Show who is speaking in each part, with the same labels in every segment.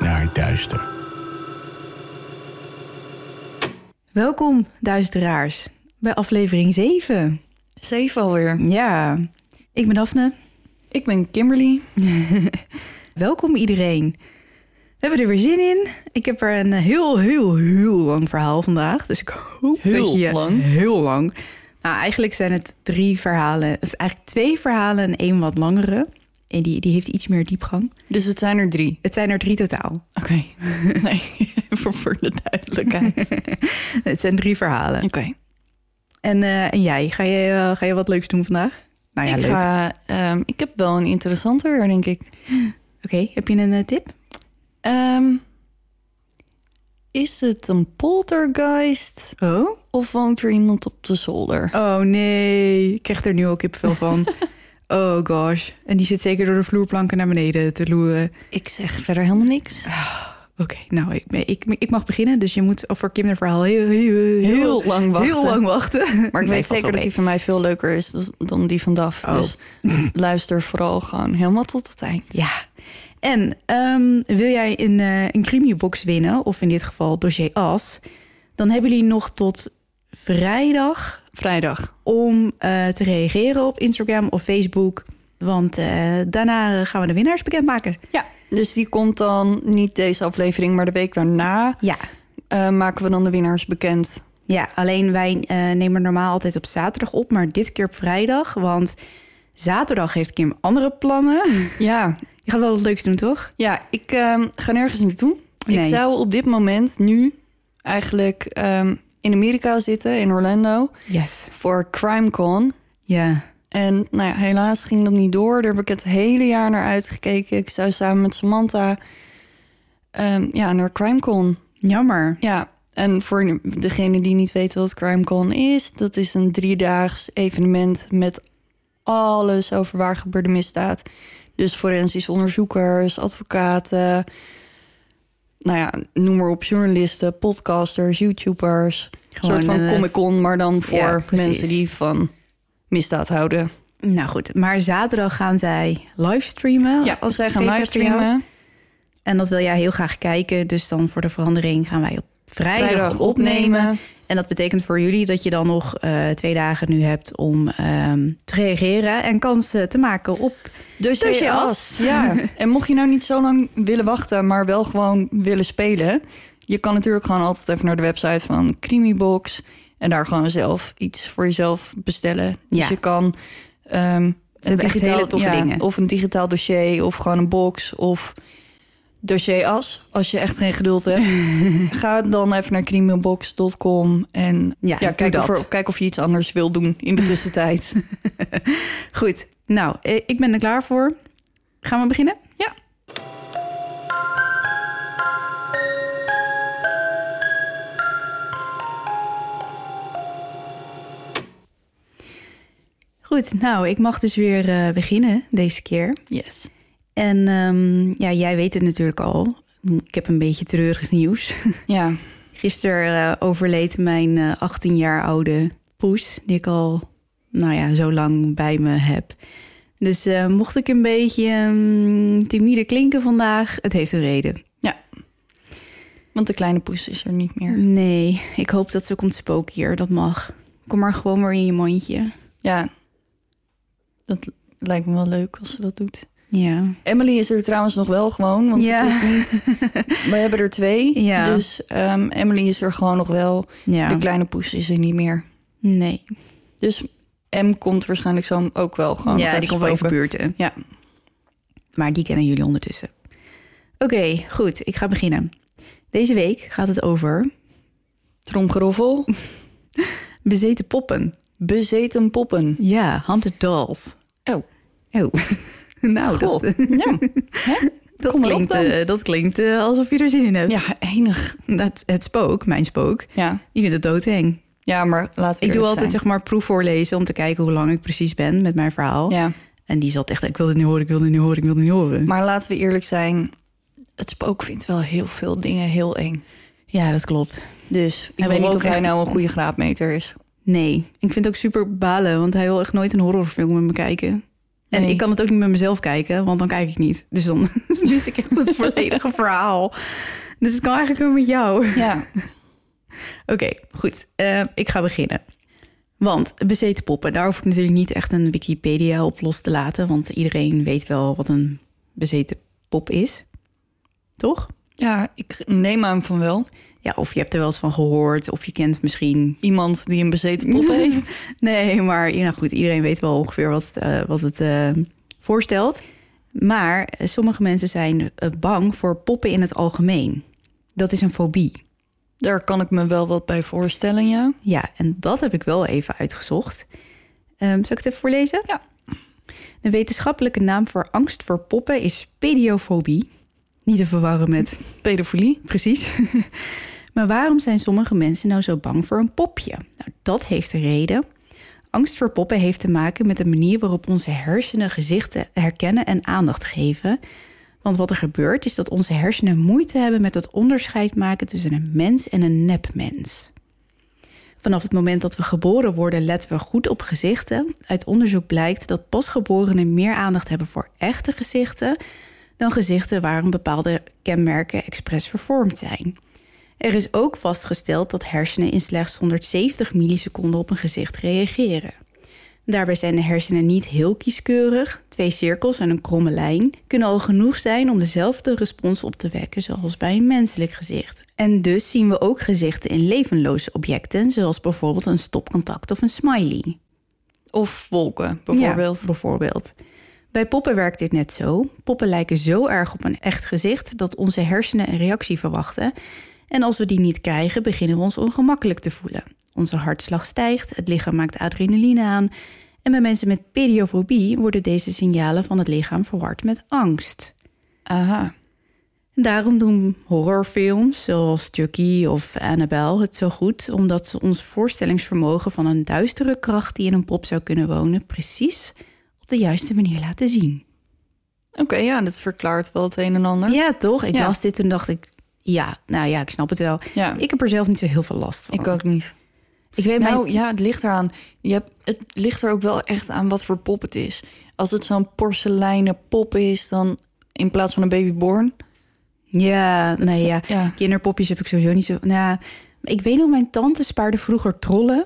Speaker 1: Naar duister.
Speaker 2: Welkom, duisteraars, bij aflevering 7.
Speaker 3: Zeven alweer.
Speaker 2: Ja, ik ben Daphne.
Speaker 3: Ik ben Kimberly.
Speaker 2: Welkom iedereen. We hebben er weer zin in. Ik heb er een heel, heel, heel lang verhaal vandaag. Dus ik hoop
Speaker 3: Heel
Speaker 2: dat je...
Speaker 3: lang?
Speaker 2: Heel lang. Nou, eigenlijk zijn het drie verhalen. Of eigenlijk twee verhalen en één wat langere. En die, die heeft iets meer diepgang.
Speaker 3: Dus het zijn er drie.
Speaker 2: Het zijn er drie totaal.
Speaker 3: Oké. Nee, voor, voor de duidelijkheid. Oké.
Speaker 2: Het zijn drie verhalen. En, eh, en jij, ga je, eh, ga je wat leuks doen vandaag? Nou ja,
Speaker 3: ik,
Speaker 2: leuk.
Speaker 3: ga, ehm, ik heb wel een interessante weer, denk ik.
Speaker 2: Oké, heb je een eh, tip?
Speaker 3: Ehm, is het een poltergeist
Speaker 2: Oh?
Speaker 3: of woont er iemand op de zolder?
Speaker 2: Oh nee, ik krijg er nu ook kippenvel van. oh gosh. En die zit zeker door de vloerplanken naar beneden te loeren.
Speaker 3: Ik zeg verder helemaal niks.
Speaker 2: Oké, nou, ik, ik, ik mag beginnen. Dus je moet voor Kim een verhaal heel, heel, heel,
Speaker 3: Heel lang wachten.
Speaker 2: heel lang wachten.
Speaker 3: Maar
Speaker 2: Nee,
Speaker 3: ik weet
Speaker 2: valt
Speaker 3: zeker
Speaker 2: wel
Speaker 3: dat die van mij veel leuker is dus- dan die van Daf.
Speaker 2: Oh.
Speaker 3: Dus luister vooral gewoon helemaal tot het eind.
Speaker 2: mee. Ja. En ehm, wil jij een, eh een crimibox winnen, of in dit geval dossier AS... dan hebben jullie nog tot vrijdag
Speaker 3: Vrijdag.
Speaker 2: om eh, te reageren op Instagram of Facebook... Want eh, daarna gaan we de winnaars bekendmaken.
Speaker 3: Ja. Dus die komt dan niet deze aflevering, maar de week daarna
Speaker 2: Ja,
Speaker 3: eh, maken we dan de winnaars bekend.
Speaker 2: Ja, alleen wij eh, nemen normaal altijd op zaterdag op, maar dit keer op vrijdag. Want zaterdag heeft Kim andere plannen.
Speaker 3: Ja,
Speaker 2: Je gaat wel wat leuks doen, toch?
Speaker 3: Ja, ik ehm, ga nergens naartoe. Ik
Speaker 2: Nee.
Speaker 3: zou op dit moment nu eigenlijk ehm, in Amerika zitten, in Orlando,
Speaker 2: Yes.
Speaker 3: voor CrimeCon.
Speaker 2: Ja.
Speaker 3: En nou ja, helaas ging dat niet door. Daar heb ik het hele jaar naar uitgekeken. Ik zou samen met Samantha ehm, ja, naar CrimeCon.
Speaker 2: Jammer.
Speaker 3: Ja, en voor degene die niet weet wat CrimeCon is... dat is een driedaags evenement met alles over waar gebeurde misdaad. Dus forensisch onderzoekers, advocaten... nou ja, noem maar op, journalisten, podcasters, YouTubers. Een soort van
Speaker 2: eh,
Speaker 3: Comic-Con, maar dan voor
Speaker 2: ja, precies.
Speaker 3: mensen die van misdaad houden.
Speaker 2: Nou goed, maar zaterdag gaan zij livestreamen.
Speaker 3: Ja, als zij gaan
Speaker 2: gegeven voor jou.
Speaker 3: livestreamen...
Speaker 2: En dat wil jij heel graag kijken. Dus dan voor de verandering gaan wij op vrijdag,
Speaker 3: Vrijdag
Speaker 2: opnemen.
Speaker 3: opnemen.
Speaker 2: En dat betekent voor jullie dat je dan nog eh, twee dagen nu hebt om ehm, te reageren en kansen te maken op
Speaker 3: Dus
Speaker 2: Dus
Speaker 3: je
Speaker 2: je
Speaker 3: as.
Speaker 2: as.
Speaker 3: Ja. en mocht je nou niet zo lang willen wachten, maar wel gewoon willen spelen. Je kan natuurlijk gewoon altijd even naar de website van Creamybox. En daar gewoon zelf iets voor jezelf bestellen. Dus
Speaker 2: Ja.
Speaker 3: je kan ehm, een
Speaker 2: hebben echt hele toffe dingen.
Speaker 3: Of een digitaal dossier, of gewoon een box, of dossier as. Als je echt geen geduld hebt, ga dan even naar creamybox.com. En
Speaker 2: Ja,
Speaker 3: ja,
Speaker 2: doe
Speaker 3: kijk, of
Speaker 2: dat.
Speaker 3: er- kijk of je iets anders wil doen in de tussentijd.
Speaker 2: Goed, nou, eh, ik ben er klaar voor. Gaan we beginnen?
Speaker 3: ja,
Speaker 2: Goed, nou, ik mag dus weer eh, beginnen deze keer.
Speaker 3: yes.
Speaker 2: En ehm, ja, jij weet het natuurlijk al. Ik heb een beetje treurig nieuws.
Speaker 3: Ja,
Speaker 2: Gisteren eh, overleed mijn eh, 18 jaar oude poes, die ik al nou ja, zo lang bij me heb. Dus eh, mocht ik een beetje mm, timide klinken vandaag, het heeft een reden.
Speaker 3: Want de kleine poes is er niet meer.
Speaker 2: Nee, ik hoop dat ze komt spoken hier, dat mag. Kom maar gewoon maar in je mondje.
Speaker 3: Ja, dat lijkt me wel leuk als ze dat doet.
Speaker 2: Ja.
Speaker 3: Emily is er trouwens nog wel gewoon, want
Speaker 2: ja.
Speaker 3: het is niet, we hebben er twee.
Speaker 2: Ja.
Speaker 3: Dus ehm, Emily is er gewoon nog wel. De
Speaker 2: ja.
Speaker 3: kleine poes is er niet meer.
Speaker 2: Nee.
Speaker 3: Dus M komt waarschijnlijk zo ook wel gewoon. Oh, nog
Speaker 2: ja, die
Speaker 3: even
Speaker 2: komt wel even
Speaker 3: spoken.
Speaker 2: buurten.
Speaker 3: Ja.
Speaker 2: Maar die kennen jullie ondertussen. Oké, goed. Ik ga beginnen. Deze week gaat het over
Speaker 3: Tromgeroffel.
Speaker 2: bezeten poppen.
Speaker 3: Bezeten poppen.
Speaker 2: Ja, haunted dolls.
Speaker 3: Oh.
Speaker 2: Oh. nou,
Speaker 3: Goh,
Speaker 2: dat,
Speaker 3: ja. Hè?
Speaker 2: dat
Speaker 3: kom maar op
Speaker 2: klinkt,
Speaker 3: dan.
Speaker 2: eh, dat klinkt eh, alsof je er zin in hebt.
Speaker 3: ja, enig.
Speaker 2: Dat, het spook, mijn spook,
Speaker 3: Ja.
Speaker 2: die vindt het doodeng.
Speaker 3: ja, maar laten we
Speaker 2: Ik doe
Speaker 3: eerlijk
Speaker 2: altijd
Speaker 3: zijn.
Speaker 2: zeg maar proefvoorlezen om te kijken hoe lang ik precies ben met mijn verhaal.
Speaker 3: Ja,
Speaker 2: En die zat echt, ik wil dit niet horen, ik wil dit niet horen, ik wil dit niet horen.
Speaker 3: maar laten we eerlijk zijn. Het spook vindt wel heel veel dingen heel eng.
Speaker 2: ja, dat klopt.
Speaker 3: Dus ik
Speaker 2: wil
Speaker 3: weet niet
Speaker 2: ook
Speaker 3: of hij
Speaker 2: echt-
Speaker 3: nou een goede graadmeter is.
Speaker 2: Nee, ik vind het ook super balen, want hij wil echt nooit een horrorfilm met me kijken. En
Speaker 3: Nee.
Speaker 2: ik kan het ook niet met mezelf kijken, want dan kijk ik niet. Dus dan mis ik echt het volledige verhaal. Dus het kan eigenlijk ook met jou.
Speaker 3: Ja,
Speaker 2: Oké, goed. Eh, ik ga beginnen. Want bezeten poppen, daar hoef ik natuurlijk niet echt een Wikipedia op los te laten. Want iedereen weet wel wat een bezeten pop is. Toch?
Speaker 3: ja ik neem aan van wel.
Speaker 2: Ja, of je hebt er wel eens van gehoord, of je kent misschien.
Speaker 3: Iemand die een bezeten pop heeft.
Speaker 2: Nee, maar ja, goed, iedereen weet wel ongeveer wat, het, eh, wat het eh, voorstelt. Maar eh, sommige mensen zijn eh, bang voor poppen in het algemeen. Dat is een fobie.
Speaker 3: Daar kan ik me wel wat bij voorstellen, ja.
Speaker 2: Ja, en dat heb ik wel even uitgezocht. Ehm, zal ik het even voorlezen?
Speaker 3: Ja.
Speaker 2: De wetenschappelijke naam voor angst voor poppen is pediofobie. Niet te verwarren met
Speaker 3: Pedofilie.
Speaker 2: precies. maar waarom zijn sommige mensen nou zo bang voor een popje? Nou, dat heeft een reden. Angst voor poppen heeft te maken met de manier waarop onze hersenen gezichten herkennen en aandacht geven. Want wat er gebeurt is dat onze hersenen moeite hebben met het onderscheid maken tussen een mens en een nepmens. Vanaf het moment dat we geboren worden, letten we goed op gezichten. Uit onderzoek blijkt dat pasgeborenen meer aandacht hebben voor echte gezichten dan gezichten waarin bepaalde kenmerken expres vervormd zijn. Er is ook vastgesteld dat hersenen in slechts 170 milliseconden op een gezicht reageren. Daarbij zijn de hersenen niet heel kieskeurig. Twee cirkels en een kromme lijn kunnen al genoeg zijn om dezelfde respons op te wekken zoals bij een menselijk gezicht. En dus zien we ook gezichten in levenloze objecten, zoals bijvoorbeeld een stopcontact of een smiley.
Speaker 3: Of wolken, bijvoorbeeld.
Speaker 2: Ja, bijvoorbeeld. Bij poppen werkt dit net zo. Poppen lijken zo erg op een echt gezicht dat onze hersenen een reactie verwachten. En als we die niet krijgen, beginnen we ons ongemakkelijk te voelen. Onze hartslag stijgt, het lichaam maakt adrenaline aan. En bij mensen met periofobie worden deze signalen van het lichaam verward met angst.
Speaker 3: Aha.
Speaker 2: Daarom doen horrorfilms zoals Chucky of Annabelle het zo goed, omdat ze ons voorstellingsvermogen van een duistere kracht die in een pop zou kunnen wonen, precies op de juiste manier laten zien.
Speaker 3: Oké, ja, dat verklaart wel het een en ander.
Speaker 2: Ja, toch? Ik
Speaker 3: Ja.
Speaker 2: las dit en dacht ik, ja, nou ja, ik snap het wel.
Speaker 3: Ja.
Speaker 2: Ik heb er zelf niet zo heel veel last van.
Speaker 3: Ik ook niet.
Speaker 2: Ik weet
Speaker 3: Nou
Speaker 2: mijn-
Speaker 3: ja, het ligt eraan. Je hebt, het ligt er ook wel echt aan wat voor pop het is. Als het zo'n porseleinen pop is, dan in plaats van een babyborn.
Speaker 2: Ja, nee, ja.
Speaker 3: Ja.
Speaker 2: Kinderpopjes heb ik sowieso niet zo... Nou, ja, maar ik weet nog, mijn tante spaarde vroeger trollen.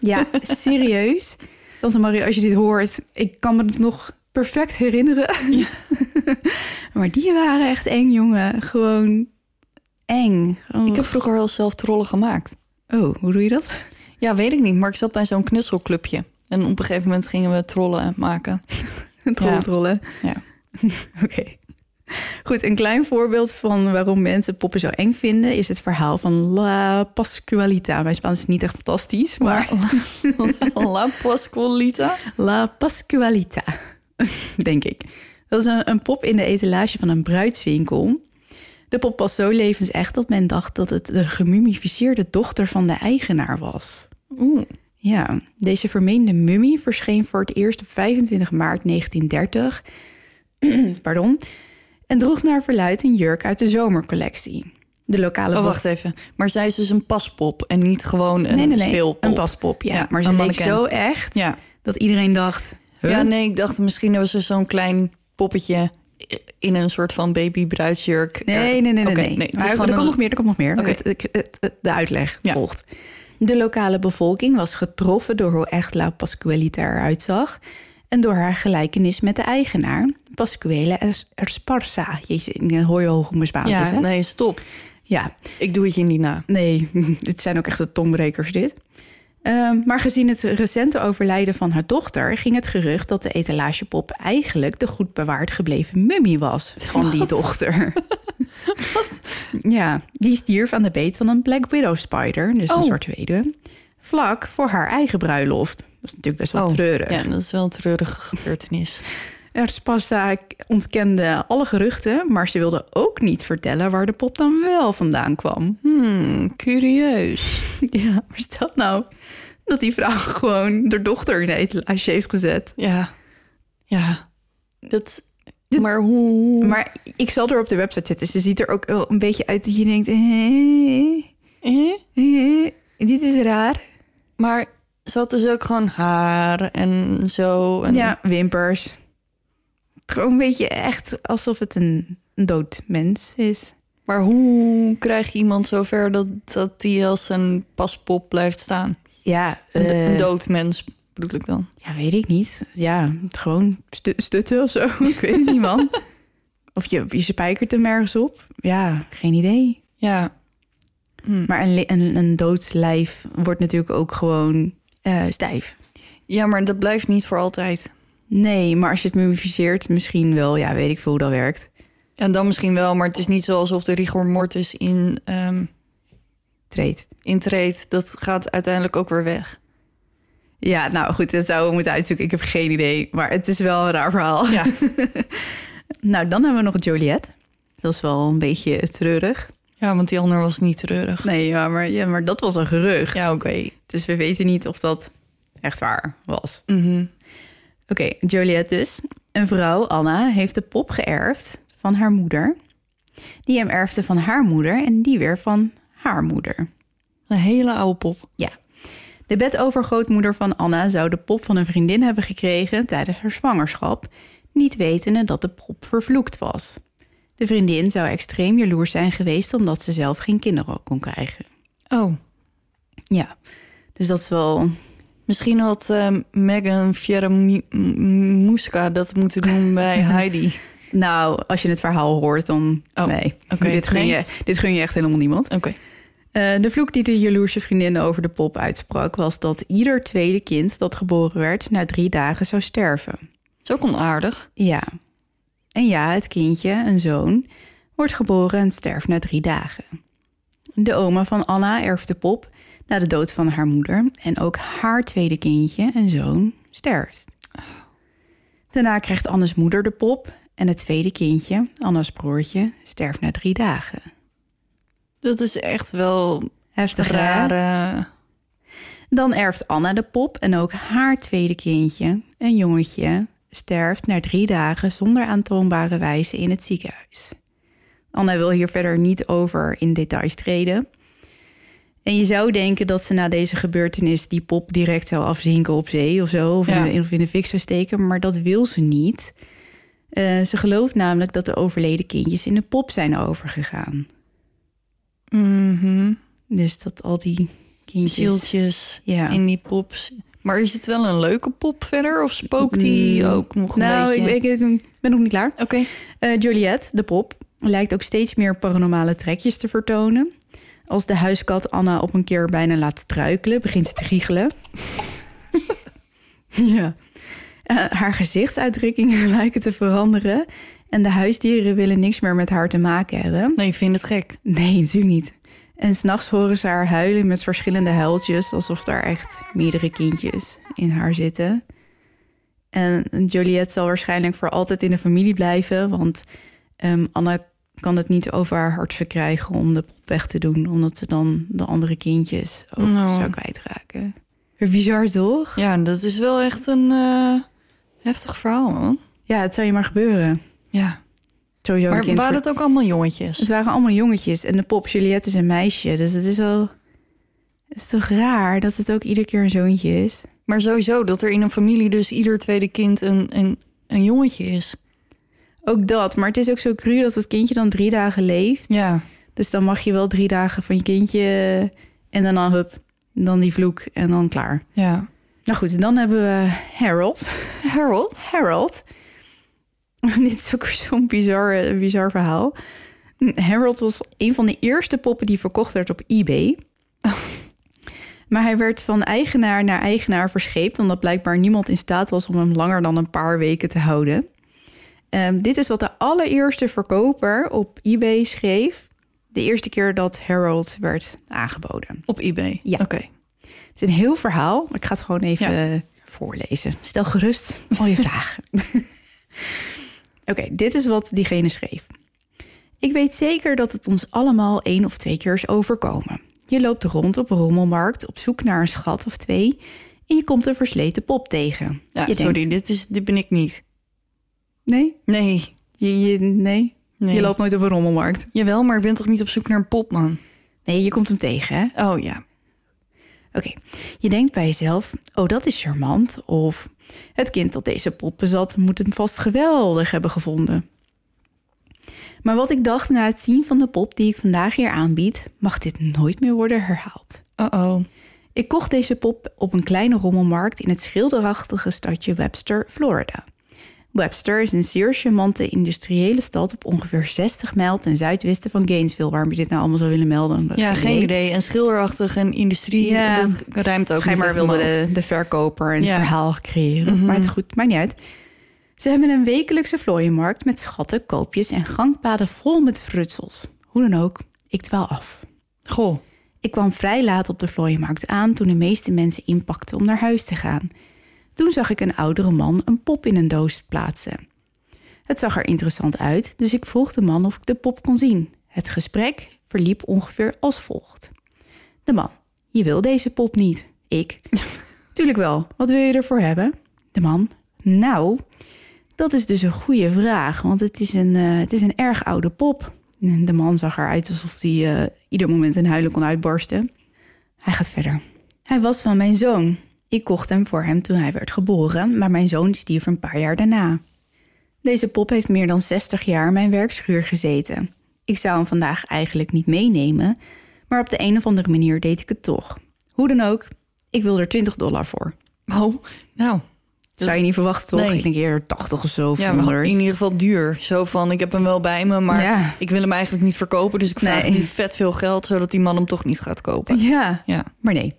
Speaker 2: ja, serieus. Tante Marie, als je dit hoort, ik kan me het nog perfect herinneren. maar die waren echt eng, jongen. Gewoon eng. Gewoon-
Speaker 3: Ik heb vroeger wel zelf trollen gemaakt.
Speaker 2: Oh, hoe doe je dat?
Speaker 3: Ja, weet ik niet, maar ik zat bij zo'n knutselclubje. En op een gegeven moment gingen we trollen maken.
Speaker 2: Trollen,
Speaker 3: Ja.
Speaker 2: trollen.
Speaker 3: Ja.
Speaker 2: Oké. Goed, een klein voorbeeld van waarom mensen poppen zo eng vinden... is het verhaal van La Pascualita. Mijn Spaans is niet echt fantastisch, maar...
Speaker 3: La Pascualita.
Speaker 2: La Pascualita, denk ik. Dat is een, een pop in de etalage van een bruidswinkel. De pop was zo levensecht dat men dacht dat het de gemummificeerde dochter van de eigenaar was.
Speaker 3: Oeh.
Speaker 2: Oh, Ja, deze vermeende mummie verscheen voor het eerst op 25 maart 1930. Pardon. En droeg naar verluid een jurk uit de zomercollectie. De lokale
Speaker 3: Oh,
Speaker 2: bocht.
Speaker 3: wacht even. Maar zij is dus een paspop en niet gewoon een
Speaker 2: Nee, nee, nee.
Speaker 3: speelpop.
Speaker 2: Een paspop, ja.
Speaker 3: Ja,
Speaker 2: maar ze
Speaker 3: een
Speaker 2: leek
Speaker 3: mannequin.
Speaker 2: zo echt
Speaker 3: Ja.
Speaker 2: dat iedereen dacht... huh?
Speaker 3: ja, nee, ik dacht misschien was er zo'n klein poppetje in een soort van baby bruidsjurk.
Speaker 2: Nee, nee, nee, nee.
Speaker 3: Oké,
Speaker 2: nee.
Speaker 3: het is
Speaker 2: Maar er
Speaker 3: gewoon
Speaker 2: komt
Speaker 3: een-
Speaker 2: nog meer, er komt nog meer.
Speaker 3: Oké.
Speaker 2: Het- het- het- het- de uitleg
Speaker 3: Ja.
Speaker 2: volgt. De lokale bevolking was getroffen door hoe echt La Pascualita eruit zag... en door haar gelijkenis met de eigenaar, Pascuela Es- Esparza. Jezus, dan hoor je al hoe mijn Spaans is,
Speaker 3: Ja,
Speaker 2: hè?
Speaker 3: nee, stop.
Speaker 2: Ja,
Speaker 3: Ik doe het je niet na.
Speaker 2: Nee, dit zijn ook echt de tongbrekers dit. Ehm, maar gezien het recente overlijden van haar dochter... ging het gerucht dat de etalagepop eigenlijk... de goed bewaard gebleven mummie was van die dochter. Ja, die stierf aan de beet van een Black Widow spider, dus een
Speaker 3: Oh.
Speaker 2: soort weduwe... vlak voor haar eigen bruiloft. Dat is natuurlijk best wel treurig.
Speaker 3: Oh, Ja, dat is wel een treurige gebeurtenis.
Speaker 2: Erspasta ontkende alle geruchten... maar ze wilde ook niet vertellen waar de pop dan wel vandaan kwam.
Speaker 3: Hmm, curieus.
Speaker 2: Ja, maar stel nou dat die vrouw gewoon haar dochter in de etalage heeft gezet.
Speaker 3: Ja. Ja. Dat... Maar hoe...
Speaker 2: Maar ik zal er op de website zetten. Ze ziet er ook wel een beetje uit dat je denkt... "Hé,
Speaker 3: Eh?
Speaker 2: hé, dit is raar.
Speaker 3: Maar ze had dus ook gewoon haar en zo. En...
Speaker 2: Ja, wimpers. Gewoon een beetje echt alsof het een een dood mens is.
Speaker 3: Maar hoe krijg je iemand zover dat, dat die als een paspop blijft staan?
Speaker 2: Ja,
Speaker 3: Een,
Speaker 2: eh,
Speaker 3: een dood mens bedoel ik dan.
Speaker 2: ja, weet ik niet. Ja, gewoon stu- stutten of zo. ik weet het niet, man. Of je, je spijkert hem ergens op. Ja, geen idee.
Speaker 3: Ja. Hm.
Speaker 2: Maar een, li- een, een dood lijf wordt natuurlijk ook gewoon eh, stijf.
Speaker 3: Ja, maar dat blijft niet voor altijd.
Speaker 2: Nee, maar als je het mumificeert, misschien wel. Ja, weet ik veel hoe dat werkt.
Speaker 3: En dan misschien wel, maar het is niet zo alsof de rigor mortis in, ehm
Speaker 2: Treed.
Speaker 3: intreedt. Dat gaat uiteindelijk ook weer weg.
Speaker 2: Ja, nou goed, dat zouden we moeten uitzoeken. Ik heb geen idee, maar het is wel een raar verhaal.
Speaker 3: Ja.
Speaker 2: nou, dan hebben we nog Joliet. Dat is wel een beetje treurig.
Speaker 3: Ja, want die ander was niet treurig.
Speaker 2: Nee, ja, maar, ja, maar dat was een gerucht.
Speaker 3: Ja, oké.
Speaker 2: Dus we weten niet of dat echt waar was.
Speaker 3: Mhm.
Speaker 2: Oké, Joliet dus. Een vrouw, Anna, heeft de pop geërfd van haar moeder. Die hem erfde van haar moeder en die weer van haar moeder.
Speaker 3: Een hele oude pop.
Speaker 2: De bedovergrootmoeder van Anna zou de pop van een vriendin hebben gekregen tijdens haar zwangerschap, niet wetende dat de pop vervloekt was. De vriendin zou extreem jaloers zijn geweest omdat ze zelf geen kinderen kon krijgen.
Speaker 3: Oh.
Speaker 2: Ja, dus dat is wel
Speaker 3: Misschien had ehm, Megan Fiera Mu- M- Muska dat moeten doen bij Heidi.
Speaker 2: Nou, als je het verhaal hoort, dan
Speaker 3: Oh,
Speaker 2: nee.
Speaker 3: oké.
Speaker 2: Dit, gun
Speaker 3: Nee?
Speaker 2: je, dit gun je echt helemaal niemand.
Speaker 3: Oké.
Speaker 2: Eh, de vloek die de jaloerse vriendin over de pop uitsprak... was dat ieder tweede kind dat geboren werd... na drie dagen zou sterven.
Speaker 3: Zo is ook onaardig.
Speaker 2: Ja. En ja, het kindje, een zoon, wordt geboren en sterft na drie dagen. De oma van Anna erft de pop na de dood van haar moeder. En ook haar tweede kindje, een zoon, sterft. Daarna krijgt Annes moeder de pop. En het tweede kindje, Anna's broertje, sterft na drie dagen.
Speaker 3: Dat is echt wel
Speaker 2: Heftig, hè?
Speaker 3: rare...
Speaker 2: Dan erft Anna de pop en ook haar tweede kindje, een jongetje, sterft na drie dagen zonder aantoonbare wijze in het ziekenhuis. Anna wil hier verder niet over in details treden. En je zou denken dat ze na deze gebeurtenis die pop direct zou afzinken op zee of zo, of,
Speaker 3: Ja.
Speaker 2: in, de, of in de fik zou steken, maar dat wil ze niet. Eh, ze gelooft namelijk dat de overleden kindjes in de pop zijn overgegaan.
Speaker 3: Mhm.
Speaker 2: Dus dat al die kindjes.
Speaker 3: zieltjes
Speaker 2: Ja.
Speaker 3: in die pops. Maar is het wel een leuke pop verder? Of spookt die
Speaker 2: Mm.
Speaker 3: ook nog een
Speaker 2: nou,
Speaker 3: beetje? Oh.
Speaker 2: ik, ik, ik ben nog niet klaar.
Speaker 3: Oké.
Speaker 2: Eh Joliet, de pop, lijkt ook steeds meer paranormale trekjes te vertonen. Als de huiskat Anna op een keer bijna laat struikelen, begint ze te giechelen. ja. Eh, haar gezichtsuitdrukkingen lijken te veranderen. En de huisdieren willen niks meer met haar te maken hebben.
Speaker 3: Nee, ik vind het gek.
Speaker 2: Nee, natuurlijk niet. En s'nachts horen ze haar huilen met verschillende huiltjes, alsof daar echt meerdere kindjes in haar zitten. En Joliet zal waarschijnlijk voor altijd in de familie blijven, want ehm, Anna kan het niet over haar hart verkrijgen om de pop weg te doen, omdat ze dan de andere kindjes ook
Speaker 3: Nou.
Speaker 2: zou kwijtraken. Bizar toch?
Speaker 3: Ja, dat is wel echt een eh, heftig verhaal, man.
Speaker 2: Ja, het zou je maar gebeuren.
Speaker 3: Ja.
Speaker 2: Het sowieso een
Speaker 3: Maar
Speaker 2: kind
Speaker 3: waren
Speaker 2: voor-
Speaker 3: het ook allemaal jongetjes?
Speaker 2: Het waren allemaal jongetjes en de pop Juliette is een meisje. Dus het is wel... Het is toch raar dat het ook iedere keer een zoontje is?
Speaker 3: Maar sowieso dat er in een familie dus ieder tweede kind een, een, een jongetje is.
Speaker 2: Ook dat, maar het is ook zo cru dat het kindje dan drie dagen leeft.
Speaker 3: Ja.
Speaker 2: Dus dan mag je wel drie dagen van je kindje en dan dan hup, dan die vloek en dan klaar.
Speaker 3: Ja.
Speaker 2: Nou goed, dan hebben we Harold.
Speaker 3: Harold?
Speaker 2: Harold. Dit is ook zo'n bizar, eh, bizar verhaal. Hm, Harold was een van de eerste poppen die verkocht werd op eBay. Maar hij werd van eigenaar naar eigenaar verscheept... omdat blijkbaar niemand in staat was om hem langer dan een paar weken te houden. Ehm, dit is wat de allereerste verkoper op eBay schreef... de eerste keer dat Harold werd aangeboden.
Speaker 3: Op eBay.
Speaker 2: Ja.
Speaker 3: Oké.
Speaker 2: Het is een heel verhaal, maar ik ga het gewoon even
Speaker 3: Ja.
Speaker 2: eh, voorlezen. Stel gerust al je vragen. Oké, dit is wat diegene schreef. Ik weet zeker dat het ons allemaal één of twee keer is overkomen. Je loopt rond op een rommelmarkt op zoek naar een schat of twee... en je komt een versleten pop tegen.
Speaker 3: Ja,
Speaker 2: je
Speaker 3: sorry,
Speaker 2: denkt,
Speaker 3: dit, is, dit ben ik niet.
Speaker 2: nee,
Speaker 3: Nee.
Speaker 2: je, je, nee,
Speaker 3: nee.
Speaker 2: je loopt nooit op een rommelmarkt.
Speaker 3: Jawel, maar ik ben toch niet op zoek naar een popman?
Speaker 2: Nee, je komt hem tegen, hè?
Speaker 3: Oh ja.
Speaker 2: Oké, je denkt bij jezelf, oh dat is charmant, of het kind dat deze pop bezat moet hem vast geweldig hebben gevonden. Maar wat ik dacht na het zien van de pop die ik vandaag hier aanbied, mag dit nooit meer worden herhaald.
Speaker 3: Uh-oh.
Speaker 2: Ik kocht deze pop op een kleine rommelmarkt in het schilderachtige stadje Webster, Florida. Webster is een zeer charmante industriële stad op ongeveer 60 mijl ten zuidwesten van Gainesville. Waarom je dit nou allemaal zou willen melden?
Speaker 3: Ja, geen idee. En schilderachtig en industrie,
Speaker 2: Ja.
Speaker 3: dat ruimt ook
Speaker 2: Schijnbaar
Speaker 3: niet echt
Speaker 2: wilde
Speaker 3: omhoog.
Speaker 2: de, de verkoper een
Speaker 3: Ja. Mhm.
Speaker 2: verhaal creëren. Maar het goed, maakt niet uit. Ze hebben een wekelijkse vlooienmarkt met schatten, koopjes en gangpaden vol met frutsels. Hoe dan ook, ik dwaal af.
Speaker 3: Goh.
Speaker 2: Ik kwam vrij laat op de vlooienmarkt aan toen de meeste mensen inpakten om naar huis te gaan. Toen zag ik een oudere man een pop in een doos plaatsen. Het zag er interessant uit, dus ik vroeg de man of ik de pop kon zien. Het gesprek verliep ongeveer als volgt. De man, je wil deze pop niet. Ik, tuurlijk wel, wat wil je ervoor hebben? De man, nou, dat is dus een goede vraag, want het is een, eh, het is een erg oude pop. En de man zag eruit alsof hij eh, ieder moment in huilen kon uitbarsten. Hij gaat verder. Hij was van mijn zoon. Ik kocht hem voor hem toen hij werd geboren, maar mijn zoon stierf een paar jaar daarna. Deze pop heeft meer dan 60 jaar in mijn werkschuur gezeten. Ik zou hem vandaag eigenlijk niet meenemen, maar op de een of andere manier deed ik het toch. Hoe dan ook, ik wil er 20 dollar voor.
Speaker 3: Oh, nou.
Speaker 2: Zou je niet verwachten, toch?
Speaker 3: Nee.
Speaker 2: Ik denk eerder 80 of zo, of
Speaker 3: Ja, maar
Speaker 2: 100.
Speaker 3: in ieder geval duur. Zo van, ik heb hem wel bij me, maar
Speaker 2: Ja.
Speaker 3: ik wil hem eigenlijk niet verkopen. Dus ik vraag
Speaker 2: Nee.
Speaker 3: nu vet veel geld, zodat die man hem toch niet gaat kopen.
Speaker 2: Ja,
Speaker 3: Ja.
Speaker 2: maar nee.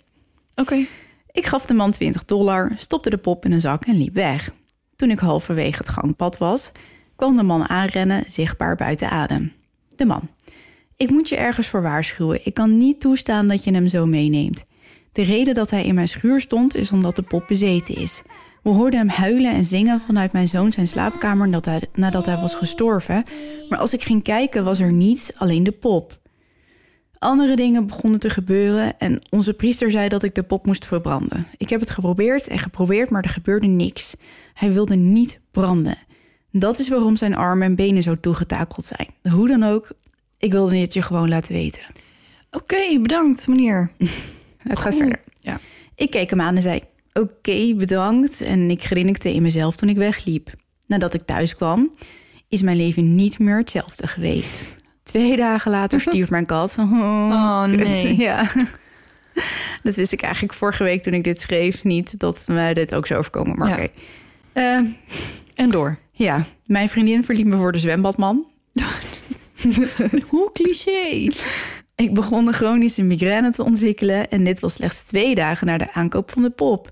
Speaker 3: Oké.
Speaker 2: Ik gaf de man 20 dollar, stopte de pop in een zak en liep weg. Toen ik halverwege het gangpad was, kwam de man aanrennen, zichtbaar buiten adem. De man. Ik moet je ergens voor waarschuwen. Ik kan niet toestaan dat je hem zo meeneemt. De reden dat hij in mijn schuur stond is omdat de pop bezeten is. We hoorden hem huilen en zingen vanuit mijn zoon zijn slaapkamer nadat hij, nadat hij was gestorven. Maar als ik ging kijken was er niets, alleen de pop. Andere dingen begonnen te gebeuren en onze priester zei dat ik de pop moest verbranden. Ik heb het geprobeerd en geprobeerd, maar er gebeurde niks. Hij wilde niet branden. Dat is waarom zijn armen en benen zo toegetakeld zijn. Hoe dan ook, ik wilde het je gewoon laten weten.
Speaker 3: Oké, bedankt meneer.
Speaker 2: Het gaat verder.
Speaker 3: Ja.
Speaker 2: Ik keek hem aan en zei: Oké, bedankt. En ik grinnikte in mezelf toen ik wegliep. Nadat ik thuis kwam, is mijn leven niet meer hetzelfde geweest. Twee dagen later stierf mijn kat. Oh,
Speaker 3: Oh,
Speaker 2: kut.
Speaker 3: nee.
Speaker 2: Ja. Dat wist ik eigenlijk vorige week toen ik dit schreef niet dat mij dit ook zou overkomen. Maar
Speaker 3: Ja.
Speaker 2: oké. Eh,
Speaker 3: En door.
Speaker 2: ja, mijn vriendin verliet me voor de zwembadman.
Speaker 3: Hoe cliché.
Speaker 2: Ik begon een chronische migraine te ontwikkelen en dit was slechts twee dagen na de aankoop van de pop.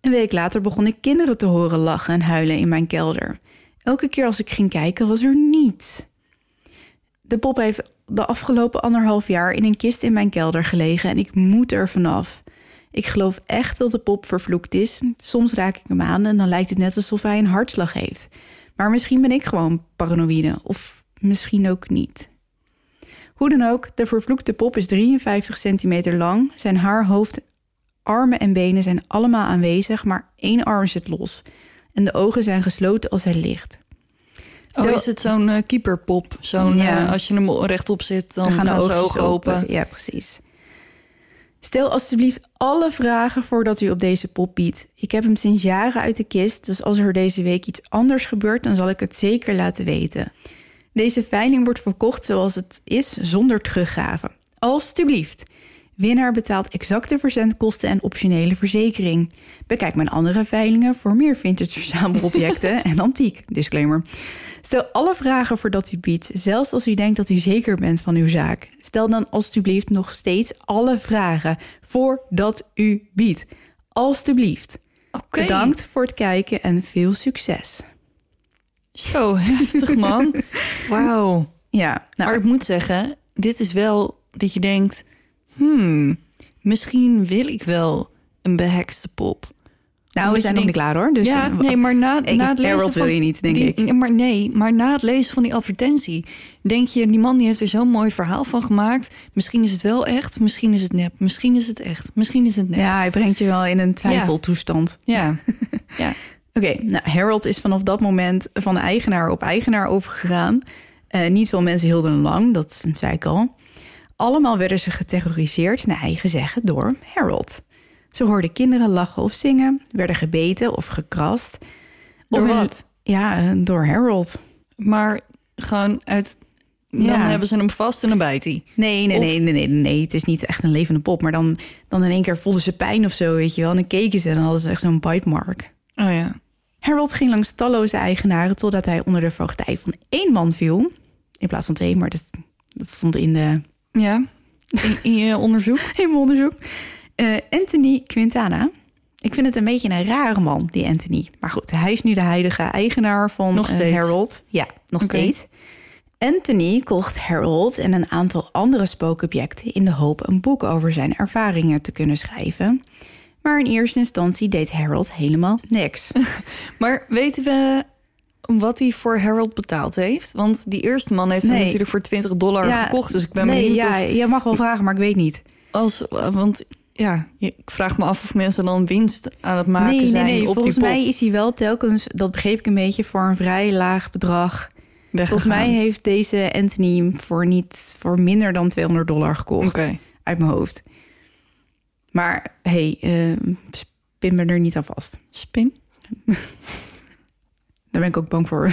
Speaker 2: Een week later begon ik kinderen te horen lachen en huilen in mijn kelder. Elke keer als ik ging kijken was er niets. De pop heeft de afgelopen anderhalf jaar in een kist in mijn kelder gelegen en ik moet er vanaf. Ik geloof echt dat de pop vervloekt is. Soms raak ik hem aan en dan lijkt het net alsof hij een hartslag heeft. Maar misschien ben ik gewoon paranoïde of misschien ook niet. Hoe dan ook, de vervloekte pop is 53 centimeter lang. Zijn haar, hoofd, armen en benen zijn allemaal aanwezig, maar één arm zit los. En de ogen zijn gesloten als hij ligt.
Speaker 3: Oh, is het zo'n eh, keeperpop? Zo'n,
Speaker 2: Ja.
Speaker 3: eh, als je hem rechtop zit, dan, gaan, nou de ogen open.
Speaker 2: eh, Ja, precies. Stel alstublieft alle vragen voordat u op deze pop biedt. Ik heb hem sinds jaren uit de kist, dus als er deze week iets anders gebeurt, dan zal ik het zeker laten weten. Deze veiling wordt verkocht zoals het is, zonder teruggave. Alstublieft. Winnaar betaalt exacte verzendkosten en optionele verzekering. Bekijk mijn andere veilingen voor meer vintage verzamelobjecten en antiek. Disclaimer. Stel alle vragen voordat u biedt, zelfs als u denkt dat u zeker bent van uw zaak. Stel dan alstublieft nog steeds alle vragen voordat u biedt. Alstublieft.
Speaker 3: Oké.
Speaker 2: Bedankt voor het kijken en veel succes.
Speaker 3: Zo heftig, man. Wauw.
Speaker 2: Ja, nou,
Speaker 3: Maar ik moet zeggen, dit is wel dat je denkt... Hmm, misschien wil ik wel een behekste pop.
Speaker 2: nou we zijn nog
Speaker 3: denkt-
Speaker 2: niet klaar hoor. Dus
Speaker 3: ja,
Speaker 2: eh,
Speaker 3: nee, maar na,
Speaker 2: Ik-
Speaker 3: na het lezen
Speaker 2: Harold
Speaker 3: van
Speaker 2: wil je niet, denk
Speaker 3: die-
Speaker 2: ik.
Speaker 3: nee, Maar nee, maar na het lezen van die advertentie denk je, die man die heeft er zo'n mooi verhaal van gemaakt. Misschien is het wel echt, misschien is het nep, misschien is het echt, misschien is het nep.
Speaker 2: ja, hij brengt je wel in een twijfeltoestand.
Speaker 3: ja. ja.
Speaker 2: Oké, nou, Harold is vanaf dat moment van eigenaar op eigenaar overgegaan. Eh, niet veel mensen hielden hem lang, dat zei ik al. Allemaal werden ze geterroriseerd, naar eigen zeggen, door Harold. Ze hoorden kinderen lachen of zingen, werden gebeten of gekrast.
Speaker 3: Door
Speaker 2: een-
Speaker 3: wat?
Speaker 2: ja, eh, door Harold.
Speaker 3: Maar gewoon uit, dan
Speaker 2: Ja.
Speaker 3: hebben ze hem vast en dan bijt hij.
Speaker 2: Nee, nee,
Speaker 3: Of-
Speaker 2: nee, nee, nee, nee. Het is niet echt een levende pop. Maar dan, dan in één keer voelden ze pijn of zo, weet je wel. En dan keken ze en dan hadden ze echt zo'n bite mark.
Speaker 3: Oh ja.
Speaker 2: Harold ging langs talloze eigenaren totdat hij onder de voogdij van één man viel. In plaats van twee, maar dat, dat stond in, de,
Speaker 3: Ja, in, in je onderzoek.
Speaker 2: in mijn onderzoek. Eh, Anthony Quintana. Ik vind het een beetje een rare man, die Anthony. Maar goed, hij is nu de huidige eigenaar van
Speaker 3: Nog
Speaker 2: eh,
Speaker 3: steeds.
Speaker 2: Harold. Ja, nog
Speaker 3: Oké.
Speaker 2: steeds. Anthony kocht Harold en een aantal andere spookobjecten in de hoop een boek over zijn ervaringen te kunnen schrijven. Maar in eerste instantie deed Harold helemaal niks.
Speaker 3: Maar weten we wat hij voor Harold betaald heeft? Want die eerste man heeft hem
Speaker 2: Nee.
Speaker 3: natuurlijk voor 20 dollar
Speaker 2: Ja,
Speaker 3: gekocht. Dus ik ben
Speaker 2: nee,
Speaker 3: benieuwd
Speaker 2: ja,
Speaker 3: of
Speaker 2: je mag wel vragen, maar ik weet niet.
Speaker 3: als... Want ja, je- ik vraag me af of mensen dan winst aan het maken
Speaker 2: nee,
Speaker 3: zijn
Speaker 2: nee, nee.
Speaker 3: op
Speaker 2: Volgens
Speaker 3: die pop
Speaker 2: mij is hij wel telkens, dat begreep ik een beetje, voor een vrij laag bedrag. Volgens
Speaker 3: weggegaan.
Speaker 2: mij heeft deze Anthony hem voor, niet, voor minder dan 200 dollar
Speaker 3: Oké,
Speaker 2: gekocht. Uit mijn hoofd. Maar hey, eh, spin me er niet aan vast.
Speaker 3: spin.
Speaker 2: Daar ben ik ook bang voor.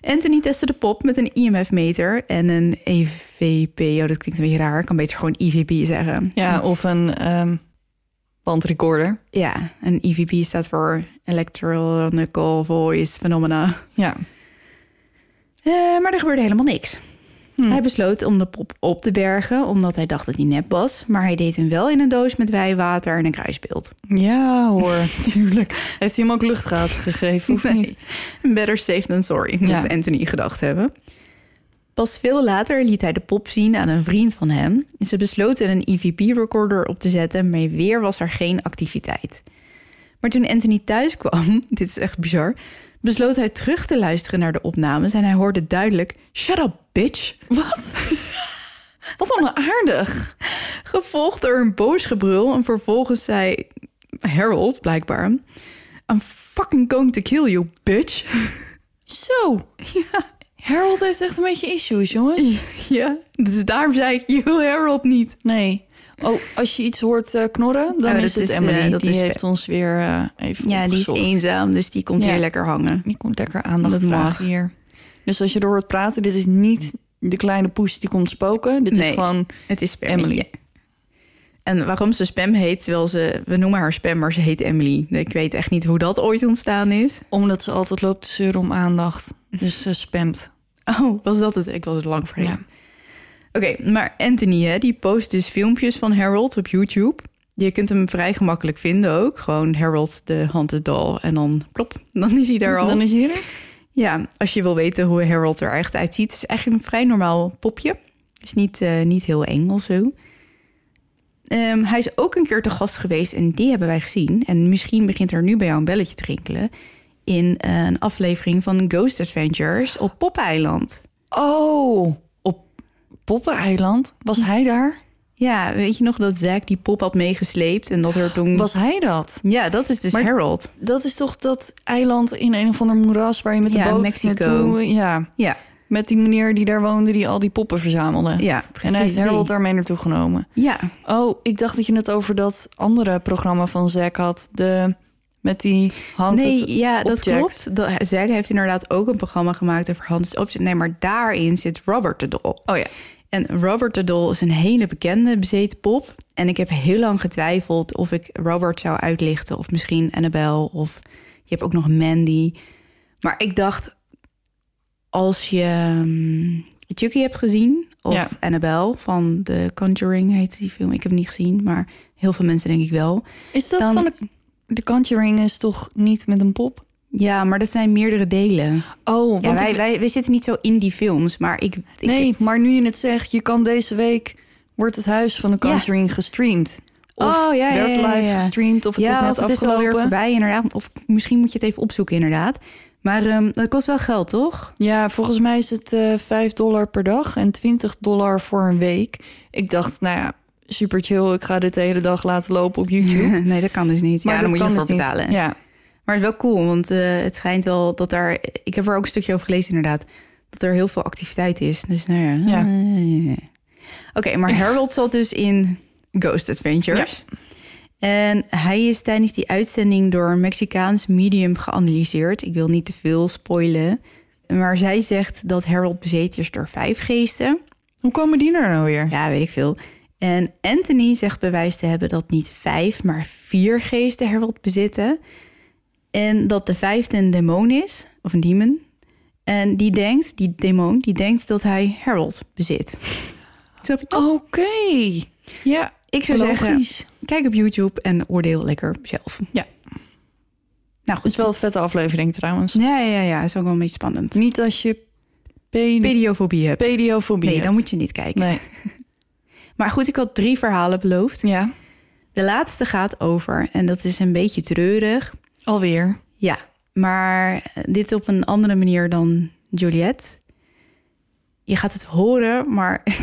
Speaker 2: Anthony testte de pop met een E IMF-meter en een EVP. Oh, dat klinkt een beetje raar. Ik kan beter gewoon IVP zeggen.
Speaker 3: Ja, of een ehm bandrecorder.
Speaker 2: Ja, en EVP staat voor Electronical Voice Phenomena.
Speaker 3: Ja.
Speaker 2: Eh, maar er gebeurde helemaal niks.
Speaker 3: Hm.
Speaker 2: Hij besloot om de pop op te bergen, omdat hij dacht dat hij nep was. Maar hij deed hem wel in een doos met wijwater en een kruisbeeld.
Speaker 3: Ja hoor, tuurlijk. Heeft hij hem ook luchtgaten gegeven of niet?
Speaker 2: Better safe than sorry, moet
Speaker 3: Ja.
Speaker 2: Anthony gedacht hebben. Pas veel later liet hij de pop zien aan een vriend van hem. Ze besloten een EVP-recorder op te zetten, maar weer was er geen activiteit. Maar toen Anthony thuis kwam, dit is echt bizar, besloot hij terug te luisteren naar de opnames en hij hoorde duidelijk: Shut up, bitch!
Speaker 3: Wat? Wat onaardig.
Speaker 2: Gevolgd door een boos gebrul en vervolgens zei Harold blijkbaar... I'm fucking going to kill you, bitch.
Speaker 3: Zo. Harold heeft echt een beetje issues, jongens.
Speaker 2: ja, dus daarom zei ik, je wil Harold niet.
Speaker 3: Nee. Oh, als je iets hoort eh, knorren, dan
Speaker 2: Oh,
Speaker 3: is
Speaker 2: dat
Speaker 3: het
Speaker 2: is,
Speaker 3: Emily.
Speaker 2: eh, dat
Speaker 3: die
Speaker 2: is
Speaker 3: heeft ons weer eh, even
Speaker 2: Ja, die is
Speaker 3: opgezocht.
Speaker 2: eenzaam, dus die komt
Speaker 3: Ja.
Speaker 2: weer lekker hangen.
Speaker 3: Die komt lekker aandacht
Speaker 2: Dat
Speaker 3: vragen
Speaker 2: mag.
Speaker 3: hier. Dus als je door hoort praten, dit is niet de kleine poes die komt spoken. Dit
Speaker 2: Nee.
Speaker 3: is gewoon...
Speaker 2: Het is Spam.
Speaker 3: Emily.
Speaker 2: ja. En waarom ze Spam heet, terwijl ze... We noemen haar Spam, maar ze heet Emily. Ik weet echt niet hoe dat ooit ontstaan is.
Speaker 3: Omdat ze altijd loopt te zeuren om aandacht. Dus ze spamt.
Speaker 2: Oh, was dat het? Ik was het lang vergeten.
Speaker 3: Ja.
Speaker 2: Oké, maar Anthony, hè, die post dus filmpjes van Harold op YouTube. Je kunt hem vrij gemakkelijk vinden ook. Gewoon Harold, de Haunted Doll. En dan plop, dan is hij daar al.
Speaker 3: Dan is hij er.
Speaker 2: Ja, als je wil weten hoe Harold er echt uitziet. Het is eigenlijk een vrij normaal popje. Is niet, eh, niet heel eng of zo. Ehm, hij is ook een keer te gast geweest en die hebben wij gezien. En misschien begint er nu bij jou een belletje te rinkelen. In eh, een aflevering van Ghost Adventures op Popeiland.
Speaker 3: Oh, op Poppeneiland was hij daar?
Speaker 2: Ja, weet je nog dat Zack die pop had meegesleept en dat er toen...
Speaker 3: Was hij dat?
Speaker 2: Ja, dat is dus
Speaker 3: Maar-
Speaker 2: Harold.
Speaker 3: Dat is toch dat eiland in een of ander moeras waar je met de
Speaker 2: Ja,
Speaker 3: boot
Speaker 2: Mexico.
Speaker 3: naartoe- Ja,
Speaker 2: Ja,
Speaker 3: met die meneer die daar woonde die al die poppen verzamelde.
Speaker 2: ja precies.
Speaker 3: en hij heeft
Speaker 2: die.
Speaker 3: Oh, Harold daarmee naartoe genomen.
Speaker 2: Ja,
Speaker 3: Oh, ik dacht dat je het over dat andere programma van Zack had. De, met die hand.
Speaker 2: nee,
Speaker 3: het-
Speaker 2: ja, dat
Speaker 3: object.
Speaker 2: klopt. Dat, Zack heeft inderdaad ook een programma gemaakt over Hans Object. Nee, maar daarin zit Robert de Dol.
Speaker 3: Oh ja.
Speaker 2: En Robert de Dol is een hele bekende bezeten pop. En ik heb heel lang getwijfeld of ik Robert zou uitlichten. Of misschien Annabelle. Of je hebt ook nog Mandy. Maar ik dacht, als je mm, Chucky hebt gezien... of
Speaker 3: Ja.
Speaker 2: Annabelle van The Conjuring heet die film. Ik heb hem niet gezien, maar heel veel mensen denk ik wel.
Speaker 3: Is dat
Speaker 2: Dan-
Speaker 3: van de, de Conjuring is toch niet met een pop?
Speaker 2: Ja, maar dat zijn meerdere delen.
Speaker 3: Oh,
Speaker 2: Ja,
Speaker 3: want
Speaker 2: wij,
Speaker 3: ik-
Speaker 2: wij, wij zitten niet zo in die films, maar ik... ik
Speaker 3: nee, maar nu je het zegt, je kan deze week wordt het huis van de
Speaker 2: Ja.
Speaker 3: Conjuring gestreamd. Of
Speaker 2: Oh, ja, ja,
Speaker 3: werd
Speaker 2: ja,
Speaker 3: live
Speaker 2: ja.
Speaker 3: gestreamd of het
Speaker 2: ja,
Speaker 3: is net
Speaker 2: of het is
Speaker 3: afgelopen.
Speaker 2: alweer voorbij, inderdaad. Of misschien moet je het even opzoeken, inderdaad. Maar ehm, dat kost wel geld, toch?
Speaker 3: Ja, volgens mij is het eh 5 dollar per dag en 20 dollar voor een week. Ik dacht, nou ja, super chill. Ik ga dit de hele dag laten lopen op YouTube.
Speaker 2: nee, dat kan dus niet.
Speaker 3: Maar
Speaker 2: ja,
Speaker 3: dat
Speaker 2: dan moet je
Speaker 3: kan
Speaker 2: ervoor
Speaker 3: dus niet.
Speaker 2: betalen.
Speaker 3: Ja.
Speaker 2: Maar het is wel cool, want eh, het schijnt wel dat daar... Ik heb er ook een stukje over gelezen, inderdaad. Dat er heel veel activiteit is. Dus nou ja.
Speaker 3: Ja.
Speaker 2: Eh. Oké, maar Harold zat dus in Ghost Adventures. En hij is tijdens die uitzending door een Mexicaans medium geanalyseerd. Ik wil niet te veel spoilen. Maar zij zegt dat Harold bezeten is door vijf geesten.
Speaker 3: Hoe komen die er nou weer?
Speaker 2: Ja, weet ik veel. En Anthony zegt bewijs te hebben dat niet vijf, maar vier geesten Harold bezitten. En dat de vijfde een demon is, of een demon. En die denkt, die demon, die denkt dat hij Harold bezit. Snap je?
Speaker 3: Oké. Ja,
Speaker 2: ik zou zeggen,
Speaker 3: logisch.
Speaker 2: kijk op YouTube en oordeel lekker zelf.
Speaker 3: Ja.
Speaker 2: Nou
Speaker 3: Het is
Speaker 2: goed.
Speaker 3: wel een vette aflevering trouwens.
Speaker 2: Ja, ja, ja, is ook wel een beetje spannend.
Speaker 3: Niet als je pe-
Speaker 2: Pediofobie hebt.
Speaker 3: pediofobie
Speaker 2: Nee, dan
Speaker 3: hebt.
Speaker 2: moet je niet kijken.
Speaker 3: Nee.
Speaker 2: Maar goed, ik had drie verhalen beloofd.
Speaker 3: Ja,
Speaker 2: De laatste gaat over, en dat is een beetje treurig.
Speaker 3: alweer.
Speaker 2: Ja, maar dit op een andere manier dan Juliet. Je gaat het horen, maar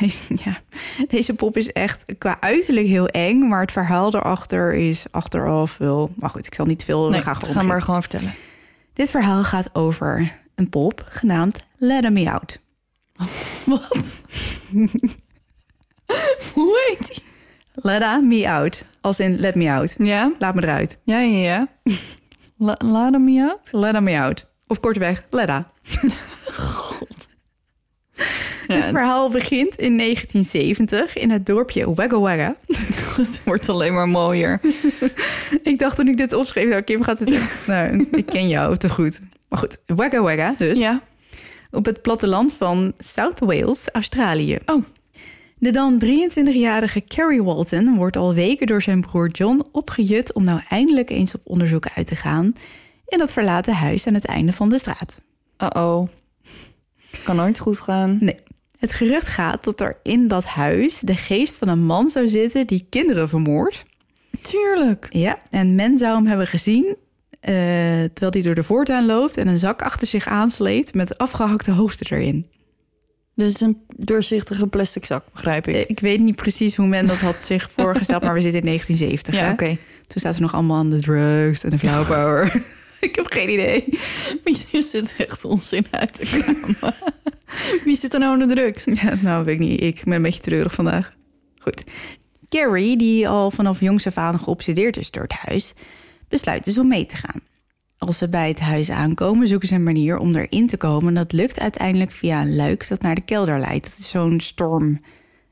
Speaker 2: deze, ja, deze pop is echt qua uiterlijk heel eng. Maar het verhaal erachter is achteraf wel... Maar goed, ik zal niet veel...
Speaker 3: Nee,
Speaker 2: we gaan
Speaker 3: ga
Speaker 2: gewoon
Speaker 3: maar
Speaker 2: beginnen.
Speaker 3: gewoon vertellen.
Speaker 2: Dit verhaal gaat over een pop genaamd Let 'Em Me Out.
Speaker 3: Hoe heet die?
Speaker 2: Let 'Em Me Out. Als in Let Me Out.
Speaker 3: Ja,
Speaker 2: Laat me eruit.
Speaker 3: ja, ja. ja. La, laat hem je uit.
Speaker 2: Let 'Em Me Out. Of kortweg, Leda. Dit
Speaker 3: Ja,
Speaker 2: verhaal begint in 1970 in het dorpje Wagga Wagga.
Speaker 3: het wordt alleen maar mooier.
Speaker 2: Ik dacht toen ik dit opschreef, nou Kim gaat het echt... nou, ik ken jou te goed. Maar goed, Wagga Wagga dus.
Speaker 3: Ja.
Speaker 2: Op het platteland van South Wales, Australië.
Speaker 3: Oh.
Speaker 2: De dan 23-jarige Kerry Walton wordt al weken door zijn broer John opgejut... om nou eindelijk eens op onderzoek uit te gaan... in dat verlaten huis aan het einde van de straat.
Speaker 3: Uh-oh. Kan nooit goed gaan.
Speaker 2: Het gerucht gaat dat er in dat huis de geest van een man zou zitten die kinderen vermoordt.
Speaker 3: Tuurlijk.
Speaker 2: Ja, en men zou hem hebben gezien eh, terwijl hij door de voortuin loopt en een zak achter zich aansleept met afgehakte hoofden erin.
Speaker 3: Dus een doorzichtige plastic zak, begrijp ik.
Speaker 2: Eh, Ik weet niet precies hoe men dat had zich voorgesteld, maar we zitten in 1970.
Speaker 3: Ja,
Speaker 2: hè?
Speaker 3: oké.
Speaker 2: Toen zaten we nog allemaal aan de drugs en de flower power. Ik heb geen idee.
Speaker 3: Je zit echt onzin uit te komen. Wie zit er nou aan de drugs?
Speaker 2: Ja, nou weet ik niet. Ik ben een beetje treurig vandaag. Goed. Carrie, die al vanaf jongs af aan geobsedeerd is door het huis, besluit dus om mee te gaan. Als ze bij het huis aankomen, zoeken ze een manier om erin te komen. En dat lukt uiteindelijk via een luik dat naar de kelder leidt. Dat is zo'n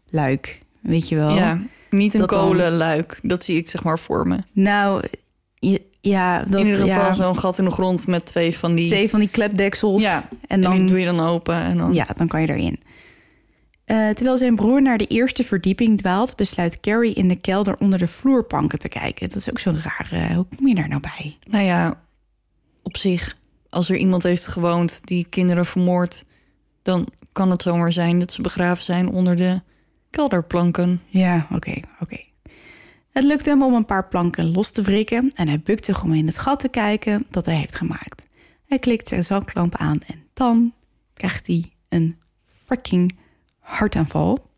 Speaker 2: stormluik, weet je wel.
Speaker 3: Ja, niet een
Speaker 2: Dat dan-
Speaker 3: kolenluik. Dat zie ik zeg maar voor me.
Speaker 2: Nou, je- ja, dat,
Speaker 3: in ieder geval
Speaker 2: ja,
Speaker 3: zo'n gat in de grond met twee van die...
Speaker 2: twee van die klepdeksels.
Speaker 3: Ja,
Speaker 2: en
Speaker 3: en
Speaker 2: dan
Speaker 3: die doe je dan open en dan...
Speaker 2: Ja, dan kan je erin. Eh, terwijl zijn broer naar de eerste verdieping dwaalt, besluit Carrie in de kelder onder de vloerpanken te kijken. Dat is ook zo'n rare. Hoe kom je daar nou bij?
Speaker 3: Nou ja, op zich, als er iemand heeft gewoond die kinderen vermoordt... dan kan het zomaar zijn dat ze begraven zijn onder de kelderplanken.
Speaker 2: Ja, oké, oké. Het lukt hem om een paar planken los te wrikken en hij bukt zich om in het gat te kijken dat hij heeft gemaakt. Hij klikt zijn zaklamp aan en dan krijgt hij een freaking hartaanval.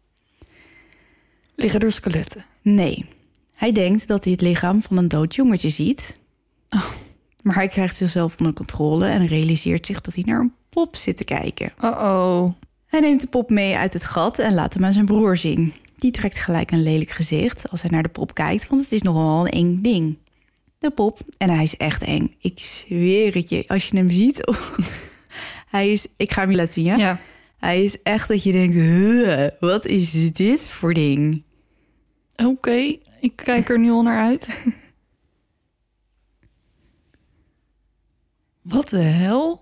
Speaker 3: Liggen er skeletten?
Speaker 2: Nee. Hij denkt dat hij het lichaam van een dood jongetje ziet. Oh, Maar hij krijgt zichzelf onder controle en realiseert zich dat hij naar een pop zit te kijken.
Speaker 3: Uh-oh.
Speaker 2: Hij neemt de pop mee uit het gat en laat hem aan zijn broer zien. Die trekt gelijk een lelijk gezicht als hij naar de pop kijkt, want het is nogal een eng ding. De pop, en hij is echt eng. Ik zweer het je, als je hem ziet. hij is, ik ga hem je laten zien, ja?
Speaker 3: Ja.
Speaker 2: Hij is echt dat je denkt, "Huh, wat is dit voor ding?
Speaker 3: Oké, ik kijk er nu al naar uit. Wat de hel?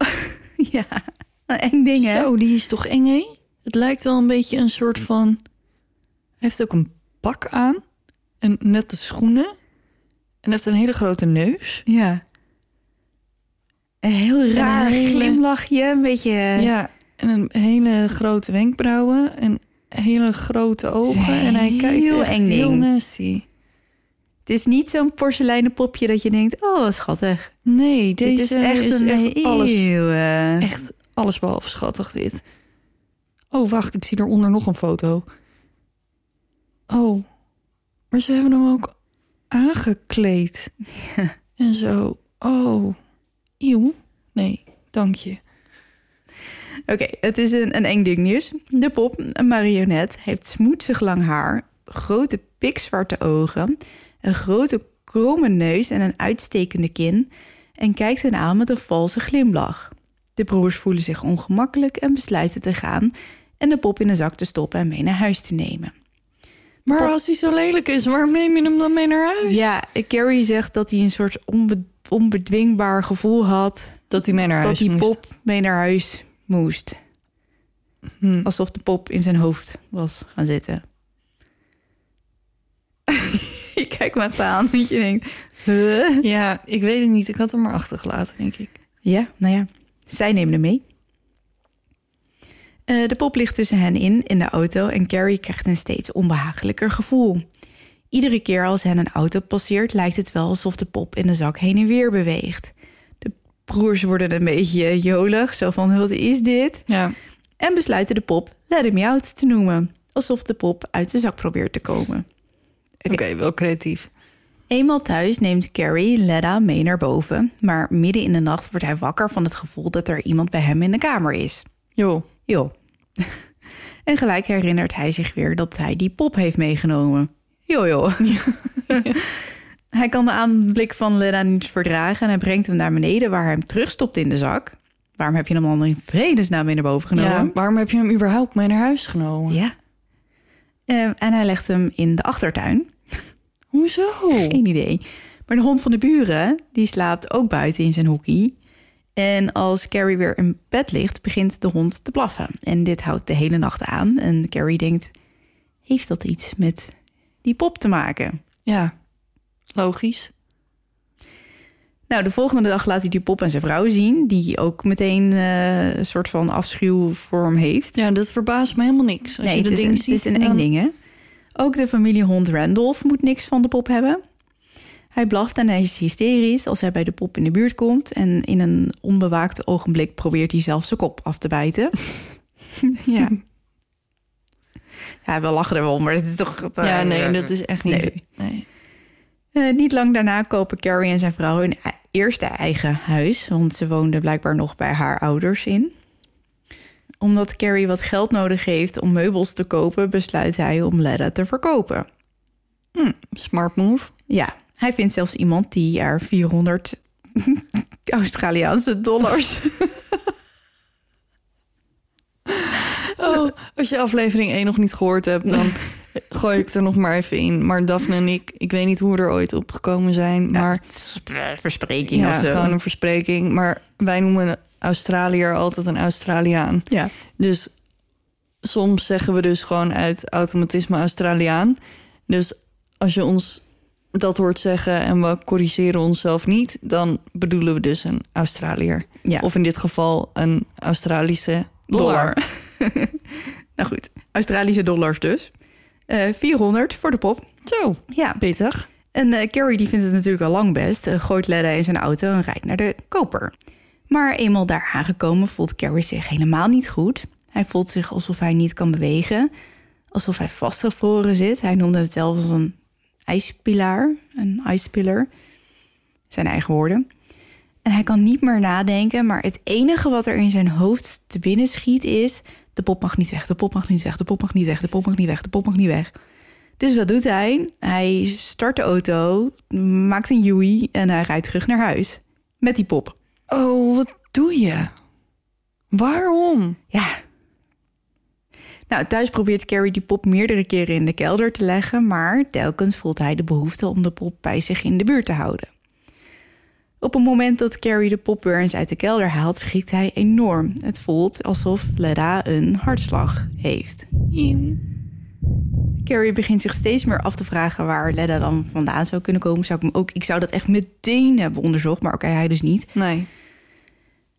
Speaker 2: ja, een eng ding, hè?
Speaker 3: Zo, die is toch eng, hè? Het lijkt wel een beetje een soort van... Hij heeft ook een pak aan. En nette schoenen. En heeft een hele grote neus.
Speaker 2: Ja. Een heel raar
Speaker 3: hele-
Speaker 2: glimlachje, een beetje... eh,
Speaker 3: Ja, en een hele grote wenkbrauwen. En hele grote
Speaker 2: is
Speaker 3: ogen. En hij
Speaker 2: heel
Speaker 3: kijkt echt
Speaker 2: eng
Speaker 3: heel
Speaker 2: ding.
Speaker 3: nasty.
Speaker 2: Het is niet zo'n porseleinen popje dat je denkt, oh, wat schattig.
Speaker 3: Nee, deze
Speaker 2: Dit is echt een
Speaker 3: alles.
Speaker 2: heel, eh,
Speaker 3: Echt alles behalve schattig dit. Oh, wacht, ik zie eronder nog een foto. Oh, maar ze hebben hem ook aangekleed. En zo. Oh, eeuw. Nee, dank je.
Speaker 2: Oké, het is een, een eng ding nieuws. De pop, een marionet, heeft smoetsig lang haar, grote pikzwarte ogen, een grote kromme neus en een uitstekende kin en kijkt hen aan met een valse glimlach. De broers voelen zich ongemakkelijk en besluiten te gaan en de pop in een zak te stoppen en mee naar huis te nemen.
Speaker 3: Maar als hij zo lelijk is, waarom neem je hem dan mee naar huis?
Speaker 2: Ja, Carrie zegt dat hij een soort onbe- onbedwingbaar gevoel had
Speaker 3: Dat hij mee naar
Speaker 2: dat
Speaker 3: huis
Speaker 2: die
Speaker 3: moest.
Speaker 2: pop mee naar huis moest.
Speaker 3: Hm.
Speaker 2: Alsof de pop in zijn hoofd was gaan zitten. je kijkt me echt aan dat je denkt... huh?
Speaker 3: Ja, ik weet het niet. Ik had hem maar achtergelaten, denk ik.
Speaker 2: Ja, nou ja. Zij nemen hem mee. Eh, de pop ligt tussen hen in, in de auto... en Carrie krijgt een steeds onbehagelijker gevoel. Iedere keer als hen een auto passeert... lijkt het wel alsof de pop in de zak heen en weer beweegt. De broers worden een beetje jolig. Zo van, wat is dit?
Speaker 3: Ja.
Speaker 2: en besluiten de pop Let Him Out te noemen. Alsof de pop uit de zak probeert te komen.
Speaker 3: Oké, wel creatief.
Speaker 2: Eenmaal thuis neemt Carrie Leda mee naar boven, maar midden in de nacht wordt hij wakker van het gevoel dat er iemand bij hem in de kamer is.
Speaker 3: Jo.
Speaker 2: Joh. en gelijk herinnert hij zich weer dat hij die pop heeft meegenomen. Joh, joh. hij kan de aanblik van Leda niet verdragen en hij brengt hem naar beneden waar hij hem terugstopt in de zak. Waarom heb je hem al in vredesnaam mee naar boven genomen?
Speaker 3: Ja, waarom heb je hem überhaupt mee naar huis genomen?
Speaker 2: Ja. Eh, en hij legt hem in de achtertuin.
Speaker 3: Hoezo?
Speaker 2: Geen idee. Maar de hond van de buren, die slaapt ook buiten in zijn hoekie. En als Carrie weer in bed ligt, begint de hond te blaffen. En dit houdt de hele nacht aan. En Carrie denkt, heeft dat iets met die pop te maken?
Speaker 3: Ja, logisch.
Speaker 2: Nou, de volgende dag laat hij die pop aan zijn vrouw zien... die ook meteen eh, een soort van afschuw voor hem heeft.
Speaker 3: Ja, dat verbaast me helemaal niks. Als
Speaker 2: nee,
Speaker 3: je
Speaker 2: het
Speaker 3: dat
Speaker 2: is,
Speaker 3: ding
Speaker 2: een, het
Speaker 3: ziet,
Speaker 2: is een eng
Speaker 3: dan-
Speaker 2: ding, hè? Ook de familiehond Randolph moet niks van de pop hebben. Hij blaft en hij is hysterisch als hij bij de pop in de buurt komt. En in een onbewaakt ogenblik probeert hij zelf zijn kop af te bijten. ja. Ja, we lachen er wel om, maar het is toch... het, eh,
Speaker 3: Ja, nee, dat is echt
Speaker 2: nee.
Speaker 3: niet. Nee.
Speaker 2: Eh, niet lang daarna kopen Carrie en zijn vrouw hun e- eerste eigen huis, want ze woonden blijkbaar nog bij haar ouders in. Omdat Carrie wat geld nodig heeft om meubels te kopen, besluit hij om Leda te verkopen.
Speaker 3: Smart move.
Speaker 2: Ja, hij vindt zelfs iemand die er 400 Australiaanse dollars.
Speaker 3: Oh, als je aflevering 1 nog niet gehoord hebt, dan gooi ik er nog maar even in. Maar Daphne en ik, ik weet niet hoe we er ooit op gekomen zijn, maar
Speaker 2: Ja, verspreking
Speaker 3: ja,
Speaker 2: of zo.
Speaker 3: gewoon een verspreking. Maar wij noemen een Australiër altijd een Australiaan.
Speaker 2: Ja.
Speaker 3: Dus soms zeggen we dus gewoon uit automatisme Australiaan. Dus als je ons dat hoort zeggen en we corrigeren onszelf niet, dan bedoelen we dus een Australiër.
Speaker 2: Ja.
Speaker 3: Of in dit geval een Australische dollar.
Speaker 2: nou goed, Australische dollars dus. Eh 400 voor de pop.
Speaker 3: Zo,
Speaker 2: Ja,
Speaker 3: pittig.
Speaker 2: En eh, Carrie die vindt het natuurlijk al lang best, eh, gooit Leda in zijn auto en rijdt naar de koper. Maar eenmaal daar aangekomen voelt Carrie zich helemaal niet goed. Hij voelt zich alsof hij niet kan bewegen, alsof hij vastgevroren zit. Hij noemde het zelfs als een ijspilaar, een ijspiller. Zijn eigen woorden. En hij kan niet meer nadenken, maar het enige wat er in zijn hoofd te binnen schiet is... de pop mag niet weg, de pop mag niet weg, de pop mag niet weg, de pop mag niet weg, de pop mag niet weg. Dus wat doet hij? Hij start de auto, maakt een joey en hij rijdt terug naar huis. Met die pop.
Speaker 3: Oh, wat doe je? Waarom?
Speaker 2: Ja. Nou, thuis probeert Carrie die pop meerdere keren in de kelder te leggen, maar telkens voelt hij de behoefte om de pop bij zich in de buurt te houden. Op het moment dat Carrie de pop weer eens uit de kelder haalt, schrikt hij enorm. Het voelt alsof Leda een hartslag heeft. Carrie begint zich steeds meer af te vragen waar Leda dan vandaan zou kunnen komen. Zou ik, hem ook, ik zou dat echt meteen hebben onderzocht, maar oké, hij dus niet.
Speaker 3: Nee.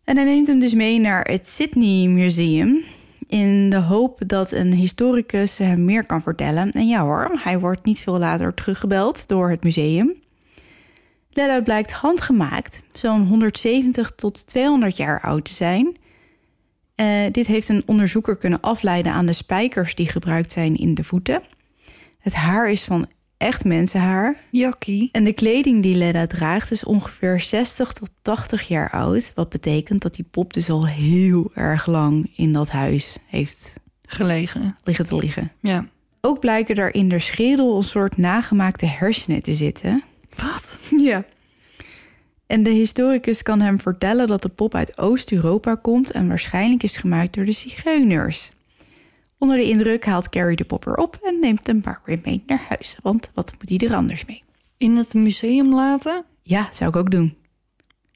Speaker 2: En hij neemt hem dus mee naar het Sydney Museum. In de hoop dat een historicus hem meer kan vertellen. En ja hoor, hij wordt niet veel later teruggebeld door het museum. Lella blijkt handgemaakt, zo'n 170 tot 200 jaar oud te zijn. Eh, dit heeft een onderzoeker kunnen afleiden aan de spijkers die gebruikt zijn in de voeten. Het haar is van echt mensenhaar.
Speaker 3: Jakkie.
Speaker 2: En de kleding die Leda draagt is ongeveer 60 tot 80 jaar oud. Wat betekent dat die pop dus al heel erg lang in dat huis heeft
Speaker 3: Gelegen.
Speaker 2: liggen te liggen.
Speaker 3: Ja.
Speaker 2: Ook blijken er in haar schedel een soort nagemaakte hersenen te zitten.
Speaker 3: Wat?
Speaker 2: Ja. En de historicus kan hem vertellen dat de pop uit Oost-Europa komt en waarschijnlijk is gemaakt door de zigeuners. Onder de indruk haalt Carrie de pop weer op en neemt hem maar weer mee naar huis. Want wat moet hij er anders mee?
Speaker 3: In het museum laten?
Speaker 2: Ja, zou ik ook doen.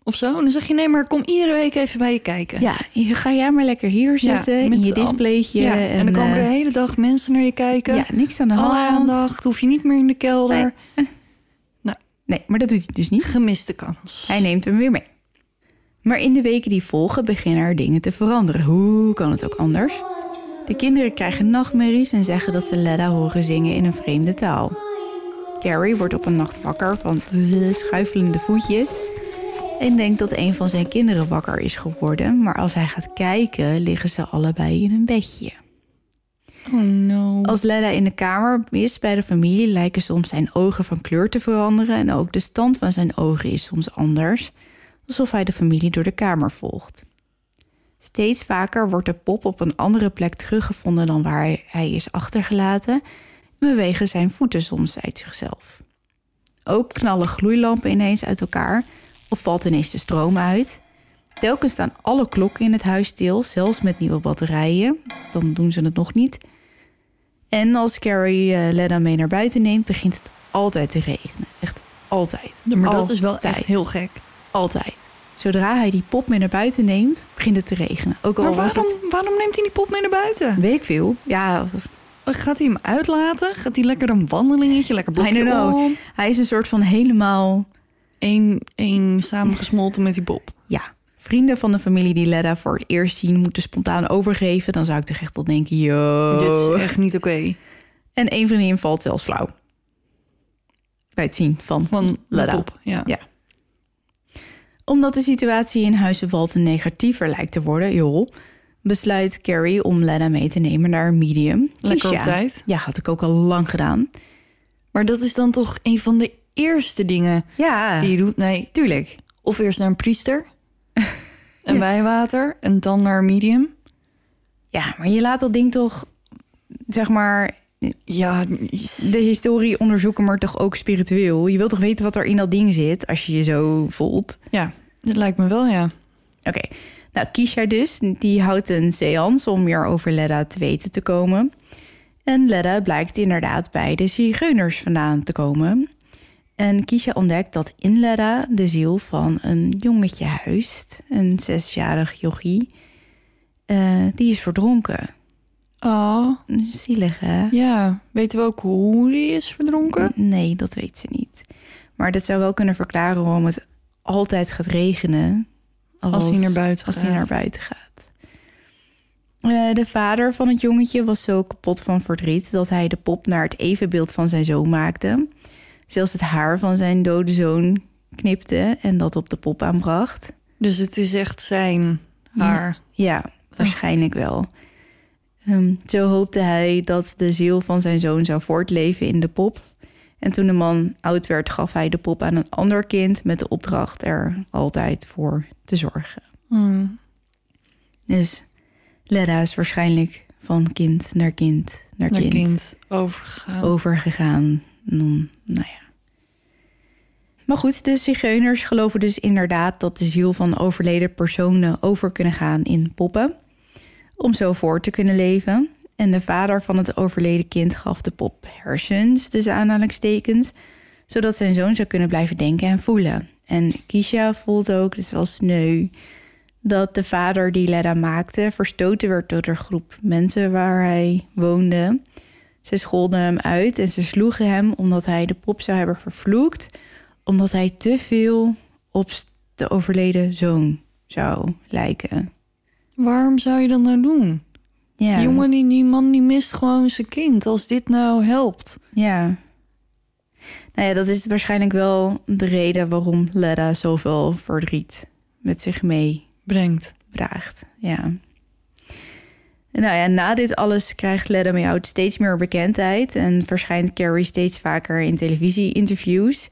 Speaker 3: Of zo? Dan zeg je nee, maar kom iedere week even bij je kijken.
Speaker 2: Ja, je- ga jij maar lekker hier zitten
Speaker 3: met
Speaker 2: in je
Speaker 3: de am-
Speaker 2: displaytje.
Speaker 3: Ja,
Speaker 2: en,
Speaker 3: en, dan komen
Speaker 2: eh,
Speaker 3: de hele dag mensen naar je kijken.
Speaker 2: ja, niks aan de hand.
Speaker 3: Alle aandacht, hoef je niet meer in de kelder.
Speaker 2: Nee. eh,
Speaker 3: Nou.
Speaker 2: Nee, maar dat doet hij dus niet.
Speaker 3: Gemiste kans.
Speaker 2: Hij neemt hem weer mee. Maar in de weken die volgen beginnen er dingen te veranderen. Hoe kan het ook anders? De kinderen krijgen nachtmerries en zeggen dat ze Leda horen zingen in een vreemde taal. Carrie wordt op een nacht wakker van eh, schuifelende voetjes en denkt dat een van zijn kinderen wakker is geworden. Maar als hij gaat kijken, liggen ze allebei in een bedje.
Speaker 3: Oh no.
Speaker 2: Als Leda in de kamer is bij de familie, lijken soms zijn ogen van kleur te veranderen en ook de stand van zijn ogen is soms anders, alsof hij de familie door de kamer volgt. Steeds vaker wordt de pop op een andere plek teruggevonden dan waar hij- hij is achtergelaten en bewegen zijn voeten soms uit zichzelf. Ook knallen gloeilampen ineens uit elkaar of valt ineens de stroom uit. Telkens staan alle klokken in het huis stil, zelfs met nieuwe batterijen. Dan doen ze het nog niet. En als Carrie eh Lena mee naar buiten neemt, begint het altijd te regenen. Echt altijd.
Speaker 3: Ja, maar dat is wel
Speaker 2: Altijd.
Speaker 3: echt heel gek.
Speaker 2: Altijd. Zodra hij die pop mee naar buiten neemt, begint het te regenen. Ook al
Speaker 3: Maar
Speaker 2: was
Speaker 3: waarom,
Speaker 2: het...
Speaker 3: waarom neemt hij die pop mee naar buiten?
Speaker 2: Weet ik veel. Ja,
Speaker 3: Gaat hij hem uitlaten? Gaat hij lekker een wandelingetje, lekker
Speaker 2: I don't
Speaker 3: blokje
Speaker 2: know.
Speaker 3: om?
Speaker 2: hij is een soort van helemaal...
Speaker 3: Eén, één samengesmolten met die pop.
Speaker 2: Ja, vrienden van de familie die Leda voor het eerst zien... moeten spontaan overgeven. Dan zou ik toch echt al denken, yo.
Speaker 3: Dit is echt niet oké.
Speaker 2: En één vriendin valt zelfs flauw. Bij het zien van,
Speaker 3: Van de
Speaker 2: Leda.
Speaker 3: pop. Ja.
Speaker 2: Ja. Omdat de situatie in Huizenwalten negatiever lijkt te worden, joh, besluit Carrie om Lena mee te nemen naar een medium. Dus
Speaker 3: Lekker op
Speaker 2: ja,
Speaker 3: tijd.
Speaker 2: Ja, had ik ook al lang gedaan.
Speaker 3: Maar dat is dan toch een van de eerste dingen
Speaker 2: Ja,
Speaker 3: die je doet? Nee,
Speaker 2: tuurlijk.
Speaker 3: of eerst naar een priester. en wijwater. En dan naar een medium.
Speaker 2: Ja, maar je laat dat ding toch, zeg maar,
Speaker 3: Ja,
Speaker 2: de historie onderzoeken, maar toch ook spiritueel. Je wilt toch weten wat er in dat ding zit als je je zo voelt.
Speaker 3: ja, dat lijkt me wel, ja.
Speaker 2: Oké, nou Kisha dus, die houdt een seance om meer over Ledda te weten te komen. En Ledda blijkt inderdaad bij de zigeuners vandaan te komen. En Kisha ontdekt dat in Ledda de ziel van een jongetje huist, een zesjarig jochie. Eh, die is verdronken.
Speaker 3: Oh,
Speaker 2: Zielig hè?
Speaker 3: ja. Weten we ook hoe die is verdronken?
Speaker 2: Nee, dat weet ze niet. Maar dat zou wel kunnen verklaren waarom het altijd gaat regenen.
Speaker 3: Als hij naar buiten
Speaker 2: als
Speaker 3: gaat.
Speaker 2: hij naar buiten gaat. Eh, de vader van het jongetje was zo kapot van verdriet dat hij de pop naar het evenbeeld van zijn zoon maakte. Zelfs het haar van zijn dode zoon knipte en dat op de pop aanbracht.
Speaker 3: Dus het is echt zijn haar.
Speaker 2: Ja, waarschijnlijk wel. Ehm, zo hoopte hij dat de ziel van zijn zoon zou voortleven in de pop. En toen de man oud werd, gaf hij de pop aan een ander kind met de opdracht er altijd voor te zorgen.
Speaker 3: Hmm.
Speaker 2: Dus Ledda is waarschijnlijk van kind naar kind naar,
Speaker 3: Naar
Speaker 2: kind,
Speaker 3: kind Oh. overgegaan.
Speaker 2: overgegaan. En dan, nou ja. Maar goed, de zigeuners geloven dus inderdaad dat de ziel van overleden personen over kunnen gaan in poppen. Om zo voort te kunnen leven. En de vader van het overleden kind gaf de pop hersens, dus aanhalingstekens. Zodat zijn zoon zou kunnen blijven denken en voelen. En Kisha voelt ook, dus wel sneu, dat de vader die Leda maakte verstoten werd door de groep mensen waar hij woonde. Ze scholden hem uit en ze sloegen hem omdat hij de pop zou hebben vervloekt. Omdat hij te veel op de overleden zoon zou lijken.
Speaker 3: Waarom zou je dat nou doen?
Speaker 2: Ja.
Speaker 3: Die jongen, die, die man, die mist gewoon zijn kind. Als dit nou helpt.
Speaker 2: Ja. Nou ja, dat is waarschijnlijk wel de reden waarom Leda zoveel verdriet met zich mee
Speaker 3: Brengt.
Speaker 2: draagt. Ja. Nou ja, na dit alles krijgt Leda Meoud steeds meer bekendheid en verschijnt Carrie steeds vaker in televisie-interviews.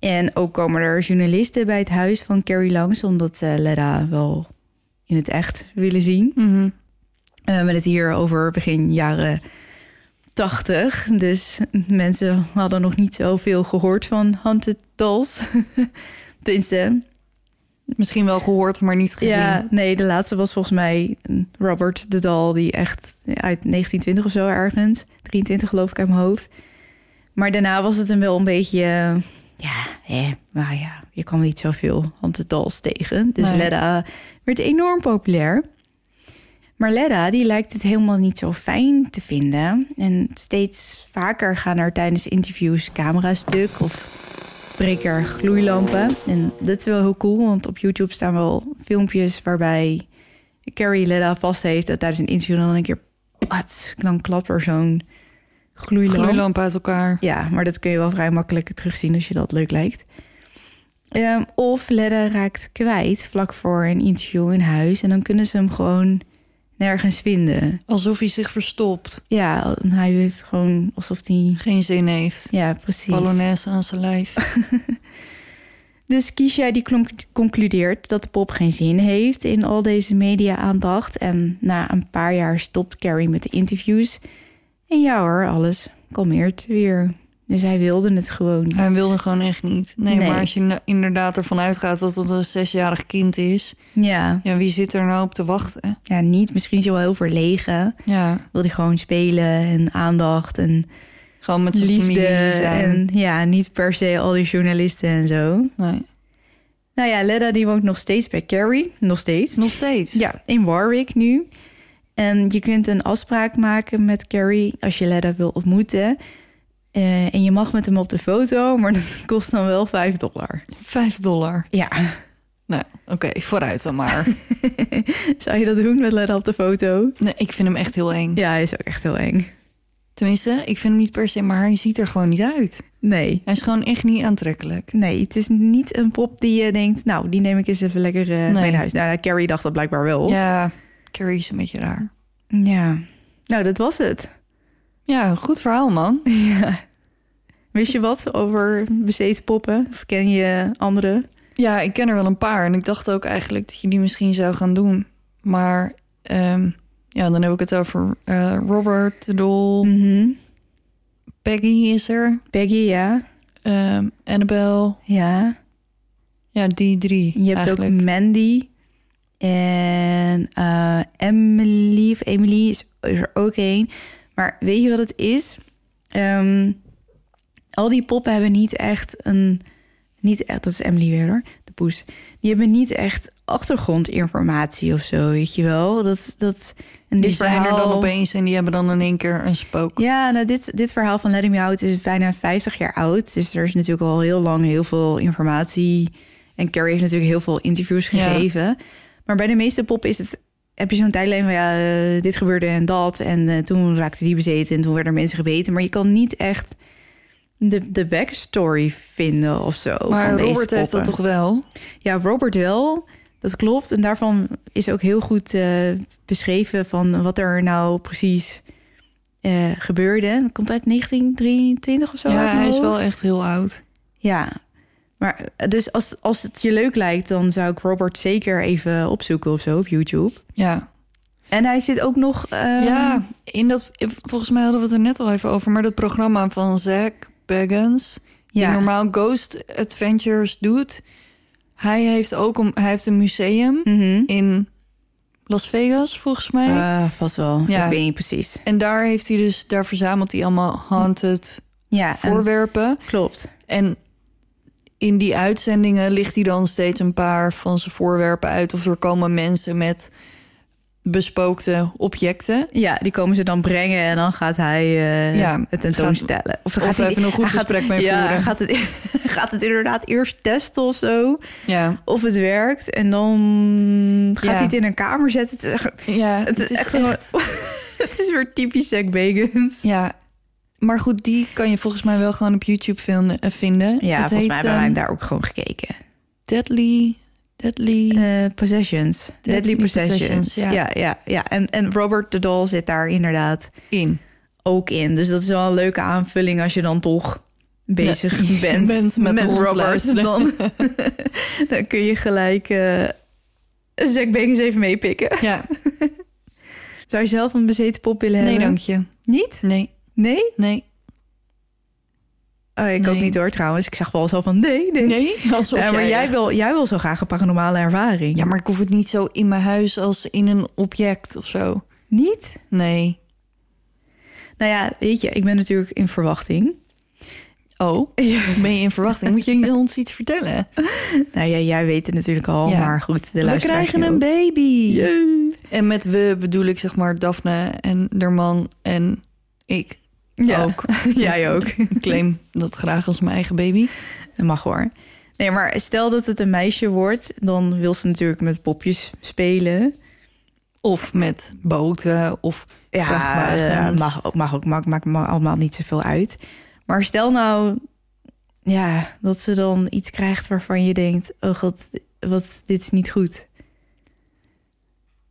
Speaker 2: En ook komen er journalisten bij het huis van Carrie langs, omdat ze Leda wel in het echt willen zien.
Speaker 3: Mhm.
Speaker 2: Eh, met het hier over begin jaren 80. Dus mensen hadden nog niet zoveel gehoord van Haunted Dolls. Tenminste,
Speaker 3: Misschien wel gehoord, maar niet gezien.
Speaker 2: ja, nee, de laatste was volgens mij Robert de Dal, die echt uit 1920 of zo ergens, 23 geloof ik uit mijn hoofd. Maar daarna was het hem wel een beetje, eh, ja, hè, nou ja, je kwam niet zoveel Haunted Dolls tegen. Dus
Speaker 3: Nee.
Speaker 2: Leda werd enorm populair. Maar Leda, die lijkt het helemaal niet zo fijn te vinden. En steeds vaker gaan er tijdens interviews camera's stuk of breken er gloeilampen. En dat is wel heel cool, want op YouTube staan wel filmpjes waarbij Carrie Leda vast heeft dat tijdens een interview dan een keer pats, dan klapt er zo'n gloeilamp.
Speaker 3: Gloeilamp uit elkaar.
Speaker 2: Ja, maar dat kun je wel vrij makkelijk terugzien als je dat leuk lijkt. Ehm, of Ledda raakt kwijt vlak voor een interview in huis en dan kunnen ze hem gewoon nergens vinden.
Speaker 3: Alsof hij zich verstopt.
Speaker 2: Ja, en hij heeft gewoon alsof hij.
Speaker 3: Geen zin heeft.
Speaker 2: Ja, precies.
Speaker 3: Polonaise aan zijn lijf.
Speaker 2: Dus Kisha die klonk- concludeert dat de pop geen zin heeft in al deze media-aandacht. En na een paar jaar stopt Carrie met de interviews. En ja hoor, alles kalmeert weer. Dus hij wilde het gewoon niet.
Speaker 3: Hij wilde gewoon echt niet. Nee,
Speaker 2: Nee.
Speaker 3: maar als je na- inderdaad ervan uitgaat dat het een zesjarig kind is...
Speaker 2: Ja.
Speaker 3: Ja, wie zit er nou op te wachten?
Speaker 2: ja, niet. Misschien is hij wel heel verlegen.
Speaker 3: Ja,
Speaker 2: Wil hij gewoon spelen en aandacht en
Speaker 3: gewoon met zijn
Speaker 2: liefde.
Speaker 3: familie zijn.
Speaker 2: En ja, niet per se al die journalisten en zo.
Speaker 3: Nee.
Speaker 2: Nou ja, Leda die woont nog steeds bij Carrie. Nog steeds.
Speaker 3: Nog steeds.
Speaker 2: Ja, in Warwick nu. En je kunt een afspraak maken met Carrie als je Leda wil ontmoeten. Eh, en je mag met hem op de foto, maar dat kost dan wel 5 dollar.
Speaker 3: Vijf dollar.
Speaker 2: Ja,
Speaker 3: Nou, oké, vooruit dan maar.
Speaker 2: zou je dat doen met Leda op de foto?
Speaker 3: nee, ik vind hem echt heel eng.
Speaker 2: Ja, hij is ook echt heel eng.
Speaker 3: Tenminste, ik vind hem niet per se, maar hij ziet er gewoon niet uit.
Speaker 2: Nee.
Speaker 3: Hij is gewoon echt niet aantrekkelijk.
Speaker 2: Nee, het is niet een pop die je denkt, nou, die neem ik eens even lekker eh, mee naar huis. Nou, Carrie dacht dat blijkbaar wel.
Speaker 3: Ja, Carrie is een beetje raar.
Speaker 2: ja. Nou, dat was het.
Speaker 3: Ja, goed verhaal, man.
Speaker 2: Ja. Wist je wat over bezeten poppen? Of ken je andere?
Speaker 3: Ja, ik ken er wel een paar en ik dacht ook eigenlijk dat je die misschien zou gaan doen. Maar ehm, ja, dan heb ik het over eh, Robert de Dol.
Speaker 2: Mhm.
Speaker 3: Peggy is er.
Speaker 2: Peggy, ja.
Speaker 3: ehm, Annabel.
Speaker 2: Ja.
Speaker 3: Ja, die drie.
Speaker 2: Je hebt
Speaker 3: eigenlijk.
Speaker 2: ook Mandy. En eh, Emily. Of Emily is, is er ook één. Maar weet je wat het is? Ehm, al die poppen hebben niet echt een. Niet, echt- dat is Emily weer hoor, de poes. Die hebben niet echt achtergrondinformatie of zo, weet je wel. Dat, dat, en
Speaker 3: Die zijn er dan
Speaker 2: verhaal-
Speaker 3: opeens en die hebben dan in één keer een spook.
Speaker 2: Ja, nou, dit, dit verhaal van Let Me Out is bijna 50 jaar oud. Dus er is natuurlijk al heel lang heel veel informatie. En Carrie heeft natuurlijk heel veel interviews
Speaker 3: Ja.
Speaker 2: gegeven. Maar bij de meeste pop is het... Heb je zo'n tijdlijn van ja, eh, dit gebeurde en dat. En eh, toen raakte die bezeten en toen werden mensen gebeten. Maar je kan niet echt de, de backstory vinden of zo.
Speaker 3: maar
Speaker 2: van deze
Speaker 3: Robert heeft dat
Speaker 2: poppen.
Speaker 3: toch wel?
Speaker 2: Ja, Robert wel. Dat klopt. En daarvan is ook heel goed eh, beschreven van wat er nou precies eh, gebeurde. Dat komt uit 1923 of zo. uit
Speaker 3: ja,
Speaker 2: mijn
Speaker 3: hij is
Speaker 2: hoofd.
Speaker 3: wel echt heel oud.
Speaker 2: Ja. Maar eh, dus als, als het je leuk lijkt, dan zou ik Robert zeker even opzoeken of zo op YouTube.
Speaker 3: Ja.
Speaker 2: En hij zit ook nog. ehm,
Speaker 3: ja, in dat, volgens mij hadden we het er net al even over, maar dat programma van Zack Baggins, die
Speaker 2: ja.
Speaker 3: normaal Ghost Adventures doet, hij heeft ook een, hij heeft een museum
Speaker 2: Mhm.
Speaker 3: in Las Vegas, volgens mij.
Speaker 2: Eh, vast wel.
Speaker 3: Ja.
Speaker 2: Ik weet niet precies.
Speaker 3: en daar heeft hij dus, daar verzamelt hij allemaal haunted
Speaker 2: Ja, en-
Speaker 3: voorwerpen.
Speaker 2: klopt.
Speaker 3: En in die uitzendingen ligt hij dan steeds een paar van zijn voorwerpen uit. Of er komen mensen met bespookte objecten.
Speaker 2: Ja, die komen ze dan brengen en dan gaat hij eh,
Speaker 3: Ja,
Speaker 2: het tentoonstellen. of dan
Speaker 3: Of
Speaker 2: hij
Speaker 3: even een goed
Speaker 2: hij gaat-
Speaker 3: gesprek mee
Speaker 2: ja,
Speaker 3: voeren.
Speaker 2: Gaat het, e- gaat het inderdaad eerst testen of zo?
Speaker 3: Ja,
Speaker 2: Of het werkt. En dan gaat
Speaker 3: Ja.
Speaker 2: hij het in een kamer zetten. Het is echt-
Speaker 3: ja
Speaker 2: Het is echt een- Het is weer typisch Zack Bagans.
Speaker 3: Ja, maar goed, die kan je volgens mij wel gewoon op YouTube vinden. eh, vinden.
Speaker 2: Ja,
Speaker 3: Het
Speaker 2: volgens mij
Speaker 3: heet,
Speaker 2: hebben wij
Speaker 3: ehm,
Speaker 2: hem daar ook gewoon gekeken.
Speaker 3: Deadly, Deadly...
Speaker 2: Eh, possessions. Deadly, Possessions.
Speaker 3: Possessions, ja.
Speaker 2: ja. ja, ja, En, en Robert de Doll zit daar inderdaad
Speaker 3: in.
Speaker 2: ook in. Dus dat is wel een leuke aanvulling als je dan toch bezig
Speaker 3: Ja,
Speaker 2: bent,
Speaker 3: bent met
Speaker 2: met,
Speaker 3: ons
Speaker 2: Robert.
Speaker 3: luisteren.
Speaker 2: Dan, dan kun je gelijk eh Zack Bagans even meepikken.
Speaker 3: Ja,
Speaker 2: Zou je zelf een bezeten pop willen
Speaker 3: nee
Speaker 2: hebben?
Speaker 3: dank je.
Speaker 2: Niet?
Speaker 3: Nee,
Speaker 2: Nee?
Speaker 3: nee.
Speaker 2: Oh, ik ook
Speaker 3: Nee.
Speaker 2: niet hoor trouwens. Ik zag wel zo van nee, nee.
Speaker 3: alsof
Speaker 2: Ja, maar jij,
Speaker 3: echt-
Speaker 2: wil, jij wil zo graag een paranormale ervaring.
Speaker 3: Ja, maar ik hoef het niet zo in mijn huis als in een object of zo.
Speaker 2: Niet?
Speaker 3: Nee.
Speaker 2: Nou ja, weet je, ik ben natuurlijk in verwachting.
Speaker 3: Oh, ben je in verwachting? Moet je ons iets vertellen?
Speaker 2: Nou ja, jij weet het natuurlijk al,
Speaker 3: Ja.
Speaker 2: maar goed, de
Speaker 3: We
Speaker 2: luisteraars
Speaker 3: krijgen
Speaker 2: nu
Speaker 3: een
Speaker 2: ook.
Speaker 3: baby.
Speaker 2: Yay.
Speaker 3: En met we bedoel ik zeg maar Daphne en haar man en ik
Speaker 2: Ja,
Speaker 3: ook.
Speaker 2: Oh, jij ook.
Speaker 3: Ik claim dat graag als mijn eigen baby.
Speaker 2: Dat mag hoor. Nee, maar stel dat het een meisje wordt, dan wil ze natuurlijk met popjes spelen.
Speaker 3: Of met boten of
Speaker 2: eh,
Speaker 3: vrachtwagens.
Speaker 2: mag ook, mag ook, maakt maakt me allemaal niet zoveel uit. Maar stel nou, ja, dat ze dan iets krijgt waarvan je denkt, oh god, wat, dit is niet goed.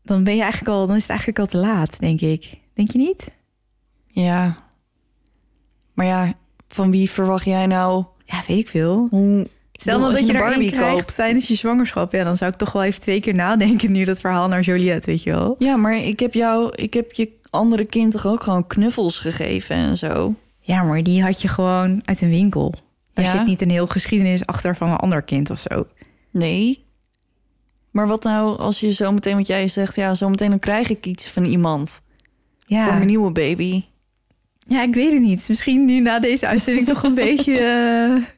Speaker 2: Dan ben je eigenlijk al, dan is het eigenlijk al te laat, denk ik. Denk je niet?
Speaker 3: Ja. Maar ja, van wie verwacht jij nou
Speaker 2: Ja, weet ik veel.
Speaker 3: hoe...
Speaker 2: Stel
Speaker 3: Ik
Speaker 2: nou
Speaker 3: bedoel,
Speaker 2: dat je er
Speaker 3: als je een
Speaker 2: één
Speaker 3: Barbie
Speaker 2: krijgt
Speaker 3: koopt.
Speaker 2: tijdens je zwangerschap. Ja, dan zou ik toch wel even twee keer nadenken nu dat verhaal naar Joliet, weet je wel.
Speaker 3: Ja, maar ik heb jou, ik heb je andere kind toch ook gewoon knuffels gegeven en zo.
Speaker 2: Ja, maar die had je gewoon uit een winkel. Daar
Speaker 3: Ja?
Speaker 2: zit niet een heel geschiedenis achter van een ander kind of zo.
Speaker 3: Nee. Maar wat nou als je zo meteen, wat jij zegt, ja, zo meteen dan krijg ik iets van iemand voor
Speaker 2: Ja,
Speaker 3: mijn nieuwe baby.
Speaker 2: ja ik weet het niet. Misschien nu na deze uitzending toch een beetje... eh,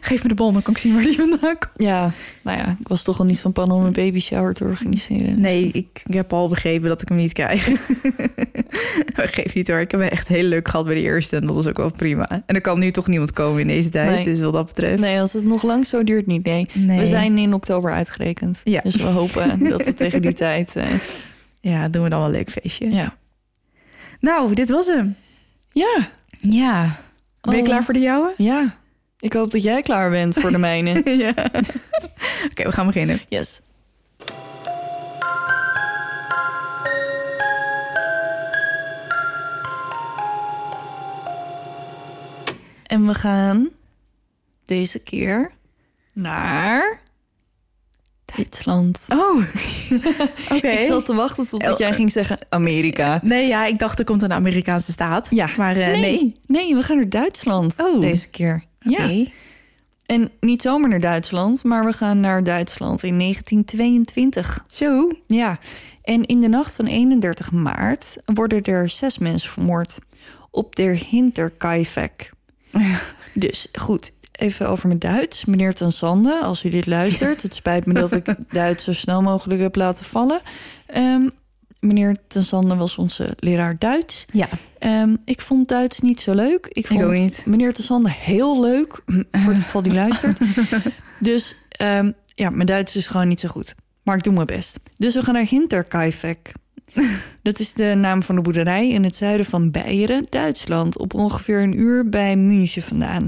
Speaker 2: Geef me de bol, dan kan ik zien waar die vandaan komt.
Speaker 3: Ja, nou ja, ik was toch al niet van plan om een baby shower te organiseren. Dus
Speaker 2: Nee,
Speaker 3: dat-
Speaker 2: ik, ik heb al begrepen dat ik hem niet krijg. Maar Geef niet hoor, ik heb me echt heel leuk gehad bij de eerste. En dat was ook wel prima. En er kan nu toch niemand komen in deze tijd,
Speaker 3: Nee.
Speaker 2: dus wat dat betreft.
Speaker 3: nee, als het nog lang zo duurt niet, nee.
Speaker 2: Nee.
Speaker 3: We zijn in oktober uitgerekend.
Speaker 2: Ja.
Speaker 3: Dus we hopen dat het tegen die tijd... eh,
Speaker 2: Ja, doen we dan wel een leuk feestje.
Speaker 3: ja.
Speaker 2: Nou, dit was hem.
Speaker 3: Ja,
Speaker 2: Ja. Ben je
Speaker 3: Oh.
Speaker 2: klaar voor de jouwe?
Speaker 3: ja. Ik hoop dat jij klaar bent voor de mijne.
Speaker 2: ja. Oké, we gaan beginnen.
Speaker 3: Yes. En we gaan deze keer naar Duitsland.
Speaker 2: Oh, oké.
Speaker 3: Ik zat te wachten totdat jij ging zeggen Amerika.
Speaker 2: Nee, ja, ik dacht er komt een Amerikaanse staat.
Speaker 3: Ja.
Speaker 2: Maar eh, nee.
Speaker 3: Nee, we gaan naar Duitsland
Speaker 2: Oh.
Speaker 3: deze keer. Ja.
Speaker 2: Oké.
Speaker 3: En niet zomaar naar Duitsland, maar we gaan naar Duitsland in 1922.
Speaker 2: Zo.
Speaker 3: Ja, en in de nacht van 31 maart worden er zes mensen vermoord op de Hinterkaifeck. Dus goed, even over mijn Duits. Meneer Ten Sande, als u dit luistert, het spijt me dat ik Duits zo snel mogelijk heb laten vallen. Ehm, meneer Ten Sande was onze leraar Duits.
Speaker 2: Ja.
Speaker 3: Ehm, ik vond Duits niet zo leuk. Ik vond
Speaker 2: ook niet.
Speaker 3: meneer Ten Sande heel leuk. Voor het geval die luistert. dus ehm, ja, mijn Duits is gewoon niet zo goed. Maar ik doe mijn best. Dus we gaan naar Hinterkaifeck. Dat is de naam van de boerderij in het zuiden van Beieren, Duitsland. Op ongeveer een uur bij München vandaan.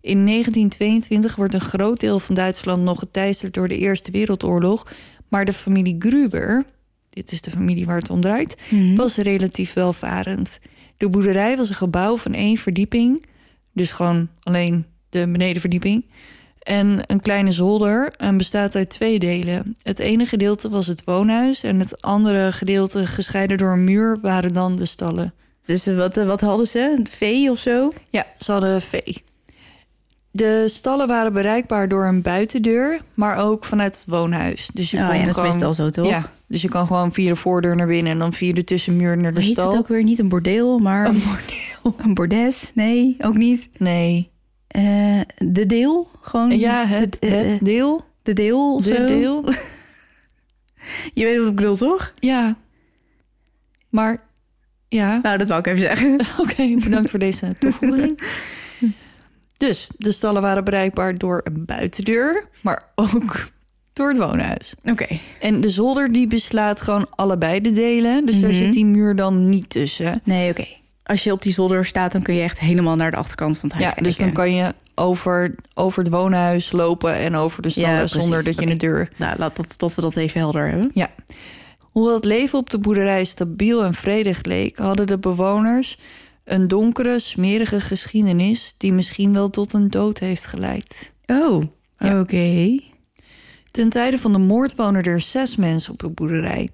Speaker 3: In 1922 wordt een groot deel van Duitsland nog geteisterd door de Eerste Wereldoorlog. Maar de familie Gruber, dit is de familie waar het om draait,
Speaker 2: Mhm.
Speaker 3: was relatief welvarend. De boerderij was een gebouw van één verdieping. Dus gewoon alleen de benedenverdieping. En een kleine zolder en bestaat uit twee delen. Het ene gedeelte was het woonhuis... en het andere gedeelte, gescheiden door een muur, waren dan de stallen.
Speaker 2: Dus eh, wat, eh, wat hadden ze? Een vee of zo?
Speaker 3: Ja, ze hadden vee. De stallen waren bereikbaar door een buitendeur, maar ook vanuit het woonhuis. Dus je
Speaker 2: oh,
Speaker 3: kon
Speaker 2: ja, dat is
Speaker 3: gewoon-
Speaker 2: meestal zo, toch?
Speaker 3: Ja, dus je kan gewoon via de voordeur naar binnen en dan via de tussenmuur naar de
Speaker 2: Hoe heet
Speaker 3: stal.
Speaker 2: het ook weer? Niet een bordeel, maar
Speaker 3: Een
Speaker 2: een bordes. Nee, ook niet.
Speaker 3: Nee.
Speaker 2: Eh, de deel? Gewoon
Speaker 3: Ja, het,
Speaker 2: eh, eh,
Speaker 3: het deel.
Speaker 2: de deel of
Speaker 3: De
Speaker 2: zo?
Speaker 3: deel.
Speaker 2: Je weet wat ik bedoel, toch?
Speaker 3: Ja. Maar ja.
Speaker 2: Nou, dat wou ik even zeggen.
Speaker 3: Oké, bedankt voor deze toevoeging. Dus de stallen waren bereikbaar door een buitendeur, maar ook door het woonhuis.
Speaker 2: Oké.
Speaker 3: En de zolder die beslaat gewoon allebei de delen. Dus daar
Speaker 2: Mhm.
Speaker 3: zit die muur dan niet tussen.
Speaker 2: Nee, oké. Als je op die zolder staat, dan kun je echt helemaal naar de achterkant van het huis
Speaker 3: Ja, dus dan
Speaker 2: kijken.
Speaker 3: kan je over, over het woonhuis lopen en over de stallen
Speaker 2: Ja,
Speaker 3: zonder
Speaker 2: precies.
Speaker 3: dat je een
Speaker 2: Oké.
Speaker 3: deur...
Speaker 2: Nou, laat dat, dat we dat even helder hebben.
Speaker 3: Hoewel het leven op de boerderij stabiel en vredig leek... hadden de bewoners een donkere, smerige geschiedenis... die misschien wel tot een dood heeft geleid.
Speaker 2: Oh, oké.
Speaker 3: Ten tijde van de moord wonen er zes mensen op de boerderij.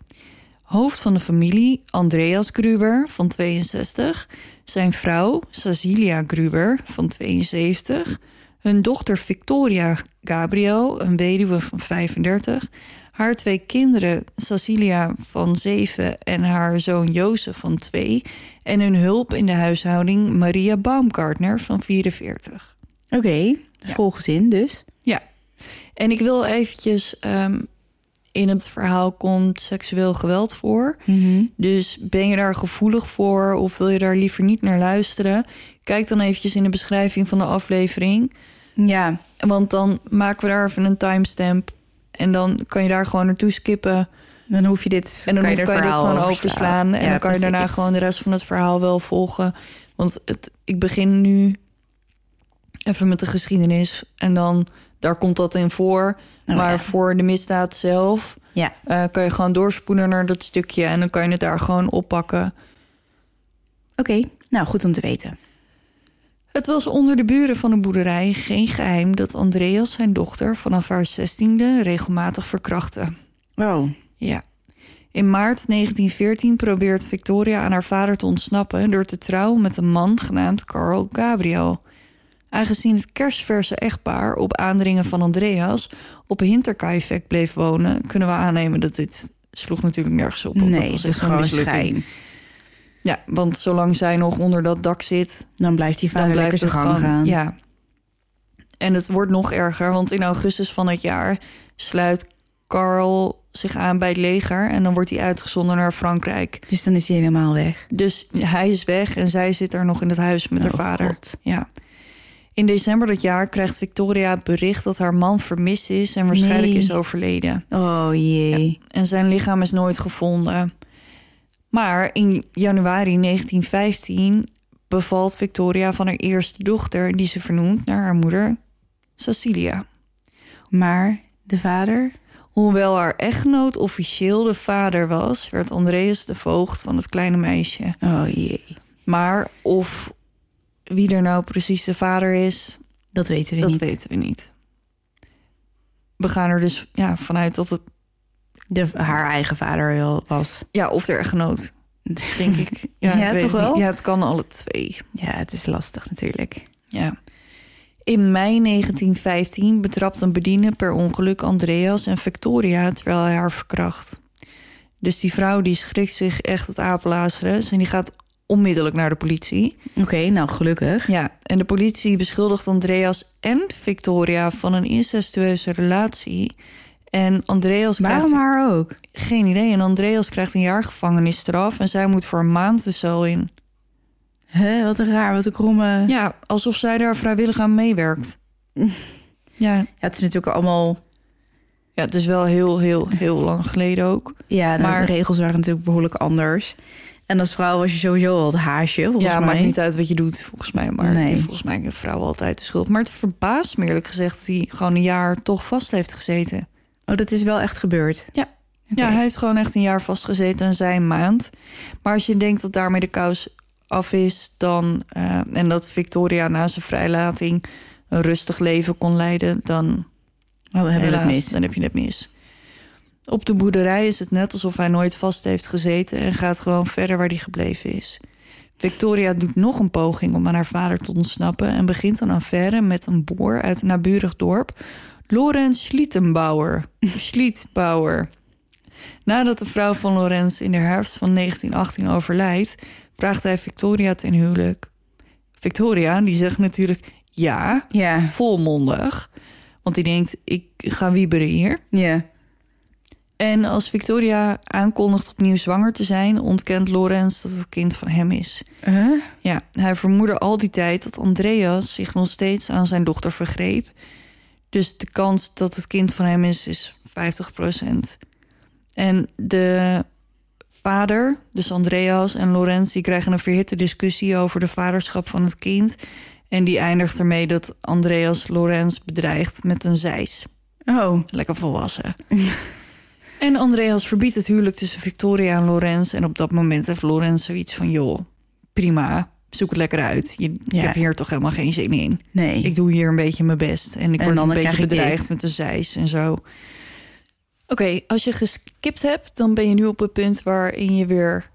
Speaker 3: Hoofd van de familie, Andreas Gruber van 62. Zijn vrouw, Cecilia Gruber van 72. Hun dochter Victoria Gabriel, een weduwe van 35. Haar twee kinderen, Cecilia van 7 en haar zoon Jozef van 2. En hun hulp in de huishouding, Maria Baumgartner van 44.
Speaker 2: Oké, vol gezin dus.
Speaker 3: En ik wil eventjes... ehm, in het verhaal komt seksueel geweld voor.
Speaker 2: Mhm.
Speaker 3: Dus ben je daar gevoelig voor of wil je daar liever niet naar luisteren? Kijk dan eventjes in de beschrijving van de aflevering.
Speaker 2: Ja,
Speaker 3: Want dan maken we daar even een timestamp. En dan kan je daar gewoon naartoe skippen.
Speaker 2: dan hoef je dit...
Speaker 3: En dan
Speaker 2: kan
Speaker 3: kan
Speaker 2: je,
Speaker 3: je,
Speaker 2: er
Speaker 3: dit
Speaker 2: verhaal
Speaker 3: gewoon
Speaker 2: over
Speaker 3: overslaan. En
Speaker 2: Ja,
Speaker 3: dan kan je daarna
Speaker 2: precies.
Speaker 3: gewoon de rest van het verhaal wel volgen. Want het, ik begin nu even met de geschiedenis. En dan, daar komt dat in voor.
Speaker 2: Oh,
Speaker 3: maar
Speaker 2: ja.
Speaker 3: voor de misdaad zelf
Speaker 2: Ja.
Speaker 3: eh, kan je gewoon doorspoelen naar dat stukje. En dan kan je het daar gewoon oppakken.
Speaker 2: Oké, nou goed om te weten.
Speaker 3: Het was onder de buren van de boerderij geen geheim dat Andreas zijn dochter vanaf haar 16e regelmatig verkrachtte.
Speaker 2: Wow.
Speaker 3: Ja. In maart 1914 probeert Victoria aan haar vader te ontsnappen door te trouwen met een man genaamd Carl Gabriel. Aangezien het kerstverse echtpaar op aandringen van Andreas op Hinterkaifeck bleef wonen, kunnen we aannemen dat dit sloeg natuurlijk nergens op. want dat
Speaker 2: Nee,
Speaker 3: was
Speaker 2: het
Speaker 3: echt
Speaker 2: is gewoon
Speaker 3: mislukking.
Speaker 2: schijn.
Speaker 3: Ja, want zolang zij nog onder dat dak zit,
Speaker 2: Dan blijft die vader
Speaker 3: dan blijft
Speaker 2: lekker zijn
Speaker 3: het
Speaker 2: gang
Speaker 3: gewoon-
Speaker 2: gaan.
Speaker 3: Ja. En het wordt nog erger, want in augustus van het jaar sluit Carl zich aan bij het leger en dan wordt hij uitgezonden naar Frankrijk.
Speaker 2: Dus dan is hij helemaal weg.
Speaker 3: Dus hij is weg en zij zit daar nog in het huis met haar
Speaker 2: Oh,
Speaker 3: vader.
Speaker 2: God.
Speaker 3: Ja. In december dat jaar krijgt Victoria het bericht dat haar man vermist is en waarschijnlijk
Speaker 2: Nee.
Speaker 3: is overleden.
Speaker 2: Oh jee.
Speaker 3: En zijn lichaam is nooit gevonden. Maar in januari 1915 bevalt Victoria van haar eerste dochter, die ze vernoemt naar haar moeder Cecilia.
Speaker 2: Maar de vader?
Speaker 3: Hoewel haar echtgenoot officieel de vader was, werd Andreas de voogd van het kleine meisje.
Speaker 2: Oh jee.
Speaker 3: Maar of wie er nou precies de vader is,
Speaker 2: Dat weten we
Speaker 3: dat
Speaker 2: niet.
Speaker 3: weten we niet. We gaan er dus ja, vanuit dat het.
Speaker 2: De, haar eigen vader wel was.
Speaker 3: Ja, of de echtgenoot, denk ik.
Speaker 2: Ja,
Speaker 3: ik weet het
Speaker 2: toch
Speaker 3: niet.
Speaker 2: wel?
Speaker 3: Ja, het kan alle twee.
Speaker 2: Ja, het is lastig natuurlijk.
Speaker 3: Ja. In mei 1915 betrapt een bediende per ongeluk Andreas en Victoria terwijl hij haar verkracht. Dus die vrouw die schrikt zich echt het apelazeren en die gaat onmiddellijk naar de politie.
Speaker 2: Oké, nou gelukkig.
Speaker 3: Ja, en de politie beschuldigt Andreas en Victoria van een incestueuze relatie. En Andreas
Speaker 2: Waarom
Speaker 3: krijgt
Speaker 2: haar ook?
Speaker 3: geen idee. En Andreas krijgt een jaar gevangenisstraf en zij moet voor een maand de cel in.
Speaker 2: Hè, wat een raar, wat een kromme... Ja.
Speaker 3: Ja, alsof zij daar vrijwillig aan meewerkt. Ja,
Speaker 2: het is natuurlijk allemaal...
Speaker 3: Ja, het is wel heel, heel, heel lang geleden ook.
Speaker 2: Ja, nou,
Speaker 3: Maar-
Speaker 2: de regels waren natuurlijk behoorlijk anders. En als vrouw was je sowieso al het haasje, volgens
Speaker 3: ja,
Speaker 2: mij.
Speaker 3: maakt niet uit wat je doet, volgens mij. Maar
Speaker 2: Nee.
Speaker 3: nee. volgens mij een vrouw altijd de schuld. Maar het verbaast me eerlijk gezegd dat hij gewoon een jaar toch vast heeft gezeten.
Speaker 2: Oh, dat is wel echt gebeurd?
Speaker 3: Ja.
Speaker 2: Oké.
Speaker 3: Ja, hij heeft gewoon echt een jaar vastgezeten en zij een maand. Maar als je denkt dat daarmee de kous af is, dan eh, en dat Victoria na zijn vrijlating een rustig leven kon leiden, dan
Speaker 2: Oh, dan hebben we het
Speaker 3: Helaas,
Speaker 2: mis.
Speaker 3: Dan heb je het mis. Op de boerderij is het net alsof hij nooit vast heeft gezeten en gaat gewoon verder waar hij gebleven is. Victoria doet nog een poging om aan haar vader te ontsnappen en begint een affaire met een boer uit een naburig dorp, Lorenz Schlietenbauer. Schlietbauer. Nadat de vrouw van Lorenz in de herfst van 1918 overlijdt, vraagt hij Victoria ten huwelijk. Victoria, die zegt natuurlijk ja,
Speaker 2: Ja,
Speaker 3: volmondig. Want die denkt, ik ga wieberen hier.
Speaker 2: ja.
Speaker 3: En als Victoria aankondigt opnieuw zwanger te zijn... ontkent Lorenz dat het kind van hem is.
Speaker 2: Huh?
Speaker 3: Ja, hij vermoedde al die tijd dat Andreas zich nog steeds aan zijn dochter vergreep. Dus de kans dat het kind van hem is, is 50 En de vader, dus Andreas en Lorenz... die krijgen een verhitte discussie over de vaderschap van het kind... en die eindigt ermee dat Andreas Lorenz bedreigt met een zeis.
Speaker 2: Oh,
Speaker 3: Lekker volwassen. en Andreas verbiedt het huwelijk tussen Victoria en Lorenz. En op dat moment heeft Lorenz zoiets van... joh, prima, zoek het lekker uit. Je,
Speaker 2: Ja.
Speaker 3: Ik heb hier toch helemaal geen zin in.
Speaker 2: nee.
Speaker 3: Ik doe hier een beetje mijn best. En ik
Speaker 2: En
Speaker 3: word
Speaker 2: dan
Speaker 3: een
Speaker 2: krijg
Speaker 3: beetje
Speaker 2: ik dit.
Speaker 3: bedreigd met de zeis en zo. Oké, als je geskipt hebt... dan ben je nu op het punt waarin je weer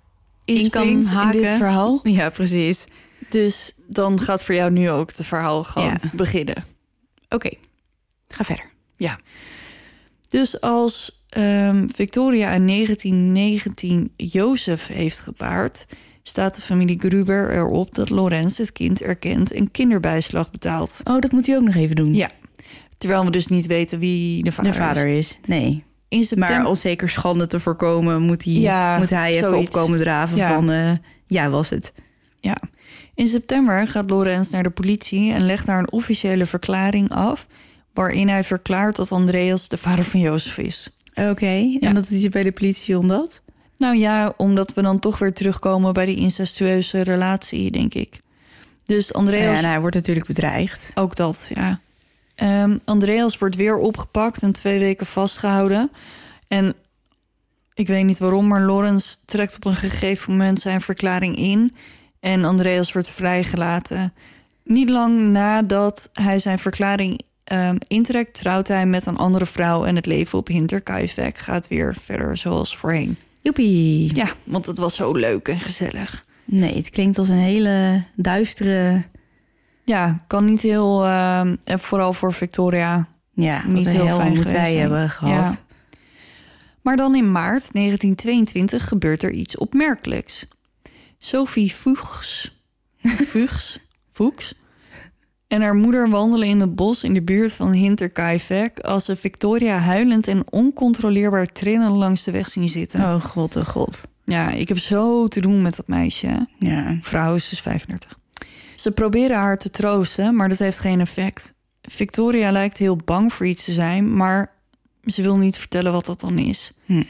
Speaker 2: In kan
Speaker 3: inspringt in dit
Speaker 2: haken.
Speaker 3: verhaal.
Speaker 2: Ja, precies.
Speaker 3: Dus dan gaat voor jou nu ook het verhaal gewoon
Speaker 2: Ja.
Speaker 3: beginnen.
Speaker 2: Oké, ga verder.
Speaker 3: Dus als ehm, Victoria in 1919 Jozef heeft gebaard, staat de familie Gruber erop dat Lorenz het kind erkent en kinderbijslag betaalt.
Speaker 2: Oh, dat moet hij ook nog even doen.
Speaker 3: Ja, Terwijl we dus niet weten wie de vader,
Speaker 2: de vader is. Nee.
Speaker 3: is. In september,
Speaker 2: Maar om zeker schande te voorkomen, moet hij,
Speaker 3: Ja,
Speaker 2: moet hij even
Speaker 3: zoiets.
Speaker 2: opkomen draven
Speaker 3: Ja.
Speaker 2: van... eh, ja, was het.
Speaker 3: ja. in september gaat Lorenz naar de politie en legt daar een officiële verklaring af. Waarin hij verklaart dat Andreas de vader van Jozef is.
Speaker 2: Oké, en dat is hij bij de politie omdat?
Speaker 3: Nou ja, omdat we dan toch weer terugkomen bij die incestueuze relatie, denk ik. Dus Andreas
Speaker 2: Ja, en hij wordt natuurlijk bedreigd.
Speaker 3: Ook dat, ja. Ehm, Andreas wordt weer opgepakt en twee weken vastgehouden. En ik weet niet waarom, maar Lawrence trekt op een gegeven moment zijn verklaring in. En Andreas wordt vrijgelaten. Niet lang nadat hij zijn verklaring ehm, intrekt, trouwt hij met een andere vrouw. En het leven op Hinterkaifeck gaat weer verder zoals voorheen.
Speaker 2: Joepie.
Speaker 3: Ja, want het was zo leuk en gezellig.
Speaker 2: Nee, het klinkt als een hele duistere...
Speaker 3: Ja, kan niet heel. ehm, en vooral voor Victoria
Speaker 2: Ja,
Speaker 3: Niet
Speaker 2: wat een
Speaker 3: heel
Speaker 2: hel
Speaker 3: fijn
Speaker 2: moet
Speaker 3: geweest
Speaker 2: hij
Speaker 3: zijn.
Speaker 2: hebben gehad.
Speaker 3: Ja. Maar dan in maart 1922 gebeurt er iets opmerkelijks. Sophie Fuchs, Fuchs, Fuchs en haar moeder wandelen in het bos in de buurt van Hinterkaifeck... als ze Victoria huilend en oncontroleerbaar trillend langs de weg zien zitten.
Speaker 2: Oh god, oh god.
Speaker 3: Ja, ik heb zo te doen met dat meisje.
Speaker 2: Ja.
Speaker 3: Vrouw is dus 35. Ze proberen haar te troosten, maar dat heeft geen effect. Victoria lijkt heel bang voor iets te zijn, maar ze wil niet vertellen wat dat dan is.
Speaker 2: Hm.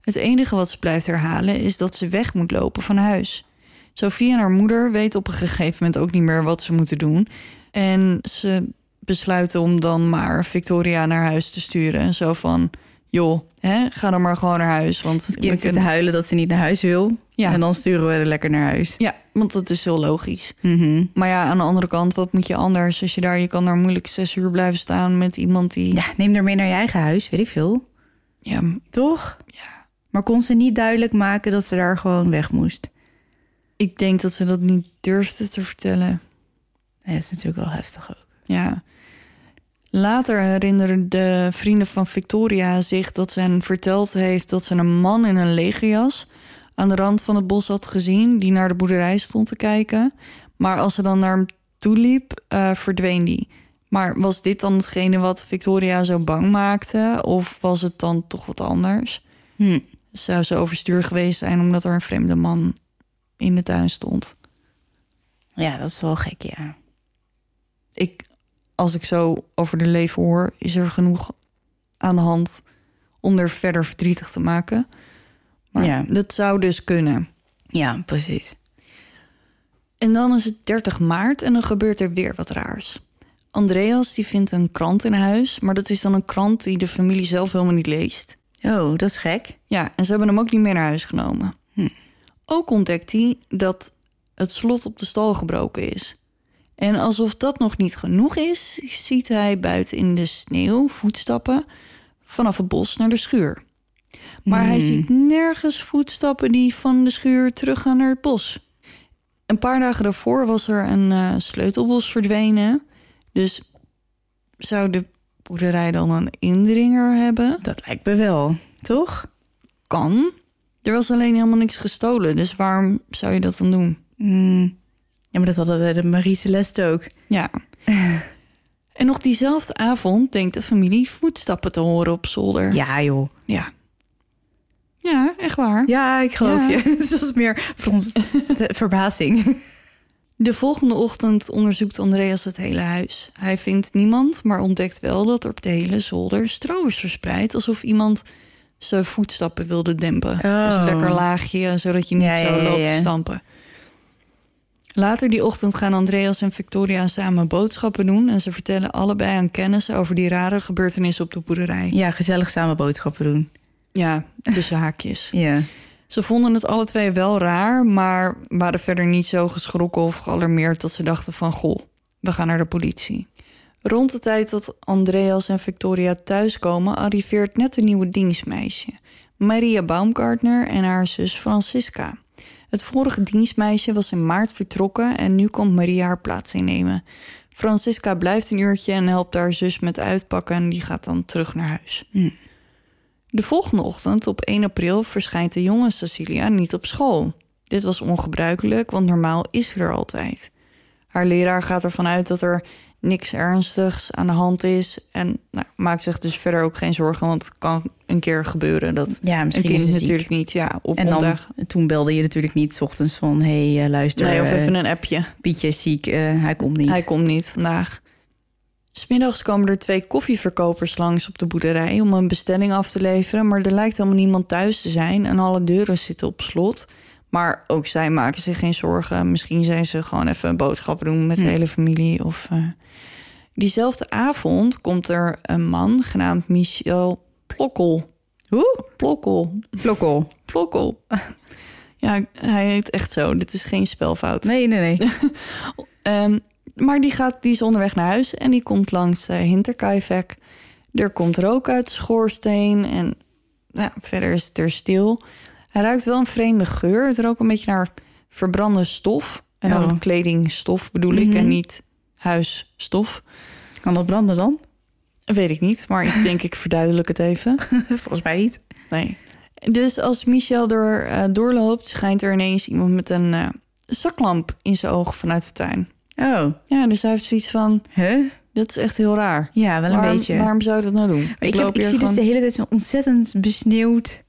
Speaker 3: Het enige wat ze blijft herhalen is dat ze weg moet lopen van huis. Sophie en haar moeder weten op een gegeven moment ook niet meer wat ze moeten doen. En ze besluiten om dan maar Victoria naar huis te sturen. En zo van, joh, hè, ga dan maar gewoon naar huis. Want
Speaker 2: Het
Speaker 3: we
Speaker 2: kind zit te
Speaker 3: kunnen-
Speaker 2: huilen dat ze niet naar huis wil.
Speaker 3: Ja.
Speaker 2: En dan sturen we haar lekker naar huis.
Speaker 3: Ja, want dat is heel logisch.
Speaker 2: Mhm.
Speaker 3: Maar ja, aan de andere kant, wat moet je anders als je daar... je kan daar moeilijk zes uur blijven staan met iemand die...
Speaker 2: Ja, neem haar mee naar je eigen huis, weet ik veel.
Speaker 3: Ja,
Speaker 2: Toch? Ja. Maar kon ze niet duidelijk maken dat ze daar gewoon weg moest?
Speaker 3: ik denk dat ze dat niet durfde te vertellen.
Speaker 2: Nee, dat is natuurlijk wel heftig ook.
Speaker 3: Ja. Later herinneren de vrienden van Victoria zich dat ze hen verteld heeft... dat ze een man in een legerjas aan de rand van het bos had gezien... die naar de boerderij stond te kijken. Maar als ze dan naar hem toe liep, eh, verdween die. Maar was dit dan hetgene wat Victoria zo bang maakte? Of was het dan toch wat anders?
Speaker 2: Hm.
Speaker 3: Dus zou ze overstuur geweest zijn omdat er een vreemde man in de tuin stond.
Speaker 2: Ja, dat is wel gek, ja.
Speaker 3: Ik, als ik zo over de leven hoor, is er genoeg aan de hand om er verder verdrietig te maken. Maar
Speaker 2: Ja.
Speaker 3: dat zou dus kunnen.
Speaker 2: Ja, precies.
Speaker 3: En dan is het 30 maart en dan gebeurt er weer wat raars. Andreas die vindt een krant in huis, maar dat is dan een krant die de familie zelf helemaal niet leest.
Speaker 2: Oh, dat is gek.
Speaker 3: Ja, en ze hebben hem ook niet meer naar huis genomen.
Speaker 2: Hm.
Speaker 3: Ook ontdekt hij dat het slot op de stal gebroken is. En alsof dat nog niet genoeg is, ziet hij buiten in de sneeuw voetstappen vanaf het bos naar de schuur. Maar hij
Speaker 2: Hmm.
Speaker 3: ziet nergens voetstappen die van de schuur teruggaan naar het bos. Een paar dagen daarvoor was er een eh, sleutelbos verdwenen. Dus zou de boerderij dan een indringer hebben?
Speaker 2: Dat lijkt me wel, toch?
Speaker 3: Kan. Er was alleen helemaal niks gestolen, dus waarom zou je dat dan doen?
Speaker 2: Hmm. Ja, maar dat hadden we de Marie-Celeste ook.
Speaker 3: Ja. en nog diezelfde avond denkt de familie voetstappen te horen op zolder.
Speaker 2: Ja, joh.
Speaker 3: Ja, Ja, echt waar.
Speaker 2: Ja, ik geloof
Speaker 3: Ja.
Speaker 2: je. Het was meer voor ons de verbazing.
Speaker 3: De volgende ochtend onderzoekt Andreas het hele huis. Hij vindt niemand, maar ontdekt wel dat er op de hele zolder stro is verspreid. Alsof iemand zijn voetstappen wilde dempen.
Speaker 2: Oh.
Speaker 3: Dus een lekker laagje, zodat je niet
Speaker 2: Ja,
Speaker 3: zo
Speaker 2: ja, ja,
Speaker 3: loopt te
Speaker 2: ja.
Speaker 3: stampen. Later die ochtend gaan Andreas en Victoria samen boodschappen doen... en ze vertellen allebei aan kennissen over die rare gebeurtenissen op de boerderij.
Speaker 2: Ja, gezellig samen boodschappen doen.
Speaker 3: Ja, tussen haakjes.
Speaker 2: Ja.
Speaker 3: Ze vonden het alle twee wel raar, maar waren verder niet zo geschrokken of gealarmeerd dat ze dachten van goh, we gaan naar de politie. Rond de tijd dat Andreas en Victoria thuiskomen, arriveert net een nieuwe dienstmeisje, Maria Baumgartner en haar zus Francisca. Het vorige dienstmeisje was in maart vertrokken en nu komt Maria haar plaats innemen. Francisca blijft een uurtje en helpt haar zus met uitpakken en die gaat dan terug naar huis. De volgende ochtend, op 1 april, verschijnt de jonge Cecilia niet op school. Dit was ongebruikelijk, want normaal is ze er altijd. Haar leraar gaat ervan uit dat er niks ernstigs aan de hand is... en nou, maakt zich dus verder ook geen zorgen, want het kan een keer gebeuren... dat
Speaker 2: Ja,
Speaker 3: een
Speaker 2: misschien is
Speaker 3: kind
Speaker 2: ze ziek.
Speaker 3: natuurlijk niet ja, op
Speaker 2: En dan,
Speaker 3: ondag...
Speaker 2: toen belde je natuurlijk niet 's ochtends van... hé, hey, eh, luister,
Speaker 3: Nee, of
Speaker 2: eh,
Speaker 3: even een appje.
Speaker 2: Pietje is ziek, eh, hij komt niet.
Speaker 3: Hij komt niet vandaag. Smiddags komen er twee koffieverkopers langs op de boerderij om een bestelling af te leveren, maar er lijkt helemaal niemand thuis te zijn en alle deuren zitten op slot. Maar ook zij maken zich geen zorgen. Misschien zijn ze gewoon even boodschappen doen met de
Speaker 2: Hm.
Speaker 3: hele familie. Of, eh. Diezelfde avond komt er een man genaamd Michel Plokkel.
Speaker 2: Hoe?
Speaker 3: Plokkel.
Speaker 2: Plokkel.
Speaker 3: Plokkel. Ja, hij heet echt zo. Dit is geen spelfout.
Speaker 2: Nee, nee, nee.
Speaker 3: Ehm, maar die, gaat, die is onderweg naar huis en die komt langs eh Hinterkaifeck. Er komt rook uit de schoorsteen en nou, verder is het er stil. Hij ruikt wel een vreemde geur. Het rookt een beetje naar verbrande stof. En dan
Speaker 2: Oh.
Speaker 3: kledingstof bedoel ik
Speaker 2: Mhm.
Speaker 3: en niet huisstof.
Speaker 2: Kan dat branden dan?
Speaker 3: Weet ik niet, maar ik denk ik verduidelijk het even.
Speaker 2: Volgens mij niet.
Speaker 3: Nee. Dus als Michel er eh, doorloopt, schijnt er ineens iemand met een eh, zaklamp in zijn oog vanuit de tuin.
Speaker 2: Oh,
Speaker 3: Ja, dus hij heeft zoiets van...
Speaker 2: huh?
Speaker 3: Dat is echt heel raar.
Speaker 2: Ja, wel een
Speaker 3: waarom,
Speaker 2: beetje.
Speaker 3: Waarom zou je dat nou doen?
Speaker 2: ik heb, ik zie dus de hele tijd zo'n ontzettend besneeuwd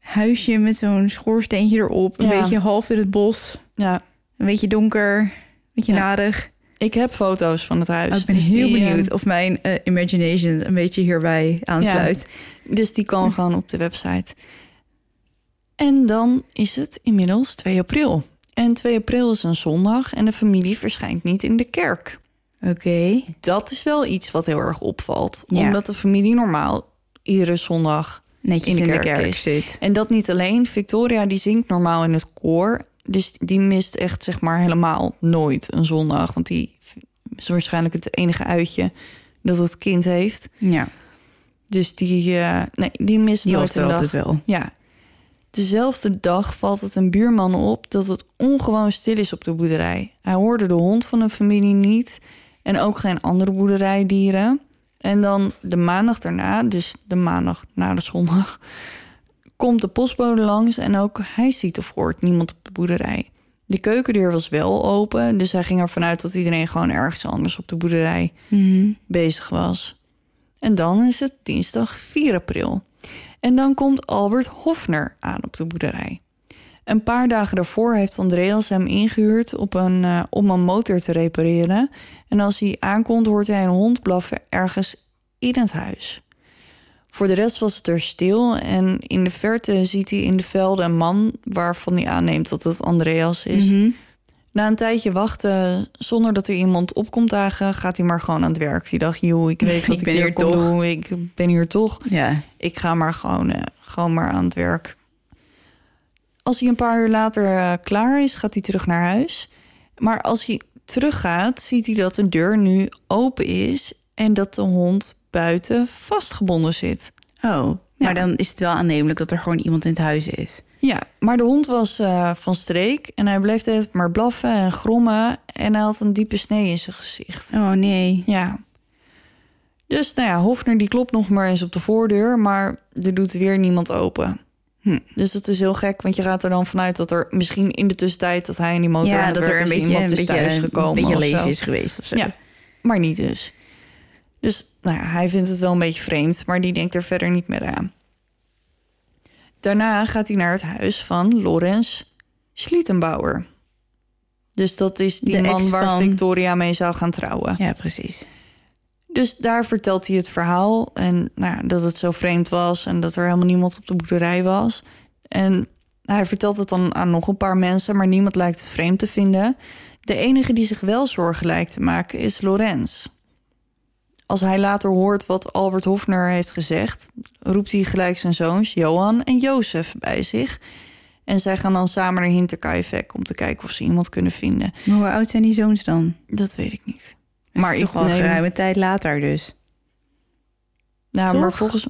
Speaker 2: huisje... met zo'n schoorsteentje erop. Een
Speaker 3: Ja.
Speaker 2: beetje half in het bos.
Speaker 3: ja,
Speaker 2: Een beetje donker. Een beetje
Speaker 3: Ja.
Speaker 2: nadig.
Speaker 3: ik heb foto's van het huis.
Speaker 2: Oh, ik ben
Speaker 3: Dus
Speaker 2: heel
Speaker 3: die,
Speaker 2: benieuwd of mijn eh, imagination een beetje hierbij aansluit.
Speaker 3: eh, dus die kan gewoon op de website. En dan is het inmiddels 2 april. En 2 april is een zondag en de familie verschijnt niet in de kerk.
Speaker 2: Oké.
Speaker 3: Dat is wel iets wat heel erg opvalt.
Speaker 2: Ja.
Speaker 3: Omdat de familie normaal iedere zondag...
Speaker 2: Netjes in de kerk,
Speaker 3: is.
Speaker 2: zit.
Speaker 3: En dat niet alleen. Victoria die zingt normaal in het koor. Dus die mist echt zeg maar helemaal nooit een zondag. Want die is waarschijnlijk het enige uitje dat het kind heeft.
Speaker 2: Ja,
Speaker 3: Dus die, eh, nee, die mist
Speaker 2: die
Speaker 3: nooit
Speaker 2: was
Speaker 3: een
Speaker 2: er
Speaker 3: dag.
Speaker 2: altijd wel.
Speaker 3: Ja. Dezelfde dag valt het een buurman op dat het ongewoon stil is op de boerderij. Hij hoorde de hond van een familie niet en ook geen andere boerderijdieren. En dan de maandag daarna, dus de maandag na de zondag, komt de postbode langs en ook hij ziet of hoort niemand op de boerderij. De keukendeur was wel open, dus hij ging ervan uit dat iedereen gewoon ergens anders op de boerderij bezig was. En dan is het dinsdag 4 april. En dan komt Albert Hofner aan op de boerderij. Een paar dagen daarvoor heeft Andreas hem ingehuurd op een, eh, om een motor te repareren. En als hij aankomt, hoort hij een hond blaffen ergens in het huis. Voor de rest was het er stil en in de verte ziet hij in de velden een man waarvan hij aanneemt dat het Andreas is.
Speaker 2: Mhm.
Speaker 3: Na een tijdje wachten, zonder dat er iemand op komt dagen, gaat hij maar gewoon aan het werk. Die dacht, joh, ik weet
Speaker 2: Ik
Speaker 3: wat ik,
Speaker 2: ben
Speaker 3: hier
Speaker 2: hier
Speaker 3: kon
Speaker 2: toch."
Speaker 3: doen, ik ben hier toch.
Speaker 2: Ja.
Speaker 3: Ik ga maar gewoon, eh, gewoon maar aan het werk. Als hij een paar uur later eh, klaar is, gaat hij terug naar huis. Maar als hij teruggaat, ziet hij dat de deur nu open is en dat de hond buiten vastgebonden zit.
Speaker 2: Oh,
Speaker 3: Ja.
Speaker 2: maar dan is het wel aannemelijk dat er gewoon iemand in het huis is.
Speaker 3: Ja, maar de hond was eh, van streek en hij bleef de hele tijd maar blaffen en grommen en hij had een diepe snee in zijn gezicht.
Speaker 2: Oh nee.
Speaker 3: Ja. Dus nou ja, Hofner die klopt nog maar eens op de voordeur, maar er doet weer niemand open.
Speaker 2: Hm.
Speaker 3: Dus dat is heel gek, want je gaat er dan vanuit dat er misschien in de tussentijd dat hij in die motor aan
Speaker 2: Ja,
Speaker 3: het
Speaker 2: dat
Speaker 3: werk
Speaker 2: er een
Speaker 3: is,
Speaker 2: beetje,
Speaker 3: iemand
Speaker 2: een
Speaker 3: is
Speaker 2: beetje,
Speaker 3: thuis
Speaker 2: een
Speaker 3: gekomen
Speaker 2: beetje
Speaker 3: of zo.
Speaker 2: leven is geweest of zo.
Speaker 3: Ja, maar niet dus. Dus nou ja, hij vindt het wel een beetje vreemd, maar die denkt er verder niet meer aan. Daarna gaat hij naar het huis van Lorenz Schlittenbauer. Dus dat is die
Speaker 2: De
Speaker 3: man
Speaker 2: ex
Speaker 3: waar
Speaker 2: van-
Speaker 3: Victoria mee zou gaan trouwen.
Speaker 2: Ja, precies.
Speaker 3: Dus daar vertelt hij het verhaal en nou, ja, dat het zo vreemd was en dat er helemaal niemand op de boerderij was. En hij vertelt het dan aan nog een paar mensen, maar niemand lijkt het vreemd te vinden. De enige die zich wel zorgen lijkt te maken is Lorenz. Als hij later hoort wat Albert Hofner heeft gezegd, roept hij gelijk zijn zoons Johan en Jozef bij zich. En zij gaan dan samen naar Hinterkaifeck om te kijken of ze iemand kunnen vinden.
Speaker 2: Maar hoe oud zijn die zoons dan?
Speaker 3: Dat weet ik niet.
Speaker 2: maar toch wel een geruime tijd later dus.
Speaker 3: Nou, maar
Speaker 2: Toch?
Speaker 3: volgens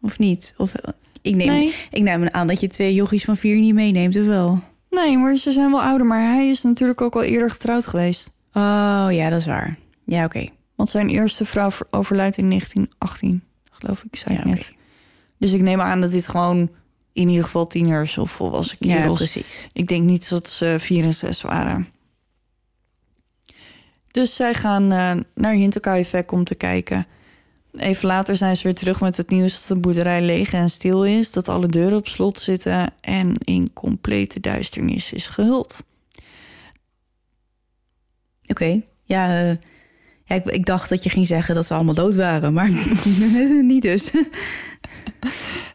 Speaker 2: Of niet? Of, eh, ik, neem,
Speaker 3: Nee.
Speaker 2: ik neem aan dat je twee jochies van vier niet meeneemt, of wel?
Speaker 3: Nee, maar ze zijn wel ouder. Maar hij is natuurlijk ook al eerder getrouwd geweest.
Speaker 2: Oh, ja, dat is waar. Ja, oké.
Speaker 3: Want zijn eerste vrouw ver- overlijdt in 1918, geloof ik, zei
Speaker 2: Ja,
Speaker 3: ik net.
Speaker 2: oké.
Speaker 3: Dus ik neem aan dat dit gewoon in ieder geval tieners of volwassen
Speaker 2: ja
Speaker 3: kerels.
Speaker 2: precies.
Speaker 3: ik denk niet dat ze vier en zes waren. Dus zij gaan eh, naar Hinterkaifeck om te kijken. Even later zijn ze weer terug met het nieuws dat de boerderij leeg en stil is, dat alle deuren op slot zitten en in complete duisternis is gehuld.
Speaker 2: Oké. Ja, eh, ja ik, ik dacht dat je ging zeggen dat ze allemaal dood waren, maar niet dus.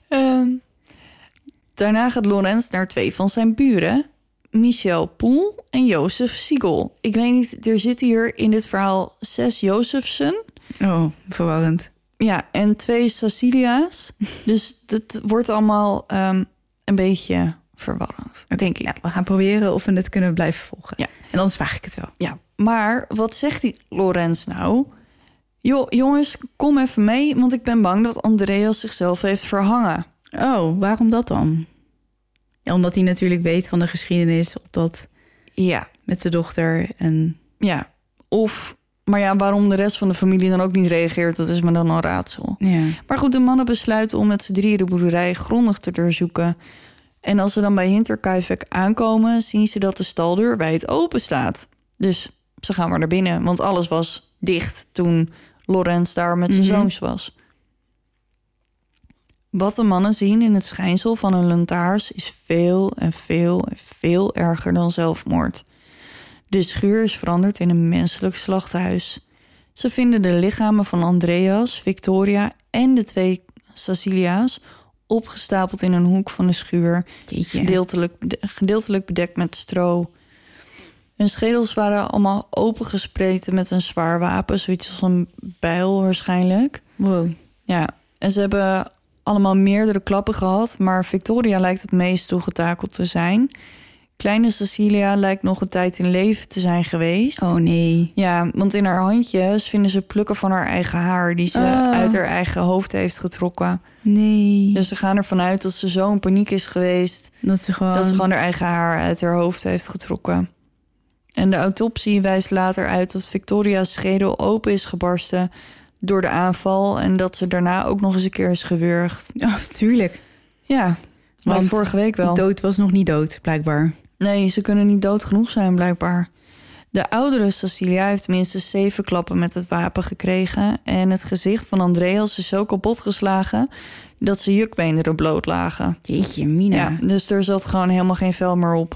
Speaker 3: Ehm, daarna gaat Lorenz naar twee van zijn buren. Michel Poel en Jozef Siegel. Ik weet niet, er zitten hier in dit verhaal zes Jozefsen.
Speaker 2: Oh, verwarrend.
Speaker 3: Ja, en twee Cecilia's. dus dat wordt allemaal ehm, een beetje verwarrend, denk ik.
Speaker 2: Ja, we gaan proberen of we het kunnen blijven volgen.
Speaker 3: Ja.
Speaker 2: En anders vraag ik het wel.
Speaker 3: Ja, maar wat zegt die Lorenz nou? Jo, jongens, kom even mee, want ik ben bang dat Andreas zichzelf heeft verhangen.
Speaker 2: Oh, waarom dat dan? Ja, omdat hij natuurlijk weet van de geschiedenis op dat
Speaker 3: Ja,
Speaker 2: met zijn dochter. En
Speaker 3: Ja, of... Maar ja, waarom de rest van de familie dan ook niet reageert... dat is me dan een raadsel.
Speaker 2: ja.
Speaker 3: Maar goed, de mannen besluiten om met z'n drieën de boerderij grondig te doorzoeken. En als ze dan bij Hinterkaifeck aankomen... zien ze dat de staldeur wijd open staat. Dus ze gaan maar naar binnen, want alles was dicht... toen Lorenz daar met zijn
Speaker 2: Mhm.
Speaker 3: zoons was. Wat de mannen zien in het schijnsel van een lantaars... is veel en veel en veel erger dan zelfmoord. De schuur is veranderd in een menselijk slachthuis. Ze vinden de lichamen van Andreas, Victoria en de twee Cecilia's opgestapeld in een hoek van de schuur,
Speaker 2: Jeetje.
Speaker 3: gedeeltelijk, bede- gedeeltelijk bedekt met stro. Hun schedels waren allemaal opengespreten met een zwaar wapen, zoiets als een bijl waarschijnlijk.
Speaker 2: Wow.
Speaker 3: Ja, en ze hebben allemaal meerdere klappen gehad, maar Victoria lijkt het meest toegetakeld te zijn. Kleine Cecilia lijkt nog een tijd in leven te zijn geweest.
Speaker 2: Oh nee.
Speaker 3: Ja, want in haar handjes vinden ze plukken van haar eigen haar... die ze
Speaker 2: Oh.
Speaker 3: uit haar eigen hoofd heeft getrokken.
Speaker 2: Nee.
Speaker 3: Dus ze gaan ervan uit dat ze zo in paniek is geweest...
Speaker 2: dat ze gewoon...
Speaker 3: dat ze gewoon haar eigen haar uit haar hoofd heeft getrokken. En de autopsie wijst later uit dat Victoria's schedel open is gebarsten... door de aanval en dat ze daarna ook nog eens een keer is gewurgd.
Speaker 2: Oh, tuurlijk.
Speaker 3: Ja, want
Speaker 2: Want
Speaker 3: vorige week wel.
Speaker 2: Dood was nog niet dood, blijkbaar.
Speaker 3: Nee, ze kunnen niet dood genoeg zijn, blijkbaar. De oudere Cecilia heeft minstens zeven klappen met het wapen gekregen. En het gezicht van Andreas is dus zo kapot geslagen dat zijn jukbeenderen bloot lagen.
Speaker 2: Jeetje, Mina.
Speaker 3: Ja, dus er zat gewoon helemaal geen vel meer op.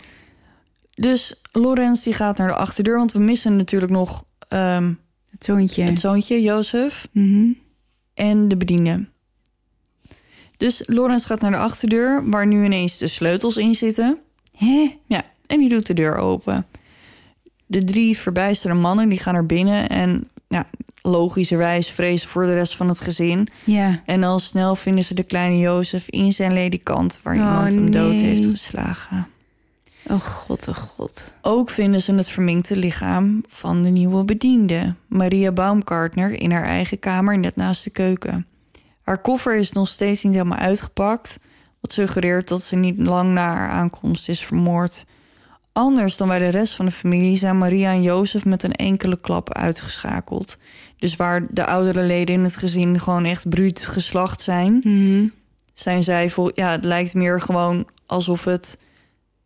Speaker 3: Dus Lorenz die gaat naar de achterdeur, want we missen natuurlijk nog ehm,
Speaker 2: Het zoontje.
Speaker 3: het zoontje, Jozef,
Speaker 2: Mhm.
Speaker 3: en de bediende. Dus Lawrence gaat naar de achterdeur, waar nu ineens de sleutels in zitten. Hè? Ja, en die doet de deur open. De drie verbijsterde mannen die gaan naar binnen en ja, logischerwijs vrezen voor de rest van het gezin.
Speaker 2: Ja.
Speaker 3: En al snel vinden ze de kleine Jozef in zijn ledikant, waar
Speaker 2: Oh,
Speaker 3: iemand hem dood
Speaker 2: nee.
Speaker 3: heeft geslagen.
Speaker 2: Oh god, oh god.
Speaker 3: Ook vinden ze het verminkte lichaam van de nieuwe bediende, Maria Baumgartner, in haar eigen kamer net naast de keuken. Haar koffer is nog steeds niet helemaal uitgepakt, wat suggereert dat ze niet lang na haar aankomst is vermoord. Anders dan bij de rest van de familie zijn Maria en Jozef met een enkele klap uitgeschakeld. Dus waar de oudere leden in het gezin gewoon echt bruut geslacht zijn, zijn zij vol. Ja, het lijkt meer gewoon alsof het.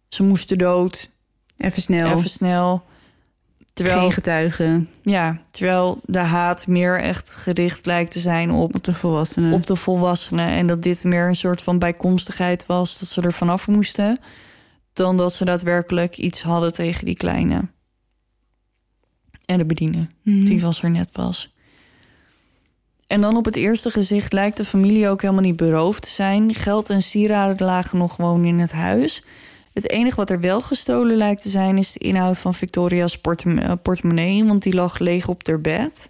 Speaker 3: Ze moesten dood,
Speaker 2: Even snel.
Speaker 3: even snel. Terwijl,
Speaker 2: Geen getuigen
Speaker 3: ja, terwijl de haat meer echt gericht lijkt te zijn op,
Speaker 2: op de volwassenen.
Speaker 3: op de volwassenen. En dat dit meer een soort van bijkomstigheid was dat ze er vanaf moesten. Dan dat ze daadwerkelijk iets hadden tegen die kleine. En de bediende.
Speaker 2: Mhm.
Speaker 3: Die was er net pas. En dan op het eerste gezicht lijkt de familie ook helemaal niet beroofd te zijn. Geld en sieraden lagen nog gewoon in het huis. Het enige wat er wel gestolen lijkt te zijn is de inhoud van Victoria's portem- eh, portemonnee, want die lag leeg op haar bed.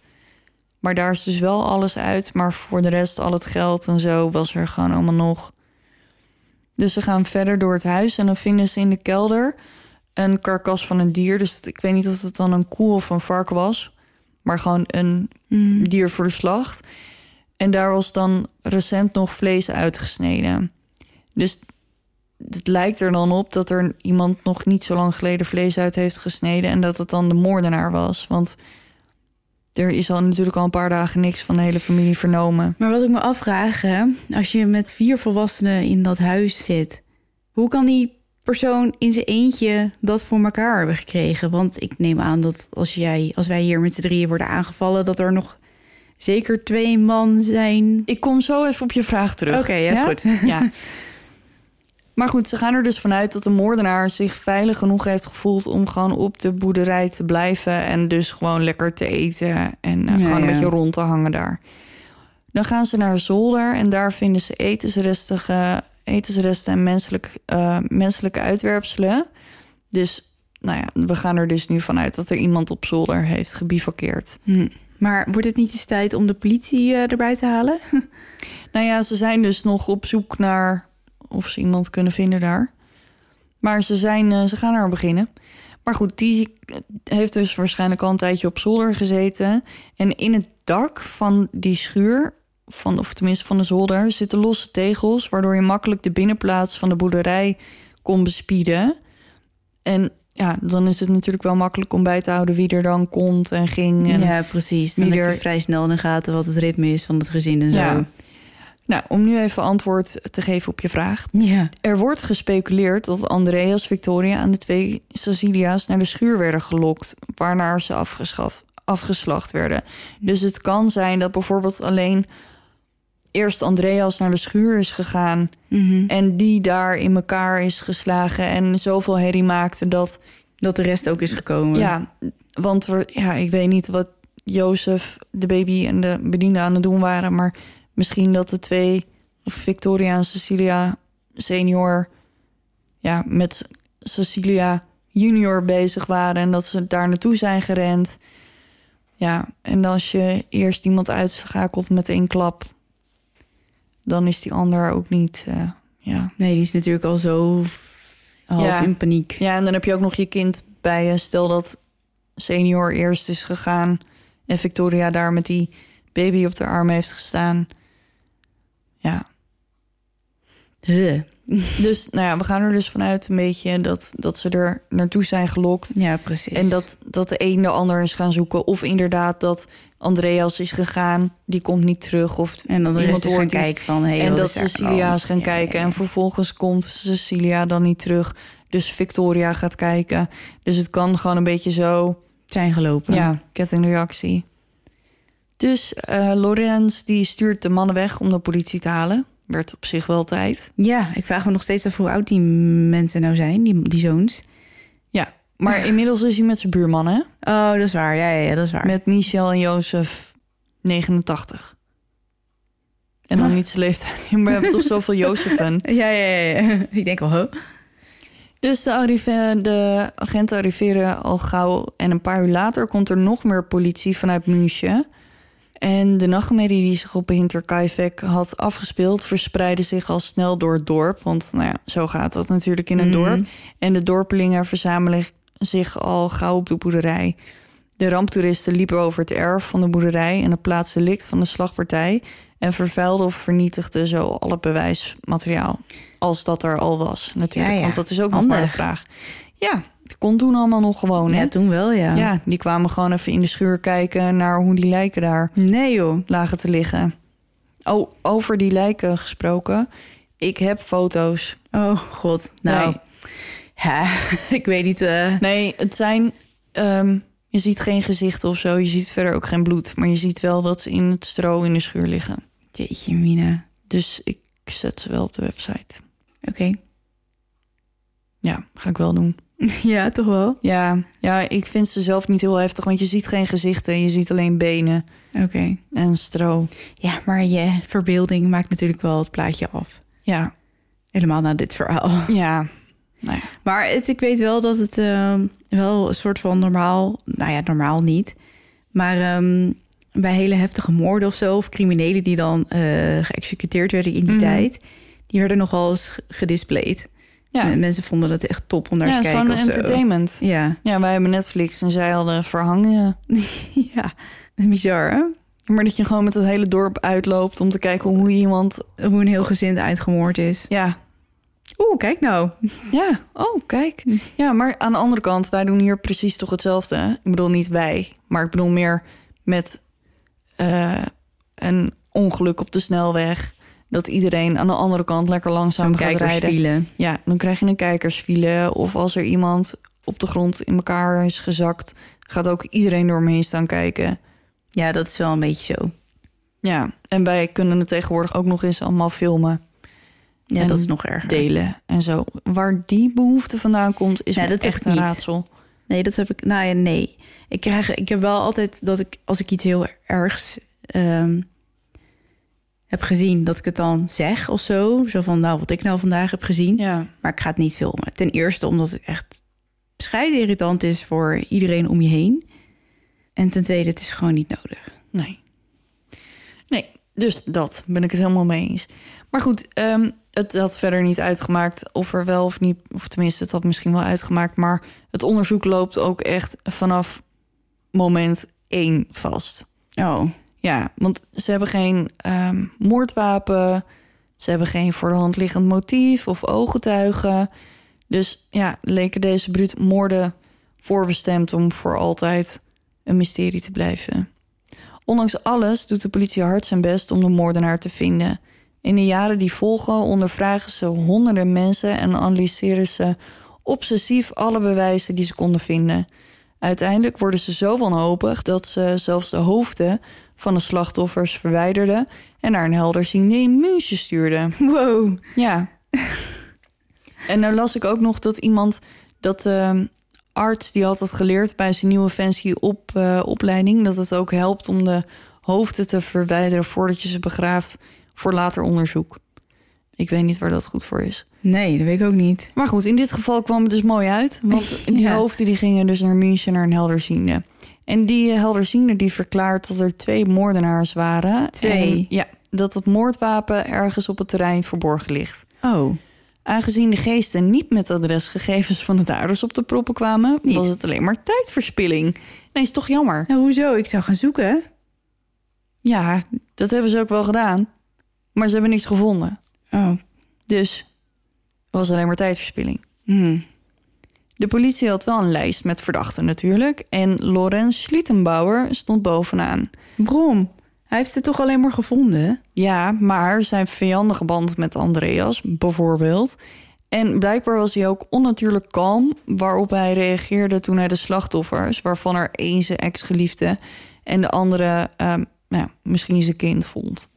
Speaker 3: Maar daar is dus wel alles uit, maar voor de rest al het geld en zo was er gewoon allemaal nog. Dus ze gaan verder door het huis en dan vinden ze in de kelder een karkas van een dier. Dus ik weet niet of het dan een koe of een vark was, maar gewoon een
Speaker 2: Mhm.
Speaker 3: dier voor de slacht. En daar was dan recent nog vlees uitgesneden. Dus het lijkt er dan op dat er iemand nog niet zo lang geleden vlees uit heeft gesneden en dat het dan de moordenaar was. Want er is al natuurlijk al een paar dagen niks van de hele familie vernomen.
Speaker 2: Maar wat ik me afvraag, hè, als je met vier volwassenen in dat huis zit, hoe kan die persoon in zijn eentje dat voor elkaar hebben gekregen? Want ik neem aan dat als, jij, als wij hier met z'n drieën worden aangevallen, dat er nog zeker twee man zijn.
Speaker 3: Ik kom zo even op je vraag terug.
Speaker 2: Oké, ja, is goed.
Speaker 3: Ja. Maar goed, ze gaan er dus vanuit dat de moordenaar zich veilig genoeg heeft gevoeld om gewoon op de boerderij te blijven en dus gewoon lekker te eten en eh,
Speaker 2: Ja,
Speaker 3: gewoon een
Speaker 2: ja.
Speaker 3: beetje rond te hangen daar. Dan gaan ze naar zolder en daar vinden ze etensrestige, etensresten en menselijk, eh, menselijke uitwerpselen. Dus nou ja, we gaan er dus nu vanuit dat er iemand op zolder heeft gebivakkeerd.
Speaker 2: Hm. Maar wordt het niet eens tijd om de politie eh, erbij te halen?
Speaker 3: Nou ja, ze zijn dus nog op zoek naar of ze iemand kunnen vinden daar. Maar ze, zijn, eh, ze gaan er aan beginnen. Maar goed, die heeft dus waarschijnlijk al een tijdje op zolder gezeten. En in het dak van die schuur, van, of tenminste van de zolder, zitten losse tegels. Waardoor je makkelijk de binnenplaats van de boerderij kon bespieden. En ja, dan is het natuurlijk wel makkelijk om bij te houden wie er dan komt en ging. En
Speaker 2: Ja, precies. Dan
Speaker 3: Wie
Speaker 2: heb
Speaker 3: er-
Speaker 2: je vrij snel in de gaten wat het ritme is van het gezin en zo.
Speaker 3: Ja. Nou, om nu even antwoord te geven op je vraag.
Speaker 2: ja.
Speaker 3: Er wordt gespeculeerd dat Andreas Victoria en de twee Cecilia's naar de schuur werden gelokt, waarna ze afgeschaf- afgeslacht werden. Dus het kan zijn dat bijvoorbeeld alleen eerst Andreas naar de schuur is gegaan
Speaker 2: Mhm.
Speaker 3: en die daar in elkaar is geslagen en zoveel herrie maakte dat
Speaker 2: Dat de rest ook is gekomen.
Speaker 3: ja, want we, ja, ik weet niet wat Jozef, de baby en de bediende aan het doen waren. Maar misschien dat de twee, of Victoria en Cecilia senior, ja, met Cecilia junior bezig waren. En dat ze daar naartoe zijn gerend. Ja, en als je eerst iemand uitschakelt met één klap, dan is die ander ook niet, eh, ja.
Speaker 2: Nee, die is natuurlijk al zo half
Speaker 3: Ja.
Speaker 2: in paniek.
Speaker 3: Ja, en dan heb je ook nog je kind bij je. Stel dat senior eerst is gegaan en Victoria daar met die baby op de arm heeft gestaan. Ja,
Speaker 2: Huh.
Speaker 3: dus nou ja, we gaan er dus vanuit een beetje dat, dat ze er naartoe zijn gelokt.
Speaker 2: Ja, precies.
Speaker 3: En dat, dat de een de ander is gaan zoeken. Of inderdaad dat Andreas is gegaan, die komt niet terug. Of
Speaker 2: En dan de
Speaker 3: Iemand
Speaker 2: rest is gaan
Speaker 3: hoort iets.
Speaker 2: kijken van... Hey,
Speaker 3: en
Speaker 2: wat
Speaker 3: dat
Speaker 2: is er aan de
Speaker 3: Cecilia
Speaker 2: hand?
Speaker 3: is gaan
Speaker 2: Ja,
Speaker 3: kijken.
Speaker 2: ja,
Speaker 3: En
Speaker 2: ja.
Speaker 3: vervolgens komt Cecilia dan niet terug. Dus Victoria gaat kijken. Dus het kan gewoon een beetje zo
Speaker 2: zijn gelopen.
Speaker 3: Ja, kettingreactie. Dus eh Lorenz die stuurt de mannen weg om de politie te halen. Werd op zich wel tijd.
Speaker 2: Ja, ik vraag me nog steeds af hoe oud die mensen nou zijn, die, die zoons.
Speaker 3: Ja, maar inmiddels is hij met zijn buurmannen. hè?
Speaker 2: Oh, dat is waar. Ja, ja, ja dat is waar.
Speaker 3: Met Michel en Jozef, 89. En dan niet zijn leeftijd. Maar we hebben toch zoveel Jozefen.
Speaker 2: Ja, ja, ja. ja. Ik denk wel, huh?
Speaker 3: Dus de, arrive- de agenten arriveren al gauw. En een paar uur later komt er nog meer politie vanuit München. En de nachtmerrie die zich op Hinterkaifeck had afgespeeld... verspreidde zich al snel door het dorp. Want nou ja, zo gaat dat natuurlijk in een
Speaker 2: Mhm.
Speaker 3: dorp. En de dorpelingen verzamelen zich al gauw op de boerderij. De ramptoeristen liepen over het erf van de boerderij... en het plaatsdelict van de slagpartij... en vervuilden of vernietigden zo al het bewijsmateriaal. Als dat er al was, natuurlijk.
Speaker 2: Ja, ja.
Speaker 3: Want dat is ook nog maar de
Speaker 2: Handig.
Speaker 3: vraag. Ja, het kon toen allemaal nog gewoon, hè?
Speaker 2: Ja, toen wel, ja.
Speaker 3: Ja, die kwamen gewoon even in de schuur kijken... naar hoe die lijken daar
Speaker 2: Nee, joh.
Speaker 3: lagen te liggen. Oh, over die lijken gesproken. Ik heb foto's.
Speaker 2: Oh, god. Nou,
Speaker 3: Nee.
Speaker 2: ja, ik weet niet. eh,
Speaker 3: Nee, het zijn. ehm, je ziet geen gezichten of zo. Je ziet verder ook geen bloed. Maar je ziet wel dat ze in het stro in de schuur liggen.
Speaker 2: Jeetje, Mina.
Speaker 3: Dus ik zet ze wel op de website.
Speaker 2: Oké.
Speaker 3: Ja, ga ik wel doen.
Speaker 2: ja, toch wel?
Speaker 3: Ja, ja, ik vind ze zelf niet heel heftig. Want je ziet geen gezichten. Je ziet alleen benen
Speaker 2: Oké.
Speaker 3: en stro.
Speaker 2: Ja, maar je verbeelding maakt natuurlijk wel het plaatje af.
Speaker 3: Ja,
Speaker 2: Helemaal na dit verhaal.
Speaker 3: ja.
Speaker 2: Maar het, ik weet wel dat het ehm, wel een soort van normaal... Nou ja, normaal niet. Maar ehm, bij hele heftige moorden of zo... of criminelen die dan eh, geëxecuteerd werden in die
Speaker 3: Mhm.
Speaker 2: tijd... die werden nogal eens ge- gedisplayed.
Speaker 3: Ja,
Speaker 2: En Mensen vonden dat echt top om naar
Speaker 3: ja
Speaker 2: te
Speaker 3: het is
Speaker 2: kijken
Speaker 3: gewoon
Speaker 2: of zo.
Speaker 3: entertainment.
Speaker 2: Ja.
Speaker 3: Ja, wij hebben Netflix en zij hadden verhangen.
Speaker 2: ja, bizar hè?
Speaker 3: Maar dat je gewoon met het hele dorp uitloopt om te kijken hoe iemand...
Speaker 2: Hoe een heel gezin uitgemoord is.
Speaker 3: Ja,
Speaker 2: Oeh, kijk nou.
Speaker 3: Ja, oh, kijk.
Speaker 2: Hm.
Speaker 3: Ja, maar aan de andere kant, wij doen hier precies toch hetzelfde. hè? Ik bedoel niet wij, maar ik bedoel meer met eh, een ongeluk op de snelweg. Dat iedereen aan de andere kant lekker langzaam
Speaker 2: Zo'n
Speaker 3: gaat rijden.
Speaker 2: kijkersfile.
Speaker 3: Ja, dan krijg je een kijkersfile. Of als er iemand op de grond in elkaar is gezakt, gaat ook iedereen door me heen staan kijken.
Speaker 2: Ja, dat is wel een beetje zo.
Speaker 3: Ja, en wij kunnen het tegenwoordig ook nog eens allemaal filmen,
Speaker 2: Ja,
Speaker 3: En
Speaker 2: dat is nog erger.
Speaker 3: delen en zo. Waar die behoefte vandaan komt, is
Speaker 2: Ja,
Speaker 3: me
Speaker 2: dat heb
Speaker 3: echt
Speaker 2: ik
Speaker 3: een
Speaker 2: niet.
Speaker 3: raadsel.
Speaker 2: Nee, dat heb ik. Nou ja, nee. Ik, krijg, ik heb wel altijd dat ik, als ik iets heel ergs ehm, heb gezien, dat ik het dan zeg of zo. Zo van, nou, wat ik nou vandaag heb gezien.
Speaker 3: Ja.
Speaker 2: Maar ik ga het niet filmen. Ten eerste omdat het echt scheidirritant is voor iedereen om je heen. En ten tweede, het is gewoon niet nodig.
Speaker 3: Nee. Nee, dus dat ben ik het helemaal mee eens. Maar goed, ehm, het had verder niet uitgemaakt of er wel of niet... of tenminste, het had misschien wel uitgemaakt... maar het onderzoek loopt ook echt vanaf moment één vast.
Speaker 2: Oh,
Speaker 3: Ja, want ze hebben geen ehm, moordwapen... ze hebben geen voor de hand liggend motief of ooggetuigen. Dus ja, leken deze bruut moorden voorbestemd... om voor altijd een mysterie te blijven. Ondanks alles doet de politie hard zijn best om de moordenaar te vinden. In de jaren die volgen ondervragen ze honderden mensen en analyseren ze obsessief alle bewijzen die ze konden vinden. Uiteindelijk worden ze zo wanhopig dat ze zelfs de hoofden van de slachtoffers verwijderden en naar een helderziende in München stuurden.
Speaker 2: wow.
Speaker 3: Ja. en nou las ik ook nog dat iemand, dat de arts die had dat geleerd bij zijn nieuwe fancy op, eh, opleiding, dat het ook helpt om de hoofden te verwijderen voordat je ze begraaft voor later onderzoek. Ik weet niet waar dat goed voor is.
Speaker 2: Nee, dat weet ik ook niet.
Speaker 3: Maar goed, in dit geval kwam het dus mooi uit. Want die
Speaker 2: Ja.
Speaker 3: hoofden die gingen dus naar München naar een helderziende. En die eh, helderziende die verklaart dat er twee moordenaars waren.
Speaker 2: Twee?
Speaker 3: En, ja, dat het moordwapen ergens op het terrein verborgen ligt.
Speaker 2: Oh,
Speaker 3: Aangezien de geesten niet met adresgegevens van de daders op de proppen kwamen,
Speaker 2: Niet.
Speaker 3: was het alleen maar tijdverspilling. Nee, is toch jammer.
Speaker 2: nou hoezo? Ik zou gaan zoeken.
Speaker 3: Ja, dat hebben ze ook wel gedaan. Maar ze hebben niks gevonden.
Speaker 2: Oh,
Speaker 3: Dus het was alleen maar tijdverspilling.
Speaker 2: hmm.
Speaker 3: De politie had wel een lijst met verdachten natuurlijk. En Lorenz Schlittenbauer stond bovenaan.
Speaker 2: Brom, hij heeft het toch alleen maar gevonden?
Speaker 3: Ja, maar zijn vijandige band met Andreas bijvoorbeeld. En blijkbaar was hij ook onnatuurlijk kalm waarop hij reageerde toen hij de slachtoffers, waarvan er één zijn ex-geliefde en de andere ehm, nou, ja, misschien zijn kind vond.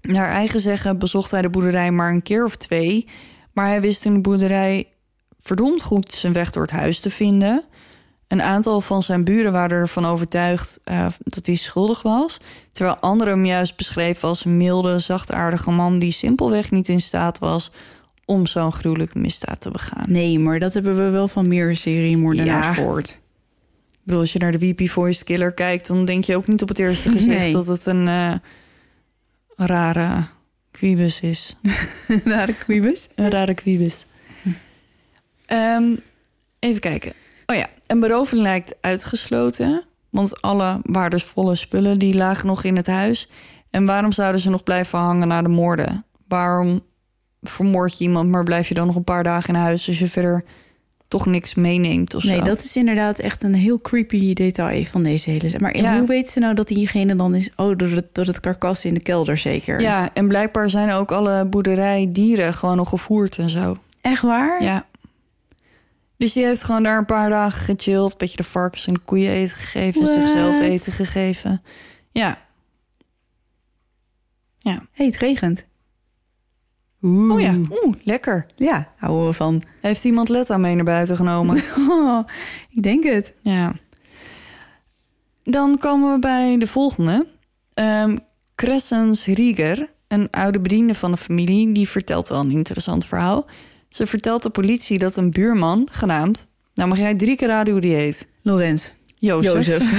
Speaker 3: Naar eigen zeggen bezocht hij de boerderij maar een keer of twee, maar hij wist in de boerderij verdomd goed zijn weg door het huis te vinden. Een aantal van zijn buren waren ervan overtuigd eh, dat hij schuldig was. Terwijl anderen hem juist beschreven als een milde, zachtaardige man... die simpelweg niet in staat was om zo'n gruwelijke misdaad te begaan.
Speaker 2: Nee, maar dat hebben we wel van meer seriemoordenaars
Speaker 3: Ja.
Speaker 2: gehoord.
Speaker 3: Ik bedoel, als je naar de Weepy Voice Killer kijkt... dan denk je ook niet op het eerste gezicht
Speaker 2: Nee.
Speaker 3: dat het een eh, rare quibus is.
Speaker 2: Naar de quibus.
Speaker 3: Een rare quibus. Ehm, even kijken. Oh ja, een beroving lijkt uitgesloten. Want alle waardevolle spullen die lagen nog in het huis. En waarom zouden ze nog blijven hangen na de moorden? Waarom vermoord je iemand, maar blijf je dan nog een paar dagen in huis... als je verder toch niks meeneemt of
Speaker 2: Nee,
Speaker 3: zo?
Speaker 2: dat is inderdaad echt een heel creepy detail van deze hele... zaak. Maar
Speaker 3: Ja.
Speaker 2: hoe weet ze nou dat diegene dan is... Oh, door het, door het karkas in de kelder zeker.
Speaker 3: Ja, en blijkbaar zijn ook alle boerderijdieren gewoon nog gevoerd en zo.
Speaker 2: Echt waar?
Speaker 3: Ja. Dus die heeft gewoon daar een paar dagen gechilled. Beetje de varkens en de koeien eten gegeven.
Speaker 2: What?
Speaker 3: Zichzelf eten gegeven. Ja. Ja.
Speaker 2: hey, het regent.
Speaker 3: Oh ja. Oeh, lekker.
Speaker 2: Ja, houden we van.
Speaker 3: Heeft iemand Letta mee naar buiten genomen?
Speaker 2: Oh, ik denk het.
Speaker 3: ja. Dan komen we bij de volgende. Ehm Cressens Rieger, een oude bediende van de familie, die vertelt wel een interessant verhaal. Ze vertelt de politie dat een buurman, genaamd... Nou mag jij drie keer raden hoe die heet.
Speaker 2: Lorenz.
Speaker 3: Jozef.
Speaker 2: Jozef.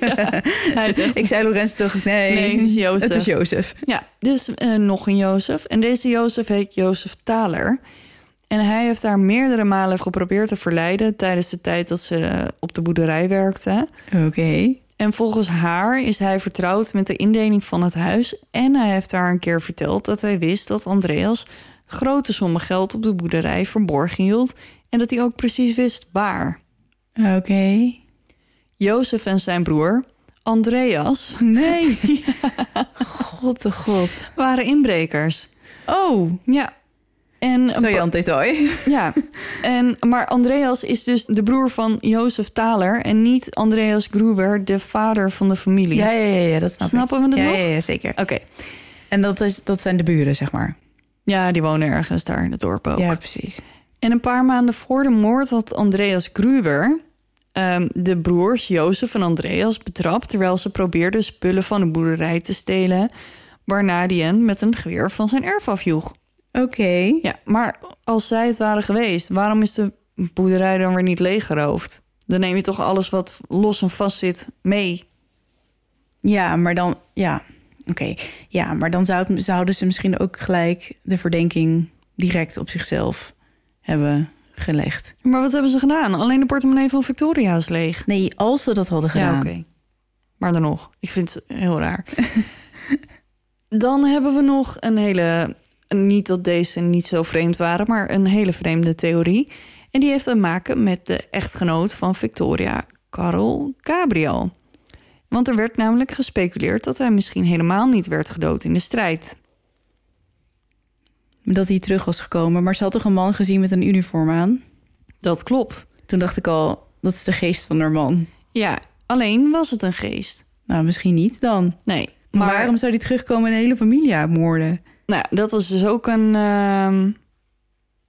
Speaker 3: Hij heet echt
Speaker 2: Ik zei Lorenz, toch? Nee,
Speaker 3: Nee, het is Jozef.
Speaker 2: het is Jozef.
Speaker 3: Ja, dus eh, nog een Jozef. En deze Jozef heet Jozef Thaler. En hij heeft haar meerdere malen geprobeerd te verleiden... tijdens de tijd dat ze eh, op de boerderij werkte.
Speaker 2: Oké.
Speaker 3: En volgens haar is hij vertrouwd met de indeling van het huis... en hij heeft haar een keer verteld dat hij wist dat Andreas... grote sommen geld op de boerderij verborgen hield... en dat hij ook precies wist waar.
Speaker 2: Oké.
Speaker 3: Jozef en zijn broer, Andreas,
Speaker 2: Nee. God de god.
Speaker 3: waren inbrekers.
Speaker 2: Oh,
Speaker 3: Ja. En een pa-
Speaker 2: saillant detail.
Speaker 3: Ja, en, maar Andreas is dus de broer van Jozef Thaler... en niet Andreas Gruber, de vader van de familie.
Speaker 2: Ja, ja, ja, ja, dat snap ik.
Speaker 3: Snappen we dat
Speaker 2: ja,
Speaker 3: nog?
Speaker 2: ja, ja, zeker.
Speaker 3: Oké.
Speaker 2: En dat, is, dat zijn de buren, zeg maar.
Speaker 3: Ja, die wonen ergens daar in het dorp ook.
Speaker 2: Ja, precies.
Speaker 3: En een paar maanden voor de moord had Andreas Gruber... ehm, de broers Jozef en Andreas betrapt... terwijl ze probeerden spullen van de boerderij te stelen... waarna die hen met een geweer van zijn erf afjoeg.
Speaker 2: Oké.
Speaker 3: Ja, maar als zij het waren geweest, waarom is de boerderij dan weer niet leeggeroofd? Dan neem je toch alles wat los en vast zit mee.
Speaker 2: Ja, maar dan... Ja, oké. Ja, maar dan zou het- zouden ze misschien ook gelijk de verdenking direct op zichzelf hebben gelegd.
Speaker 3: Maar wat hebben ze gedaan? Alleen de portemonnee van Victoria is leeg.
Speaker 2: Nee, als ze dat hadden gedaan.
Speaker 3: Ja, oké. Maar dan nog, ik vind het heel raar. dan hebben we nog een hele, niet dat deze niet zo vreemd waren, maar een hele vreemde theorie. En die heeft te maken met de echtgenoot van Victoria, Carol Gabriel. Want er werd namelijk gespeculeerd dat hij misschien helemaal niet werd gedood in de strijd.
Speaker 2: Dat hij terug was gekomen. Maar ze had toch een man gezien met een uniform aan?
Speaker 3: Dat klopt.
Speaker 2: Toen dacht ik al, dat is de geest van haar man.
Speaker 3: Ja, alleen was het een geest.
Speaker 2: Nou, misschien niet dan.
Speaker 3: Nee,
Speaker 2: Maar waarom zou die terugkomen en de hele familie uitmoorden?
Speaker 3: Nou, dat was dus ook een ehm,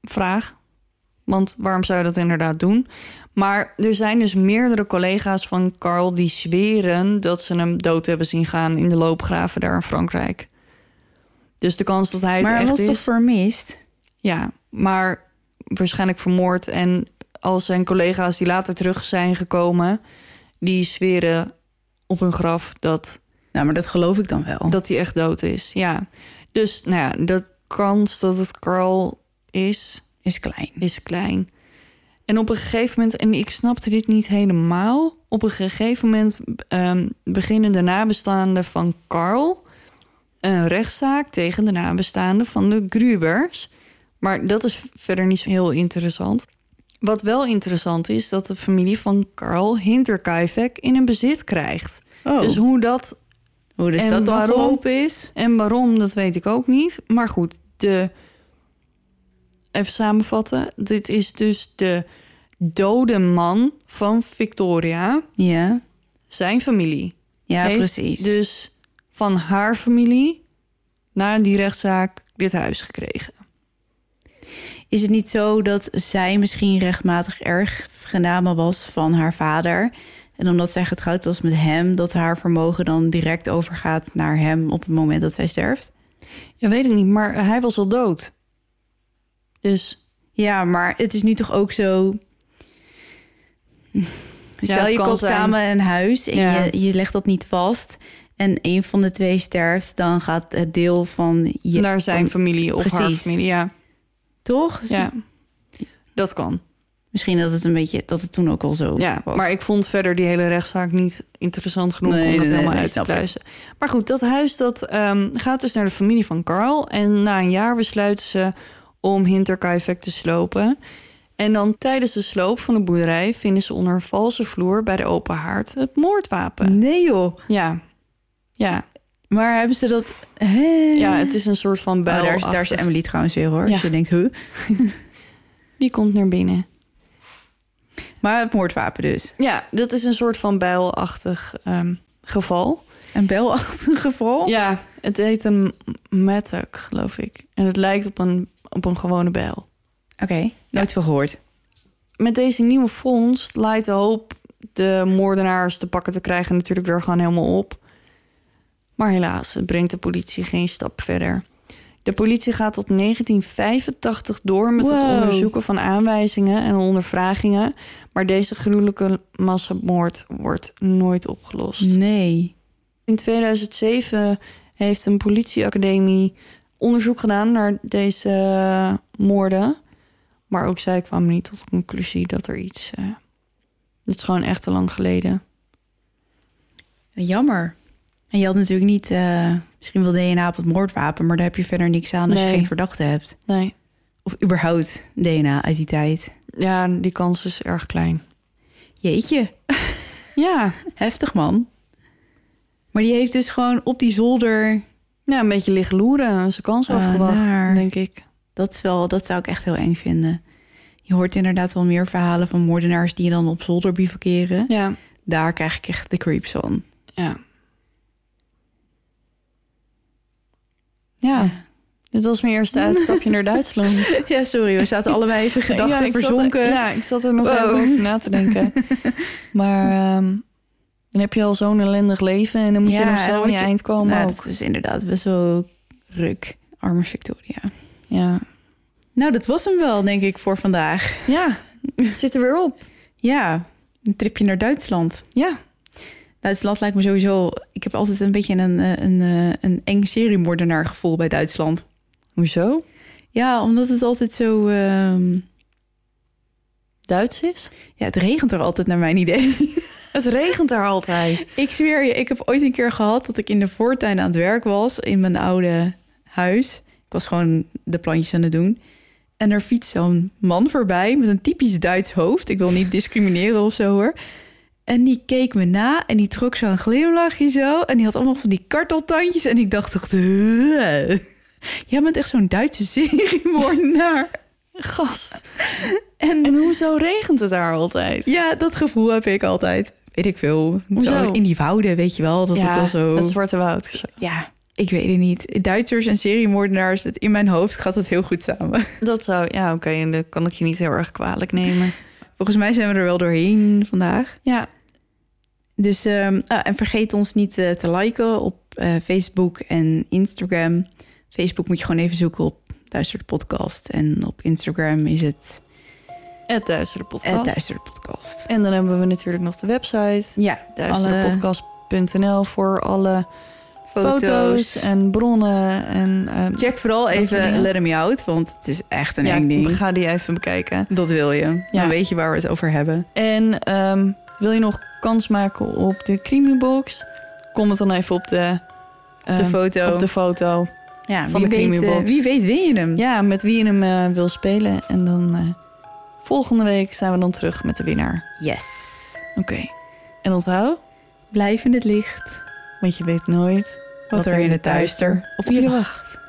Speaker 3: vraag. Want waarom zou je dat inderdaad doen? Maar er zijn dus meerdere collega's van Carl die zweren dat ze hem dood hebben zien gaan in de loopgraven daar in Frankrijk. Dus de kans dat hij het
Speaker 2: maar hij
Speaker 3: echt
Speaker 2: was
Speaker 3: is.
Speaker 2: toch vermist?
Speaker 3: Ja, maar waarschijnlijk vermoord. En al zijn collega's die later terug zijn gekomen, die zweren op hun graf dat
Speaker 2: Nou, maar dat geloof ik dan wel.
Speaker 3: dat hij echt dood is, ja. Dus nou ja, de kans dat het Carl is,
Speaker 2: is klein.
Speaker 3: is klein. En op een gegeven moment, en ik snapte dit niet helemaal... op een gegeven moment ehm, beginnen de nabestaanden van Carl... een rechtszaak tegen de nabestaanden van de Grubers. Maar dat is verder niet zo heel interessant. Wat wel interessant is, dat de familie van Carl Hinterkaifeck in hun bezit krijgt.
Speaker 2: Oh,
Speaker 3: Dus hoe dat
Speaker 2: hoe dus
Speaker 3: en
Speaker 2: dat dan
Speaker 3: waarom?
Speaker 2: gelopen is?
Speaker 3: en waarom, dat weet ik ook niet. Maar goed, de... even samenvatten. Dit is dus de dode man van Victoria.
Speaker 2: Ja,
Speaker 3: Zijn familie.
Speaker 2: ja
Speaker 3: Heeft
Speaker 2: precies.
Speaker 3: Dus van haar familie na die rechtszaak dit huis gekregen.
Speaker 2: Is het niet zo dat zij misschien rechtmatig erg gename was van haar vader? En omdat zij getrouwd was met hem, dat haar vermogen dan direct overgaat naar hem op het moment dat zij sterft?
Speaker 3: Ja, weet ik niet, maar hij was al dood. Dus
Speaker 2: Ja, maar het is nu toch ook zo. Stel,
Speaker 3: het
Speaker 2: je
Speaker 3: kan
Speaker 2: koopt
Speaker 3: zijn.
Speaker 2: samen een huis en
Speaker 3: Ja.
Speaker 2: je, je legt dat niet vast. En een van de twee sterft, dan gaat het deel van je.
Speaker 3: naar zijn
Speaker 2: van-
Speaker 3: familie of haar
Speaker 2: Oh, precies.
Speaker 3: familie, ja.
Speaker 2: toch?
Speaker 3: ja. Dat kan,
Speaker 2: Misschien dat het een beetje. dat het toen ook al zo
Speaker 3: ja.
Speaker 2: was.
Speaker 3: Maar ik vond verder die hele rechtszaak niet interessant genoeg
Speaker 2: Nee,
Speaker 3: om dat
Speaker 2: nee, nee,
Speaker 3: helemaal
Speaker 2: nee,
Speaker 3: uit te
Speaker 2: snap ik.
Speaker 3: pluizen. Maar goed, dat huis dat, ehm, gaat dus naar de familie van Carl. En na een jaar besluiten ze om Hinterkaifeck te slopen. En dan tijdens de sloop van de boerderij vinden ze onder een valse vloer bij de open haard het moordwapen.
Speaker 2: Nee, joh.
Speaker 3: Ja, ja.
Speaker 2: Maar hebben ze dat. Hè?
Speaker 3: Ja, het is een soort van
Speaker 2: Oh,
Speaker 3: bijl.
Speaker 2: daar, is, daar is Emily trouwens weer hoor.
Speaker 3: Ja.
Speaker 2: Als je denkt, huh?
Speaker 3: Die komt naar binnen.
Speaker 2: Maar het moordwapen dus.
Speaker 3: Ja, dat is een soort van bijlachtig ehm, geval.
Speaker 2: Een belachtig geval.
Speaker 3: Ja, het heet een mattock, geloof ik. En het lijkt op een, op een gewone bijl.
Speaker 2: Oké, nooit van gehoord.
Speaker 3: Met deze nieuwe vondst leidt de hoop de moordenaars te pakken te krijgen natuurlijk er gewoon helemaal op. Maar helaas, het brengt de politie geen stap verder. De politie gaat tot 1985 door met het
Speaker 2: Wow.
Speaker 3: onderzoeken van aanwijzingen en ondervragingen. Maar deze gruwelijke massamoord wordt nooit opgelost.
Speaker 2: Nee.
Speaker 3: In 2007 heeft een politieacademie onderzoek gedaan naar deze eh, moorden. Maar ook zij kwamen niet tot de conclusie dat er iets. eh het is gewoon echt te lang geleden.
Speaker 2: Jammer. En je had natuurlijk niet, eh, misschien wel DNA op het moordwapen, maar daar heb je verder niks aan als
Speaker 3: Nee.
Speaker 2: je geen verdachte hebt.
Speaker 3: Nee.
Speaker 2: Of überhaupt DNA uit die tijd.
Speaker 3: Ja, die kans is erg klein.
Speaker 2: Jeetje,
Speaker 3: Ja,
Speaker 2: heftig man. Maar die heeft dus gewoon op die zolder.
Speaker 3: ja een beetje liggen loeren. Zijn kans
Speaker 2: Ah,
Speaker 3: afgewacht,
Speaker 2: naar.
Speaker 3: denk ik.
Speaker 2: Dat, is wel, dat zou ik echt heel eng vinden. Je hoort inderdaad wel meer verhalen van moordenaars die dan op zolder bivakeren.
Speaker 3: Ja,
Speaker 2: Daar krijg ik echt de creeps van.
Speaker 3: ja. Ja, dit was mijn eerste uitstapje naar Duitsland.
Speaker 2: Ja, sorry, we zaten allebei even gedachten
Speaker 3: Ja, ik zat er-
Speaker 2: verzonken.
Speaker 3: ja, ik zat er nog
Speaker 2: Wow.
Speaker 3: even over na te denken. maar ehm, dan heb je al zo'n ellendig leven en dan moet
Speaker 2: Ja,
Speaker 3: je nog
Speaker 2: en
Speaker 3: zo
Speaker 2: dan
Speaker 3: aan je
Speaker 2: moet je-
Speaker 3: eind komen
Speaker 2: Nou,
Speaker 3: ook.
Speaker 2: dat is inderdaad best wel ruk. Arme Victoria.
Speaker 3: Ja.
Speaker 2: Nou, dat was hem wel, denk ik, voor vandaag.
Speaker 3: ja, het zit er weer op.
Speaker 2: Ja, een tripje naar Duitsland.
Speaker 3: Ja,
Speaker 2: Duitsland lijkt me sowieso... Ik heb altijd een beetje een, eh, een, eh, een eng seriemoordenaar gevoel bij Duitsland.
Speaker 3: hoezo?
Speaker 2: Ja, omdat het altijd zo... ehm,
Speaker 3: Duits is?
Speaker 2: ja, het regent er altijd naar mijn idee.
Speaker 3: Het regent daar altijd.
Speaker 2: Ik zweer je, ik heb ooit een keer gehad dat ik in de voortuin aan het werk was in mijn oude huis. Ik was gewoon de plantjes aan het doen. En er fietst zo'n man voorbij met een typisch Duits hoofd. Ik wil niet discrimineren of zo hoor. En die keek me na en die trok zo'n glimlachje zo. En die had allemaal van die karteltandjes. En ik dacht echt... "Huh." Jij bent echt zo'n Duitse seriemoordenaar.
Speaker 3: Gast.
Speaker 2: En
Speaker 3: En hoezo regent het daar altijd?
Speaker 2: ja, dat gevoel heb ik altijd. Weet ik veel.
Speaker 3: Hoezo?
Speaker 2: Zo in die wouden, weet je wel. Dat het al zo...
Speaker 3: het Zwarte Woud. of zo.
Speaker 2: Ja, ik weet het niet. Duitsers en seriemoordenaars, het, in mijn hoofd gaat het heel goed samen.
Speaker 3: Dat zou, ja oké, en dat kan ik je niet heel erg kwalijk nemen.
Speaker 2: Volgens mij zijn we er wel doorheen vandaag.
Speaker 3: Ja,
Speaker 2: Dus, ehm, ah, en vergeet ons niet eh, te liken op eh, Facebook en Instagram. Facebook moet je gewoon even zoeken op Duister de Podcast. En op Instagram is het
Speaker 3: het Duitsere
Speaker 2: het
Speaker 3: podcast.
Speaker 2: Duister de Podcast.
Speaker 3: En dan hebben we natuurlijk nog de website.
Speaker 2: Ja,
Speaker 3: duisterpodcast.nl voor alle foto's,
Speaker 2: foto's.
Speaker 3: en bronnen. En, ehm,
Speaker 2: Check vooral
Speaker 3: Dat soort
Speaker 2: even
Speaker 3: dingen.
Speaker 2: Let Me Out, want het is echt een
Speaker 3: ja,
Speaker 2: eng ding.
Speaker 3: ga die even bekijken.
Speaker 2: Dat wil je.
Speaker 3: Ja.
Speaker 2: Dan weet je waar we het over hebben.
Speaker 3: En ehm, wil je nog kans maken op de creamy box? Kom het dan even op de, ehm,
Speaker 2: de foto.
Speaker 3: op de foto.
Speaker 2: ja,
Speaker 3: van
Speaker 2: wie
Speaker 3: de
Speaker 2: weet,
Speaker 3: Creamy
Speaker 2: eh,
Speaker 3: Box.
Speaker 2: Wie weet win je hem.
Speaker 3: Ja, met wie je hem eh, wil spelen. En dan eh, volgende week zijn we dan terug met de winnaar.
Speaker 2: Yes.
Speaker 3: Oké. En onthoud,
Speaker 2: Blijf in het licht.
Speaker 3: want je weet nooit
Speaker 2: Wat, er in het duister op je wacht.